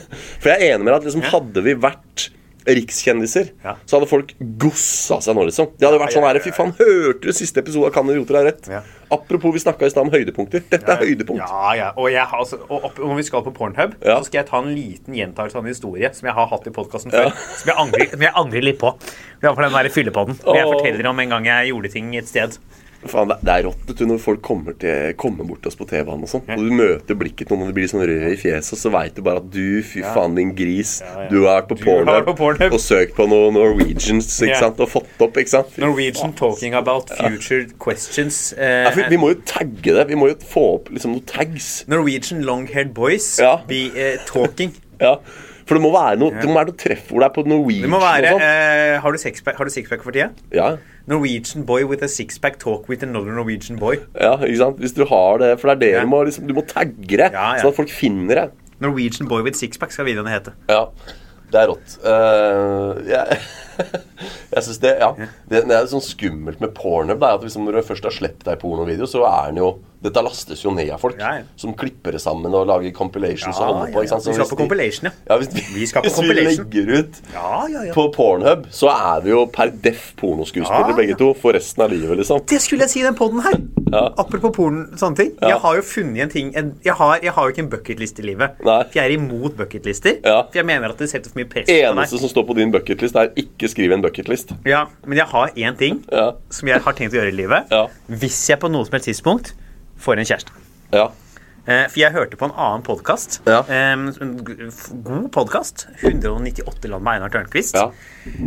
Speaker 2: For jeg er enig med deg at liksom, hadde vi vært rikskjendiser,
Speaker 1: Ja.
Speaker 2: så hadde folk gossa seg nå, liksom. Det hadde
Speaker 1: Ja,
Speaker 2: vært sånn
Speaker 1: ja,
Speaker 2: her
Speaker 1: ja,
Speaker 2: Fy
Speaker 1: ja.
Speaker 2: faen, hørte du siste episode av Kan du rote deg rett?
Speaker 1: Ja.
Speaker 2: Apropos, vi snakka i stad om høydepunkter. Dette er høydepunkt.
Speaker 1: Ja, ja. Og, jeg, har altså, og opp, når vi skal på Pornhub,
Speaker 2: Ja.
Speaker 1: så skal jeg ta en liten gjentagelse av en historie som jeg har hatt i podkasten før, [laughs] som, jeg angrer, som jeg angrer litt på. Det var for den der fyllepodden. Hvor jeg
Speaker 2: Åh.
Speaker 1: forteller om en gang jeg gjorde ting et sted.
Speaker 2: Faen, det, det er rått vet du, når folk kommer, til, kommer bort til oss på T-banen og sånn. Og du møter blikket til noen, og de blir sånn røde i fjeset, og så veit du bare at du, fy faen, din gris,
Speaker 1: ja.
Speaker 2: du har vært på
Speaker 1: Du har vært på Pornhub.
Speaker 2: Pornhub og søkt på noen Norwegians ikke
Speaker 1: Ja.
Speaker 2: sant, og fått opp, ikke sant? Fy
Speaker 1: Norwegian talking about future questions.
Speaker 2: Ja, for vi
Speaker 1: Eh,
Speaker 2: må jo tagge det. Vi må jo få opp liksom noen tags.
Speaker 1: Norwegian long-haired boys
Speaker 2: Ja.
Speaker 1: be eh, talking.
Speaker 2: Ja. For det må være noe Det må være noe trefford der på Norwegian
Speaker 1: Det må være
Speaker 2: og sånn.
Speaker 1: eh, Har du sixpack har du sixpack for tida?
Speaker 2: Ja,
Speaker 1: Norwegian boy with a sixpack talk with another Norwegian boy.
Speaker 2: ja, ikke sant? Hvis du har det For det er det
Speaker 1: Ja.
Speaker 2: du må liksom, Du må tagge det,
Speaker 1: Ja, ja.
Speaker 2: sånn at folk finner det.
Speaker 1: Norwegian boy with sixpack skal videoene hete.
Speaker 2: Ja, det er rått. Eh, jeg [laughs] jeg syns det Ja. Det, det er sånn skummelt med pornhub. Det er at hvis Når du først har sluppet deg pornovideo, så er den jo Dette lastes jo ned av folk
Speaker 1: Ja, ja.
Speaker 2: som klipper det sammen og lager compilations og
Speaker 1: Ah,
Speaker 2: holder på. ikke sant? Så
Speaker 1: Vi skal
Speaker 2: hvis
Speaker 1: på
Speaker 2: de-
Speaker 1: compilation, ja.
Speaker 2: Ja, hvis vi,
Speaker 1: Vi skal på
Speaker 2: hvis vi
Speaker 1: compilation.
Speaker 2: legger ut
Speaker 1: Ja, ja, ja.
Speaker 2: på Pornhub, så er vi jo per deff pornoskuespillere
Speaker 1: Ja, ja.
Speaker 2: begge to for resten av livet, liksom.
Speaker 1: Det skulle jeg si i den poden her. Apropos porn sånne ting. Jeg har jo funnet en ting en, jeg, har, jeg har jo ikke en bucketlist i livet.
Speaker 2: Nei.
Speaker 1: For jeg er imot bucketlister.
Speaker 2: Ja.
Speaker 1: For jeg mener at det setter for mye press
Speaker 2: Eneste
Speaker 1: på deg.
Speaker 2: som står på din bucketlist, er 'ikke skriv en bucketlist'.
Speaker 1: Ja, men jeg har én ting
Speaker 2: Ja.
Speaker 1: som jeg har tenkt å gjøre i livet.
Speaker 2: Ja.
Speaker 1: Hvis jeg på noe som helst tidspunkt får en kjæreste.
Speaker 2: Ja.
Speaker 1: Eh, For jeg hørte på en annen podkast.
Speaker 2: Ja.
Speaker 1: En g- f- god podkast. 198 land med Einar Tørnquist.
Speaker 2: Ja.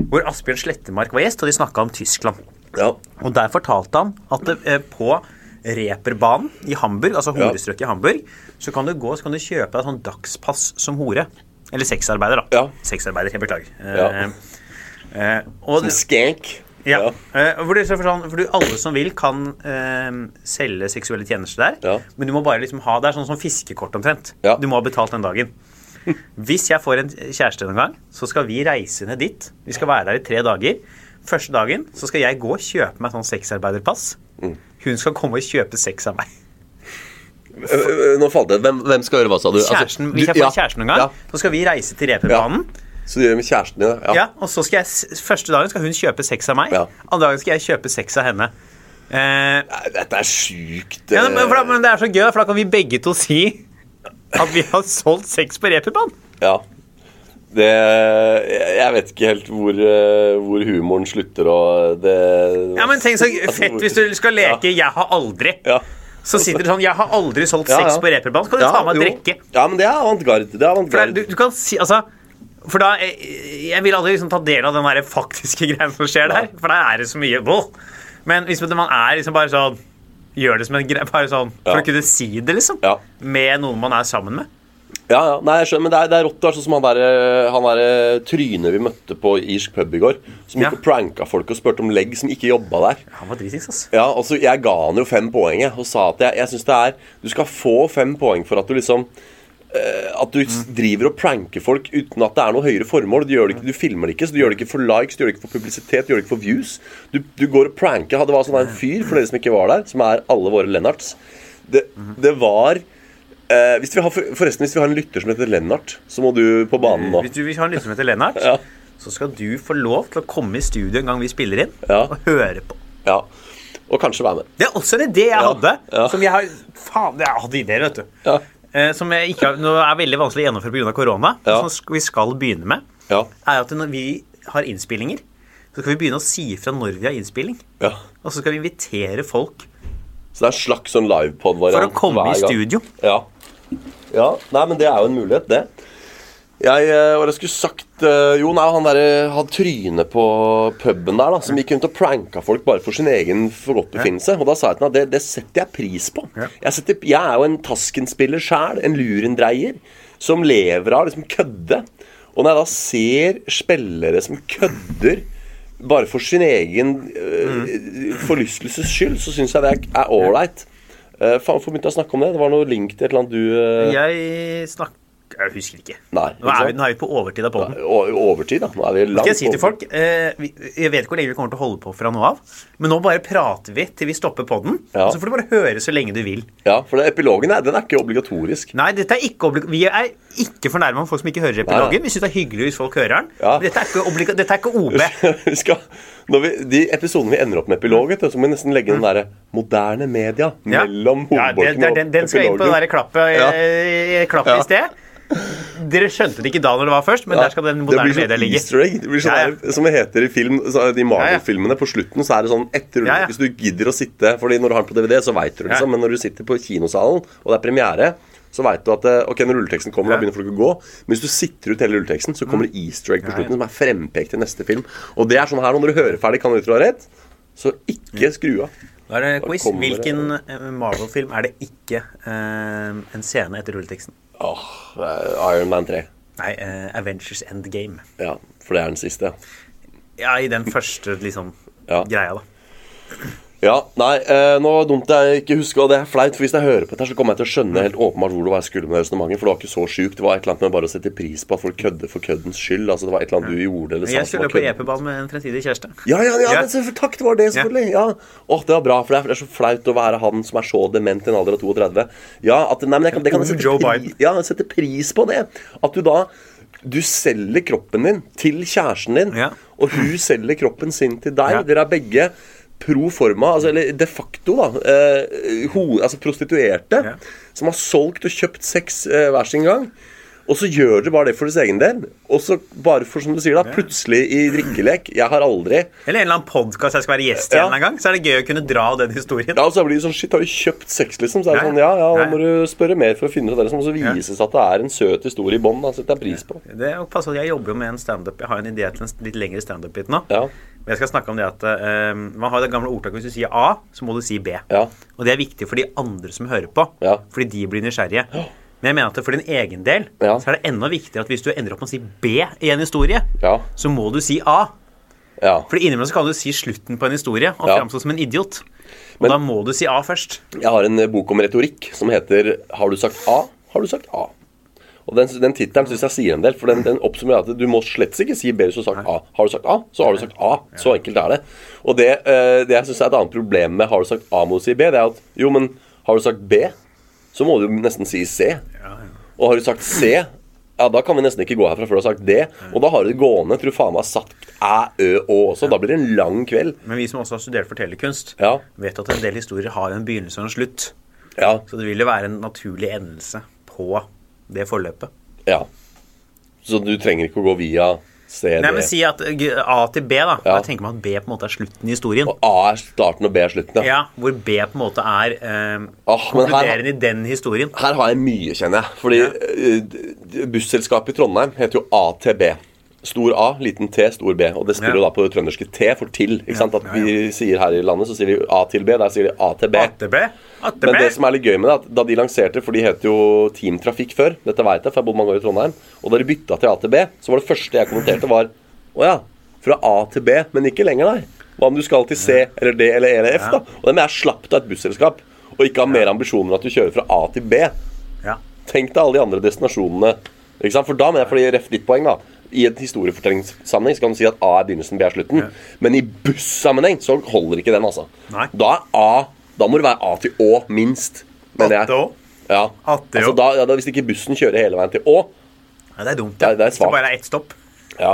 Speaker 1: Hvor Asbjørn Slettemark var gjest, og de snakka om Tyskland.
Speaker 2: ja.
Speaker 1: Og der fortalte han at det, eh, på reperbanen i Hamburg, altså horestrøket i Hamburg, så kan du gå så kan du kjøpe deg sånn dagspass som hore. Eller sexarbeider, da.
Speaker 2: Ja.
Speaker 1: Sexarbeider, jeg beklager. Eh,
Speaker 2: Ja.
Speaker 1: eh, og,
Speaker 2: Skank.
Speaker 1: ja. Eh, hvor det er sånn, for du, alle som vil, kan eh, selge seksuelle tjenester der.
Speaker 2: Ja.
Speaker 1: Men du må bare liksom ha Det er sånn som fiskekort omtrent.
Speaker 2: Ja.
Speaker 1: Du må ha betalt den
Speaker 2: [laughs]
Speaker 1: dagen. Hvis jeg får en kjæreste noen gang, så skal vi reise ned dit. Vi skal være der i tre dager. Første dagen så skal jeg gå og kjøpe meg sånn sexarbeiderpass.
Speaker 2: Mm.
Speaker 1: Hun skal komme og kjøpe sex av meg.
Speaker 2: Ø, ø, Eh, Nå falt det. Hvem, hvem skal gjøre hva, sa du? Altså,
Speaker 1: Kjæresten,
Speaker 2: du-
Speaker 1: hvis jeg får
Speaker 2: ja,
Speaker 1: en kjæreste noen gang,
Speaker 2: Ja.
Speaker 1: så skal vi reise til Reperbanen.
Speaker 2: Så du gjør det med kjæresten din? Ja.
Speaker 1: Ja, og så skal jeg, s- Første dagen skal hun kjøpe sex av meg.
Speaker 2: Ja.
Speaker 1: Andre dagen skal jeg kjøpe sex av henne. Eh,
Speaker 2: Nei, Dette er sjukt.
Speaker 1: Ja,
Speaker 2: eh.
Speaker 1: men, for da, men det er så gøy, for da kan vi begge to si at vi har solgt sex på reperbanen.
Speaker 2: eh, Ja. Det jeg- Jeg vet ikke helt hvor, eh, hvor humoren slutter og det Altså,
Speaker 1: Ja, men tenk så fett hvis du skal leke 'jeg har aldri'.
Speaker 2: Ja.
Speaker 1: Så sitter det sånn 'jeg har aldri solgt
Speaker 2: Ja, ja.
Speaker 1: sex på reperbanen', så kan du
Speaker 2: Ja,
Speaker 1: ta meg en
Speaker 2: jo.
Speaker 1: drikke.
Speaker 2: Ja, men det er avantgarde. Det
Speaker 1: For
Speaker 2: er
Speaker 1: det er-
Speaker 2: avantgarde.
Speaker 1: du, du kan si, altså for da, eh, Jeg vil aldri liksom ta del av den der faktiske [laughs] greia som skjer der. For der er det så mye vold. Men hvis man er liksom bare sånn Gjør det som en greie bare sånn, for
Speaker 2: Ja.
Speaker 1: å kunne si det, liksom.
Speaker 2: Ja.
Speaker 1: Med noen man er sammen med.
Speaker 2: Ja, ja. Nei, jeg skjønner, men det er, det er rått. Det er sånn som han der, han der trynet vi møtte på irsk pub i går, som
Speaker 1: Ja.
Speaker 2: gikk og pranka folk og spurte om legg, som ikke jobba der.
Speaker 1: Han var dritings, ass.
Speaker 2: Ja, altså, jeg ga han jo fem poeng jeg, og sa at jeg, jeg syns det er Du skal få fem poeng for at du liksom eh, at du
Speaker 1: Mm.
Speaker 2: s- driver og pranker folk uten at det er noe høyere formål. Du, gjør det ikke, du filmer det ikke, så du gjør det ikke for likes, du gjør det ikke for publisitet, du gjør det ikke for views. Du, du går og pranker. Det var sånn en fyr, for dere som ikke var der, som er alle våre Lennarts. Det,
Speaker 1: Mhm.
Speaker 2: det var eh, hvis vi har, for- Forresten, hvis vi har en lytter som heter Lennart, så må du på banen nå.
Speaker 1: Hvis du vil ha en lytter som heter Lennart,
Speaker 2: Ja.
Speaker 1: så skal du få lov til å komme i studio en gang vi spiller inn,
Speaker 2: Ja.
Speaker 1: og høre på.
Speaker 2: Ja. Og kanskje være med.
Speaker 1: Det er også en idé jeg hadde.
Speaker 2: ja.
Speaker 1: Som jeg har Faen, jeg hadde ideer, vet du.
Speaker 2: Ja.
Speaker 1: Eh, som jeg ikke har, nå er veldig vanskelig å gjennomføre pga. korona. men
Speaker 2: Ja.
Speaker 1: Som sk- vi skal begynne med,
Speaker 2: Ja.
Speaker 1: er at når vi har innspillinger, så skal vi begynne å si fra når vi har innspilling.
Speaker 2: ja.
Speaker 1: Og så skal vi invitere folk
Speaker 2: Så det er en slags sånn
Speaker 1: for
Speaker 2: livepod-variant.
Speaker 1: å komme i
Speaker 2: hver gang.
Speaker 1: studio.
Speaker 2: Ja. ja. Nei, men det er jo en mulighet, det. Jeg, eh, hva var det jeg skulle sagt eh, Jo, nei, han derre Han trynet på puben der, da, som gikk rundt og pranka folk bare for sin egen forgodtbefinnelse. Og da sa jeg til ham at det, det setter jeg pris på.
Speaker 1: Ja.
Speaker 2: Jeg, setter, jeg er jo en Tasken-spiller sjæl, en lurendreier, som lever av liksom kødde. Og når jeg da ser spillere som kødder bare for sin egen eh, forlystelses skyld, så syns jeg det er- er ålreit. Uh, faen, hvorfor begynte jeg å snakke om det? Det var noe link til et eller annet du eh,
Speaker 1: Jeg snakk... Jeg husker ikke.
Speaker 2: Nei,
Speaker 1: Nå er
Speaker 2: ikke
Speaker 1: vi, nå er vi på overtid av poden.
Speaker 2: O- Overtid, da. Nå er vi langt
Speaker 1: Skal jeg si til
Speaker 2: over-
Speaker 1: folk eh, vi, Jeg vet ikke hvor lenge vi kommer til å holde på fra nå av, men nå bare prater vi til vi stopper poden.
Speaker 2: Ja.
Speaker 1: Så får du bare høre så lenge du vil.
Speaker 2: Ja, for det, epilogen er, den er ikke obligatorisk.
Speaker 1: Nei, dette er ikke oblig Vi er ikke fornærma med folk som ikke hører
Speaker 2: Nei, nei.
Speaker 1: epilogen. Vi syns det er hyggelig hvis folk hører den.
Speaker 2: Ja.
Speaker 1: Men dette er ikke, obliga dette er ikke
Speaker 2: [laughs]
Speaker 1: OB.
Speaker 2: [laughs] vi skal, når vi, de episodene vi ender opp med epilog, vet du, så må vi nesten legge den derre moderne media
Speaker 1: Mm. Ja.
Speaker 2: mellom
Speaker 1: Ja, det,
Speaker 2: hovedbolken
Speaker 1: det er den, den skal inn på det der klappet,
Speaker 2: Ja.
Speaker 1: eh, klappet
Speaker 2: Ja.
Speaker 1: i sted. Dere skjønte det ikke da når det var først, men der skal den moderne media ligge.
Speaker 2: sånn Easter egg. Det blir sånn
Speaker 1: Ja, ja.
Speaker 2: der, som det heter i film, så, de Marvel-filmene. På slutten så er det sånn etter
Speaker 1: Ja, ja.
Speaker 2: Hvis du gidder å sitte Fordi når du har den på DVD, så veit du,
Speaker 1: Ja.
Speaker 2: liksom. Men når du sitter på kinosalen, og det er premiere, så veit du at eh, Ok, når rulleteksten kommer,
Speaker 1: Ja. Mm.
Speaker 2: da begynner folk å gå. Men hvis du sitter ut hele rulleteksten, så kommer det easter egg på slutten som er frempekt i neste film. Og det er sånn her når dere hører ferdig, kan dere tro det er rett. Så ikke skru av.
Speaker 1: Da er det quiz.
Speaker 2: kommer det-
Speaker 1: Hvilken eh, Marvel-film er det ikke eh, en scene etter rulleteksten?
Speaker 2: Åh, det er Iron Man 3.
Speaker 1: Nei, eh, Avengers Endgame.
Speaker 2: Ja, for det er den siste.
Speaker 1: Ja, i den første liksom
Speaker 2: Ja.
Speaker 1: greia, da.
Speaker 2: Ja, nei, eh, nå dumt jeg ikke husker, og det er flaut, for hvis jeg hører på dette, her, så kommer jeg til å skjønne helt åpenbart hvor det var jeg skulle med det resonnementet, for det var ikke så sjukt. Det var et eller annet med bare å sette pris på at folk kødder for køddens skyld. Altså, det var et eller annet du gjorde eller sa
Speaker 1: Jeg
Speaker 2: som var
Speaker 1: skulle på E
Speaker 2: kødd.
Speaker 1: EP-banen med en fremtidig kjæreste.
Speaker 2: Ja, ja, ja,
Speaker 1: Ja.
Speaker 2: men selvfølgelig, takk, det var det, selvfølgelig. Ja. Åh, det var bra, for det er, det er så flaut å være han som er så dement i en alder av 32. Ja, at, nei, men jeg kan, det kan
Speaker 1: Mm,
Speaker 2: jeg
Speaker 1: Joe
Speaker 2: sette, pri,
Speaker 1: Biden.
Speaker 2: ja, jeg setter pris på det. At du da du selger kroppen din til kjæresten din,
Speaker 1: Ja.
Speaker 2: og hun selger kroppen sin til deg.
Speaker 1: Ja.
Speaker 2: Dere er begge pro forma, altså, eller de facto, da. Eh, ho, altså prostituerte
Speaker 1: Ja.
Speaker 2: som har solgt og kjøpt sex eh, hver sin gang. Og så gjør dere bare det for deres egen del. Og så bare for, som du sier, da, plutselig i drikkelek Jeg har aldri
Speaker 1: Eller en eller annen podkast jeg skal være gjest i en
Speaker 2: Ja.
Speaker 1: eller annen gang. Så er det gøy å kunne dra den historien.
Speaker 2: Ja, og så blir det sånn Shit, har du kjøpt sex, liksom? Så er det
Speaker 1: Ja,
Speaker 2: sånn Ja, ja,
Speaker 1: ja,
Speaker 2: da
Speaker 1: ja.
Speaker 2: må du spørre mer for å finne ut av det. Som også vises at det er en søt historie i bånn. da, Setter jeg pris på.
Speaker 1: Det er jo pass på at Jeg jobber jo med en standup. Jeg har en idé til en litt lengre standup-bit nå.
Speaker 2: Ja.
Speaker 1: Men jeg skal snakke om det at eh, Man har jo det gamle ordtaket hvis du sier A, så må du si B.
Speaker 2: Ja.
Speaker 1: Og det er viktig for de andre som hører på,
Speaker 2: Ja.
Speaker 1: fordi de blir nysgjerrige. Men jeg mener at for din egen del
Speaker 2: Ja.
Speaker 1: så er det enda viktigere at hvis du ender opp med å si B i en historie,
Speaker 2: Ja.
Speaker 1: så må du si A.
Speaker 2: Ja.
Speaker 1: For innimellom så kan du si slutten på en historie og
Speaker 2: Ja.
Speaker 1: framstå som en idiot. Og
Speaker 2: Men-
Speaker 1: da må du si A først.
Speaker 2: Jeg har en eh, bok om retorikk som heter 'Har du sagt A?' Har du sagt A? Og Den, den tittelen syns jeg sier en del, for den, den oppsummerer at du må slett ikke si B hvis du har sagt A. Har du sagt A, så har du sagt A. Så enkelt er det. Og det, eh, det jeg syns er et annet problem med 'har du sagt A, må du si B', det er at jo, men har du sagt B, så må du nesten si C. Og har du sagt C, ja, da kan vi nesten ikke gå herfra før du har sagt D. Og da har du det gående til du faen meg har sagt Æ, Ø, Å også. Da blir det en lang kveld.
Speaker 1: Men vi som også har studert fortellerkunst,
Speaker 2: Ja.
Speaker 1: vet at en del historier har jo en begynnelse og en slutt.
Speaker 2: Ja.
Speaker 1: Så det vil jo være en naturlig endelse på det forløpet.
Speaker 2: Ja. Så du trenger ikke å gå via C, D
Speaker 1: Nei, men Si at eh, A til B, da.
Speaker 2: Ja.
Speaker 1: Da tenker man at B på en måte er slutten i historien.
Speaker 2: Og A er starten og B er slutten, ja.
Speaker 1: Ja, Hvor B på en måte er eh,
Speaker 2: Åh, men her-
Speaker 1: konkluderende i den historien.
Speaker 2: Her har jeg mye, kjenner jeg. Fordi eh, d- d- busselskapet i Trondheim heter jo ATB. Stor A, liten T, stor B. Og det
Speaker 1: Ja.
Speaker 2: spiller jo da på det trønderske T for til. ikke sant? At
Speaker 1: ja, ja.
Speaker 2: vi sier her i landet, så sier vi A til B. Der sier de A til B.
Speaker 1: Atte B. Atte
Speaker 2: Men
Speaker 1: B.
Speaker 2: det som er litt gøy med det, er at da de lanserte, for de het jo Team Trafikk før, dette vet jeg, for jeg bodde mange år i Trondheim, og da de bytta til A til B, så var det første jeg kommenterte, var Å ja, fra A til B, men ikke lenger, nei. Hva om du skal til C eller D eller E eller F, da? Og det mener jeg slapp av et busselskap, og ikke har mer ambisjoner enn at du kjører fra A til B.
Speaker 1: Ja.
Speaker 2: Tenk deg alle de andre destinasjonene. Ikke sant? For da mener jeg, fordi ref ditt poeng, da. I en historiefortellingssammenheng så kan du si at A er begynnelsen, B er slutten. Men i bussammenheng så holder ikke den, altså.
Speaker 1: Nei.
Speaker 2: Da er A Da må det være A til Å, minst. Mener
Speaker 1: Atte
Speaker 2: jeg.
Speaker 1: Å?
Speaker 2: Ja.
Speaker 1: Atte
Speaker 2: altså,
Speaker 1: Å?
Speaker 2: da, ja, da, hvis ikke bussen kjører hele veien til Å
Speaker 1: ja, det er dumt. Ja.
Speaker 2: Det er- det er
Speaker 1: Hvis det
Speaker 2: svakt.
Speaker 1: bare er ett stopp.
Speaker 2: ja.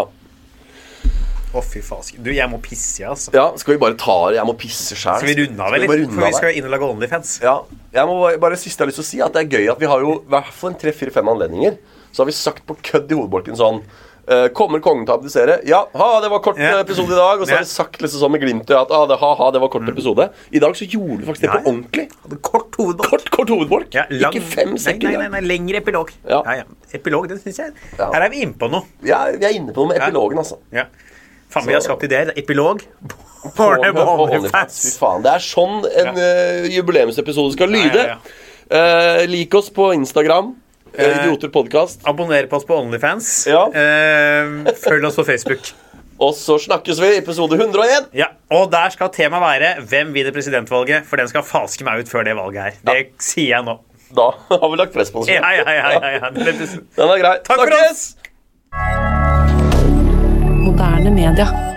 Speaker 1: Å, fy faen. Du, jeg må pisse, jeg, altså.
Speaker 2: ja, skal vi bare ta det? Jeg må pisse sjæl.
Speaker 1: Skal vi runde av, eller? For vi skal jo inn og lage Onlyfans.
Speaker 2: Ja, jeg må bare, bare siste jeg har lyst til å si er at det er gøy at vi har jo i hvert fall en tre-fire-fem anledninger så har vi sagt på kødd i hovedbolken sånn eh, Kommer kongen til å abdisere? Ja, ha, det var kort
Speaker 1: Ja.
Speaker 2: eh, episode i dag. Og så
Speaker 1: Ja.
Speaker 2: har vi sagt liksom sånn med glimt i øyet at ah, det, ha, ha, det var kort episode. I dag så gjorde vi faktisk
Speaker 1: Mm.
Speaker 2: det
Speaker 1: Ja, ja.
Speaker 2: på ordentlig.
Speaker 1: Hadde Kort hovedbånd.
Speaker 2: Kort, kort hovedbolk.
Speaker 1: Ja, lang-
Speaker 2: Ikke fem
Speaker 1: Nei,
Speaker 2: sekunder.
Speaker 1: nei, nei, nei lengre epilog. Ja.
Speaker 2: Ja.
Speaker 1: Ja, Epilog, det syns jeg.
Speaker 2: Ja.
Speaker 1: Her er vi inne på noe.
Speaker 2: Vi, er, vi er inne på noe med epilogen, altså.
Speaker 1: Ja. Faen, vi har skapt ideer. Epilog. [laughs]
Speaker 2: På-
Speaker 1: Porno
Speaker 2: på- på
Speaker 1: Onlyfans.
Speaker 2: OnlyFans. Fy faen. Det er sånn en eh, jubileumsepisode skal lyde.
Speaker 1: ja, ja.
Speaker 2: Eh, lik oss på Instagram. eh, Idioter podcast.
Speaker 1: Abonner på oss på Onlyfans.
Speaker 2: Ja.
Speaker 1: Eh, følg oss på Facebook.
Speaker 2: Og så snakkes vi i episode 101.
Speaker 1: Ja, Og der skal temaet være 'Hvem vinner presidentvalget?' For den skal faske meg ut før det valget her. Det sier jeg nå.
Speaker 2: Da [laughs] har vi lagt press på oss.
Speaker 1: Ja, ja, ja, ja, ja. Det-
Speaker 2: Den er grei.
Speaker 1: Takk for oss!
Speaker 3: Moderne media.